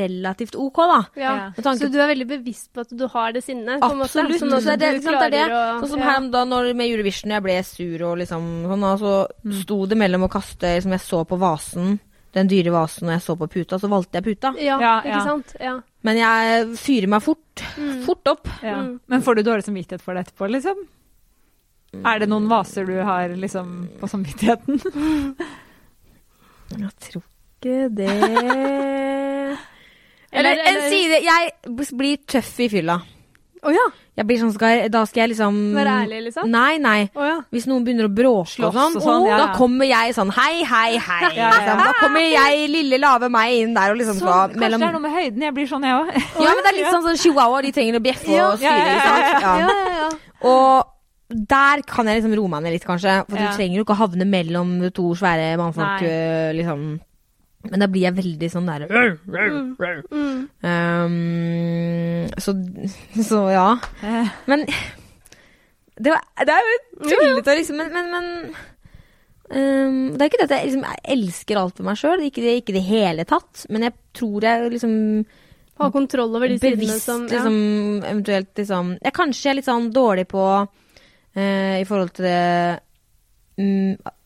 [SPEAKER 3] relativt OK, da.
[SPEAKER 1] ja.
[SPEAKER 2] Ja.
[SPEAKER 3] Med tanke
[SPEAKER 1] Så du er veldig bevisst på at du har det sinnet? på en måte,
[SPEAKER 3] Absolutt.
[SPEAKER 1] sånn at
[SPEAKER 3] så er det,
[SPEAKER 1] du
[SPEAKER 3] ikke sant, det, er det.
[SPEAKER 1] klarer å-
[SPEAKER 3] Sånn som
[SPEAKER 1] ja.
[SPEAKER 3] her om dagen når- med Eurovision, jeg ble sur og liksom sånn, og så
[SPEAKER 1] Mm.
[SPEAKER 3] sto det mellom å kaste liksom, Jeg så på vasen, den dyre vasen, og jeg så på puta, så valgte jeg puta.
[SPEAKER 1] Ja,
[SPEAKER 2] Ja,
[SPEAKER 1] ikke
[SPEAKER 2] ja.
[SPEAKER 1] sant? Ja.
[SPEAKER 3] Men jeg fyrer meg fort. Fort opp.
[SPEAKER 2] ja.
[SPEAKER 1] Mm.
[SPEAKER 2] Men får du dårlig samvittighet for det etterpå, liksom? Er det noen vaser du har liksom på samvittigheten?
[SPEAKER 3] Jeg tror ikke det Eller
[SPEAKER 1] Eller-
[SPEAKER 3] en
[SPEAKER 1] eller-
[SPEAKER 3] side Jeg b- blir tøff i fylla.
[SPEAKER 1] Å ja.
[SPEAKER 3] Jeg blir sånn, skal jeg, Da skal jeg liksom
[SPEAKER 1] Være ærlig, liksom?
[SPEAKER 3] Nei, nei.
[SPEAKER 1] Å ja.
[SPEAKER 3] Hvis noen begynner å bråke
[SPEAKER 2] Slåss
[SPEAKER 3] og sånn,
[SPEAKER 2] og sånn,
[SPEAKER 3] å,
[SPEAKER 2] ja, ja.
[SPEAKER 3] da kommer jeg sånn hei, hei, hei.
[SPEAKER 2] Ja, ja, ja.
[SPEAKER 3] Liksom. Da kommer jeg, lille, lave meg inn der og liksom
[SPEAKER 2] Sånn,
[SPEAKER 3] skal
[SPEAKER 2] kanskje det er noe med høyden. Jeg blir sånn, jeg òg.
[SPEAKER 3] Ja, men det er litt sånn, sånn chihuahua, de trenger å bjeffe
[SPEAKER 2] Ja,
[SPEAKER 3] og styre.
[SPEAKER 2] ja, ja,
[SPEAKER 3] ikke sant?
[SPEAKER 1] Ja,
[SPEAKER 3] Ja.
[SPEAKER 1] ja, ja.
[SPEAKER 3] Og der kan jeg liksom roe meg ned litt, kanskje. For
[SPEAKER 2] Ja.
[SPEAKER 3] du trenger jo ikke å havne mellom to svære mannfolk,
[SPEAKER 2] Nei.
[SPEAKER 3] øh, liksom. Men da blir jeg veldig sånn der
[SPEAKER 1] Mm.
[SPEAKER 3] um, så, så ja. Men Det, var, det er jo tullete å liksom Men, men, men øhm, Det er ikke det at jeg, liksom, jeg elsker alt ved meg sjøl, ikke, det- ikke i det hele tatt. Men jeg tror jeg liksom
[SPEAKER 1] Ha kontroll over de sidene
[SPEAKER 3] bevisst
[SPEAKER 1] som
[SPEAKER 3] liksom, eventuelt liksom Jeg kanskje er litt sånn dårlig på eh, i forhold til det mm,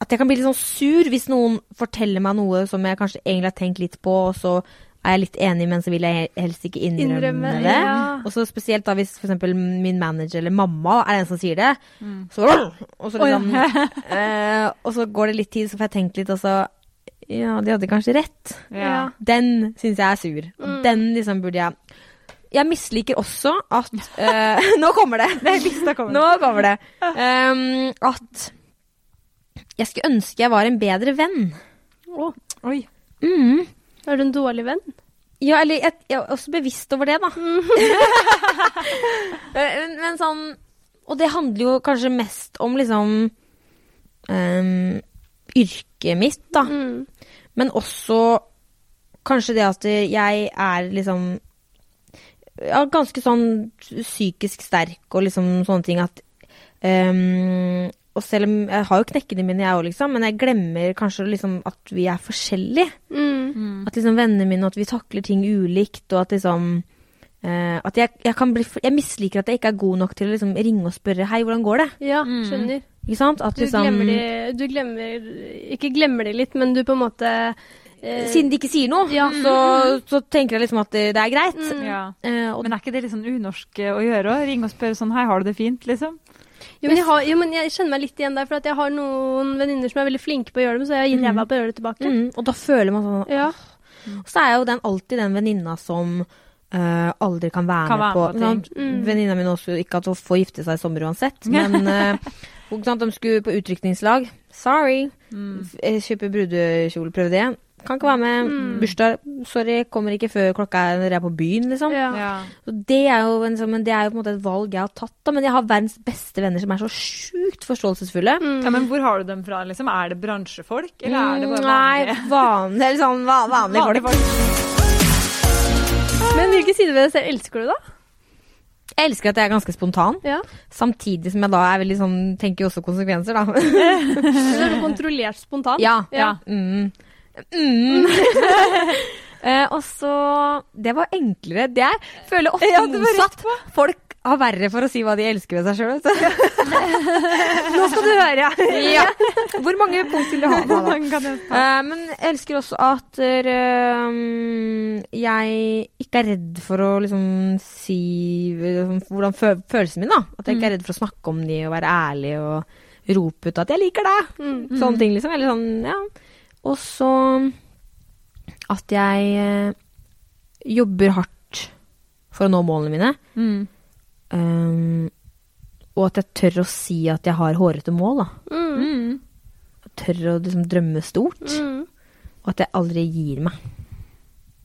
[SPEAKER 3] At jeg kan bli litt sånn sur hvis noen forteller meg noe som jeg kanskje egentlig har tenkt litt på, og så er jeg litt enig, men så vil jeg he- helst ikke innrømme,
[SPEAKER 1] Innrømme,
[SPEAKER 3] det.
[SPEAKER 1] ja.
[SPEAKER 3] Og så spesielt da hvis for eksempel min manager eller mamma er den som sier det.
[SPEAKER 2] Mm. Sånn-
[SPEAKER 3] Så, og, så liksom, eh, og så går det litt tid, så får jeg tenkt litt, og så Ja, de hadde kanskje rett.
[SPEAKER 1] Ja.
[SPEAKER 3] Den syns jeg er sur. Og den liksom burde jeg Jeg misliker også at eh, Nå kommer det!
[SPEAKER 2] Jeg visste det kom.
[SPEAKER 3] Nå kommer det. Ehm, at jeg skulle ønske jeg var en bedre venn.
[SPEAKER 1] Å,
[SPEAKER 2] Oi.
[SPEAKER 3] Mm.
[SPEAKER 1] er du en dårlig venn?
[SPEAKER 3] Ja, eller jeg, jeg er også bevisst over det, da. men, men sånn Og det handler jo kanskje mest om liksom ehm, yrket mitt, da.
[SPEAKER 1] Mm.
[SPEAKER 3] Men også kanskje det at jeg er liksom ja, ganske sånn psykisk sterk og liksom sånne ting at ehm, Og selv om jeg har jo knekkene mine, jeg òg, liksom, men jeg glemmer kanskje liksom at vi er forskjellige.
[SPEAKER 1] Mm.
[SPEAKER 3] At liksom vennene mine, at vi takler ting ulikt, og at liksom eh, At jeg, jeg kan bli for- Jeg misliker at jeg ikke er god nok til å liksom ringe og spørre 'hei, hvordan går det?'
[SPEAKER 1] Ja, skjønner.
[SPEAKER 3] Ikke sant? At
[SPEAKER 1] Du
[SPEAKER 3] liksom
[SPEAKER 1] glemmer de Du glemmer Ikke glemmer de litt, men du på en måte eh,
[SPEAKER 3] Siden de ikke sier noe,
[SPEAKER 1] Ja. Mm.
[SPEAKER 3] så, så tenker jeg liksom at det, det er greit.
[SPEAKER 2] Ja.
[SPEAKER 3] Eh, og
[SPEAKER 2] Men er ikke det litt sånn unorsk eh, å gjøre òg? Ringe og spørre sånn 'hei, har du det fint?' liksom.
[SPEAKER 1] Jo, men jeg, har, jo, men jeg kjenner meg litt igjen der, for at jeg har noen venninner som er veldig flinke på å gjøre det, men så er jeg gitt ræva på å gjøre det tilbake.
[SPEAKER 3] Mm, og da føler man sånn
[SPEAKER 1] Ja.
[SPEAKER 3] Så er jo den alltid den venninna som eh, aldri kan være,
[SPEAKER 2] Kan være
[SPEAKER 3] med på,
[SPEAKER 2] med på
[SPEAKER 3] ikke sant?
[SPEAKER 1] ting. Mm.
[SPEAKER 3] Venninna mi også, ikke at hun får gifte seg i sommer uansett, men eh, ikke sant, de skulle på utrykningslag. Sorry.
[SPEAKER 2] Mm.
[SPEAKER 3] F- eh, Kjøpe brudekjole, prøve det. Kan ikke være med. Bursdag, sorry, kommer ikke før klokka er når jeg er på byen, liksom.
[SPEAKER 1] Ja.
[SPEAKER 3] Så det er jo en, sånn- men det er jo på en måte et valg jeg har tatt, da. Men jeg har verdens beste venner som er så sjukt forståelsesfulle.
[SPEAKER 1] Mm.
[SPEAKER 2] Ja, Men hvor har du dem fra? liksom? Er det bransjefolk, eller er det bare
[SPEAKER 3] Nei,
[SPEAKER 2] vanlige?
[SPEAKER 3] vanlige, eller sånn va- vanlige folk.
[SPEAKER 1] Men hvilke sider ved deg selv elsker du, da?
[SPEAKER 3] Jeg elsker at jeg er ganske spontan,
[SPEAKER 1] Ja.
[SPEAKER 3] samtidig som jeg da er veldig sånn, tenker jo også konsekvenser, da.
[SPEAKER 1] Du er kontrollert spontan.
[SPEAKER 3] ja.
[SPEAKER 1] Ja.
[SPEAKER 3] Mm. Mm. Eh, og så Det var enklere. Det er føler ofte
[SPEAKER 2] Ja, det var rett
[SPEAKER 3] motsatt. Folk har verre for å si hva de elsker ved seg sjøl, vet du. Nå skal du høre. ja. Hvor mange punkt vil du ha? Mala?
[SPEAKER 2] Hvordan kan jeg ta?
[SPEAKER 3] Eh, men jeg elsker også at eh, jeg ikke er redd for å liksom si liksom, hvordan fø følelsene mine, da. At
[SPEAKER 2] Mm.
[SPEAKER 3] jeg ikke er redd for å snakke om de og være ærlig og rope ut at 'jeg liker deg'.
[SPEAKER 1] Mm.
[SPEAKER 3] Sånne ting, liksom. Eller sånn, ja. Og så at jeg eh, jobber hardt for å nå målene mine.
[SPEAKER 2] Mm.
[SPEAKER 3] eh, og at jeg tør å si at jeg har hårete mål, da.
[SPEAKER 1] Mm.
[SPEAKER 2] Mm.
[SPEAKER 3] Tør å liksom drømme stort.
[SPEAKER 1] Mm.
[SPEAKER 3] Og at jeg aldri gir meg.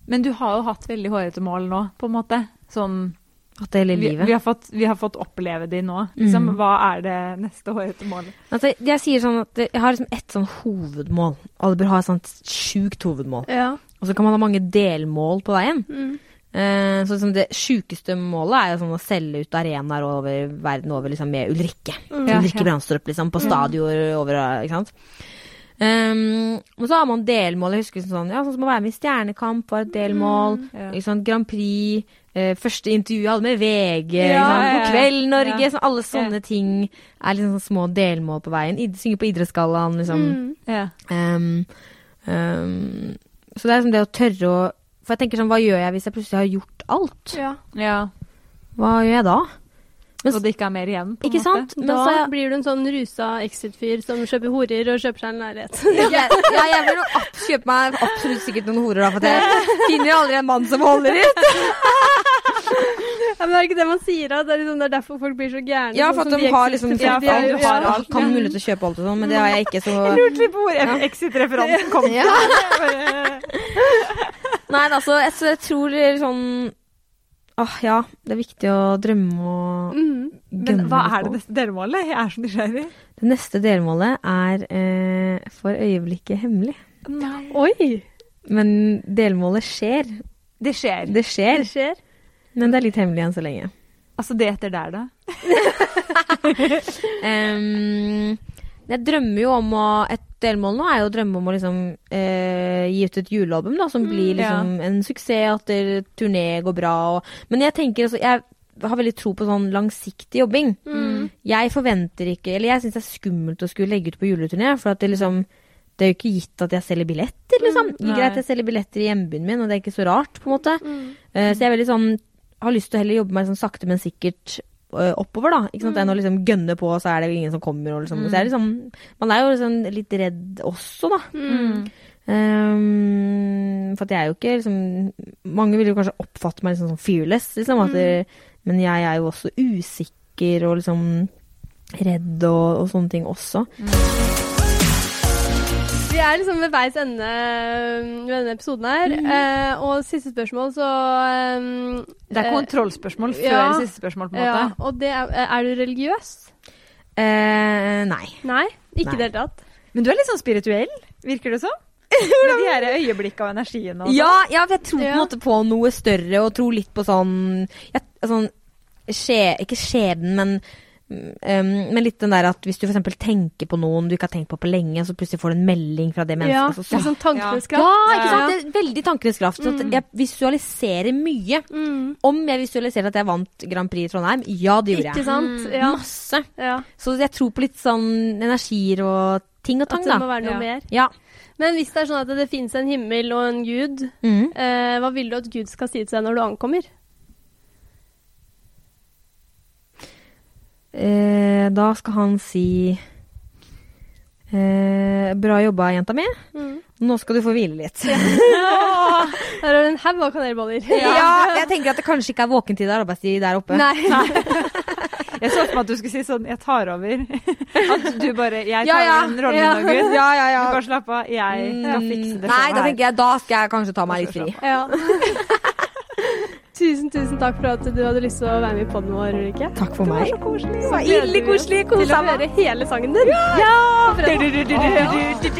[SPEAKER 2] Men du har jo hatt veldig hårete mål nå, på en måte. Sånn
[SPEAKER 3] At hele
[SPEAKER 2] vi,
[SPEAKER 3] livet
[SPEAKER 2] vi, har fått, vi har fått oppleve de nå. Liksom,
[SPEAKER 3] Mm.
[SPEAKER 2] Hva er det neste hårete målet?
[SPEAKER 3] Altså, jeg sier sånn at jeg har liksom ett sånn hovedmål. Alle bør ha et sånt sjukt hovedmål.
[SPEAKER 1] Ja.
[SPEAKER 3] Og så kan man ha mange delmål på veien.
[SPEAKER 1] Mm.
[SPEAKER 3] Eh, så liksom det sjukeste målet er jo sånn å selge ut arenaer over verden over liksom med Ulrikke.
[SPEAKER 1] Mm.
[SPEAKER 2] Ja, Mm.
[SPEAKER 3] Ulrikke
[SPEAKER 2] ja.
[SPEAKER 3] Brandstrup, liksom, på stadioner over Ikke sant. Um, og så har man delmål. Jeg husker liksom sånn, ja, sånn som å være med i Stjernekamp var et delmål.
[SPEAKER 1] Mm.
[SPEAKER 2] Ja.
[SPEAKER 3] Ikke sant? Grand Prix. eh, første intervju jeg hadde med VG.
[SPEAKER 2] Ja,
[SPEAKER 3] ikke sant?
[SPEAKER 2] ja, ja.
[SPEAKER 3] God kveld, Norge.
[SPEAKER 2] Ja.
[SPEAKER 3] Sånn, alle sånne ting er liksom sånn små delmål på veien. Id synge på Idrettsgallaen, liksom.
[SPEAKER 1] Mm.
[SPEAKER 2] Ja.
[SPEAKER 3] Um, um, så det er liksom det å tørre å For jeg tenker sånn, hva gjør jeg hvis jeg plutselig har gjort alt?
[SPEAKER 1] ja.
[SPEAKER 2] ja.
[SPEAKER 3] Hva gjør jeg da? Men-
[SPEAKER 2] Og det ikke er mer igjen, på en
[SPEAKER 3] Ikke
[SPEAKER 2] måte.
[SPEAKER 3] sant? Men
[SPEAKER 1] Da
[SPEAKER 3] så jeg,
[SPEAKER 1] blir du en sånn rusa exit-fyr som kjøper horer og kjøper seg en leilighet.
[SPEAKER 3] jeg, ja, jeg vil jo ab- kjøpe meg absolutt sikkert noen horer, da, for jeg finner jo aldri en mann som holder ut.
[SPEAKER 1] ja, men det er ikke det man sier, da. Det er, liksom, det er derfor folk blir så gærne.
[SPEAKER 3] Ja,
[SPEAKER 1] sånn
[SPEAKER 3] for
[SPEAKER 1] som
[SPEAKER 3] at de har liksom
[SPEAKER 1] exit-fyra,
[SPEAKER 2] for at
[SPEAKER 1] de er
[SPEAKER 2] du
[SPEAKER 1] jo-
[SPEAKER 2] har
[SPEAKER 1] ja.
[SPEAKER 2] alt.
[SPEAKER 3] Kan mulighet til å kjøpe alt og sånn, men det har jeg ikke, så
[SPEAKER 2] Lurte litt på hvor exit-referansen kom fra. Jeg bare-
[SPEAKER 3] Nei, men altså, jeg, så jeg tror sånn Åh, ja. Det er viktig å drømme og
[SPEAKER 1] Mm.
[SPEAKER 2] Men
[SPEAKER 3] gønne
[SPEAKER 2] hva
[SPEAKER 3] litt
[SPEAKER 2] er det
[SPEAKER 3] på.
[SPEAKER 2] neste delmålet? Jeg er så nysgjerrig.
[SPEAKER 3] Det neste delmålet er eh, for øyeblikket hemmelig.
[SPEAKER 1] Oi!
[SPEAKER 3] Men delmålet skjer.
[SPEAKER 2] Det skjer.
[SPEAKER 3] Det skjer,
[SPEAKER 1] Det skjer.
[SPEAKER 3] men det er litt hemmelig enn så lenge.
[SPEAKER 2] Altså, det etter der, da.
[SPEAKER 3] Ehm, jeg drømmer jo om å Et delmål nå er jo å drømme om å liksom eh, gi ut et julealbum da,
[SPEAKER 2] Mm,
[SPEAKER 3] som blir liksom en suksess, at det- turné går bra og Men jeg tenker altså Jeg har veldig tro på sånn langsiktig jobbing.
[SPEAKER 2] Mm.
[SPEAKER 3] Jeg forventer ikke Eller jeg syns det er skummelt å skulle legge ut på juleturné, for at det liksom det er jo ikke gitt at jeg selger billetter, liksom.
[SPEAKER 2] Mm, nei.
[SPEAKER 3] Greit, jeg selger billetter i hjembyen min, og det er ikke så rart, på en måte.
[SPEAKER 1] Mm.
[SPEAKER 3] Eh, Så jeg er veldig sånn har lyst til å heller jobbe meg sånn sakte, men sikkert eh, oppover, da. Ikke sant? Enn å liksom gønne på, sånn så er det jo ingen som kommer. Og liksom. Så jeg er liksom, man er jo liksom litt redd også, da. Ehm, for at jeg er jo ikke liksom Mange vil jo kanskje oppfatte meg liksom som fearless, liksom. At det, men jeg er jo også usikker og liksom redd og, og sånne ting også.
[SPEAKER 1] Vi er liksom ved veis ende øh, ved denne episoden her. Eh, og siste spørsmål, så øh,
[SPEAKER 2] Det er
[SPEAKER 1] eh,
[SPEAKER 2] kontrollspørsmål før
[SPEAKER 1] ja.
[SPEAKER 2] siste spørsmål, på en
[SPEAKER 1] Ja,
[SPEAKER 2] måte.
[SPEAKER 1] og det er, er du religiøs?
[SPEAKER 3] Eh, nei.
[SPEAKER 1] Nei, ikke i
[SPEAKER 3] Nei.
[SPEAKER 1] det hele tatt.
[SPEAKER 2] Men du er litt sånn spirituell, virker det som? Med de her øyeblikka og energien og sånn.
[SPEAKER 3] Ja, ja, for jeg tror på en
[SPEAKER 1] Ja.
[SPEAKER 3] måte på noe større, og tror litt på sånn jeg, sånn, skje, Ikke skjebnen, men mm, um, men litt den der at hvis du for eksempel tenker på noen du ikke har tenkt på på lenge, så plutselig får du en melding fra det mennesket.
[SPEAKER 1] Ja,
[SPEAKER 3] og altså, så, så,
[SPEAKER 1] litt sånn tankenes kraft.
[SPEAKER 3] ja, ikke sant? Det er veldig tankenes kraft. så At jeg visualiserer mye.
[SPEAKER 1] Mm.
[SPEAKER 3] Om jeg visualiserte at jeg vant Grand Prix i Trondheim? Ja, det gjorde
[SPEAKER 1] Ikke
[SPEAKER 3] jeg. Mm.
[SPEAKER 1] sant? Ja.
[SPEAKER 3] Masse.
[SPEAKER 1] ja.
[SPEAKER 3] Så jeg tror på litt sånn energier og ting og
[SPEAKER 1] At
[SPEAKER 3] tang,
[SPEAKER 1] det må
[SPEAKER 3] da.
[SPEAKER 1] være noe
[SPEAKER 2] Ja.
[SPEAKER 1] mer.
[SPEAKER 3] Ja.
[SPEAKER 1] Men hvis det er sånn at det finnes en himmel og en gud,
[SPEAKER 3] Mm.
[SPEAKER 1] eh, hva vil du at Gud skal si til deg når du ankommer?
[SPEAKER 3] Eh, da skal han si eh, Bra jobba, jenta mi.
[SPEAKER 1] Mm.
[SPEAKER 3] Nå skal du få hvile litt. Ja,
[SPEAKER 1] Her er det en haug av kanelboller.
[SPEAKER 3] Jeg tenker at det kanskje ikke er våkentid og arbeidstid der oppe.
[SPEAKER 1] Nei.
[SPEAKER 2] Jeg så for meg at du skulle si sånn 'jeg tar over'. At du bare 'jeg tar
[SPEAKER 3] Ja, ja.
[SPEAKER 2] over den rollen
[SPEAKER 3] Ja.
[SPEAKER 2] nå, Gud'.
[SPEAKER 3] Ja, ja, ja.
[SPEAKER 2] Du bare slapp av, jeg kan fikse det
[SPEAKER 3] Nei,
[SPEAKER 2] selv
[SPEAKER 3] da
[SPEAKER 2] her.
[SPEAKER 3] tenker jeg da skal jeg kanskje ta meg litt fri.
[SPEAKER 1] Ja. tusen, tusen takk for at du hadde lyst til å være med i podden vår, Ulrikke.
[SPEAKER 3] Takk for meg.
[SPEAKER 1] koselig.
[SPEAKER 3] Det var ille koselig.
[SPEAKER 1] Til å høre hele sangen din. Ja!
[SPEAKER 2] Du, du, du, du, du, du, du, du.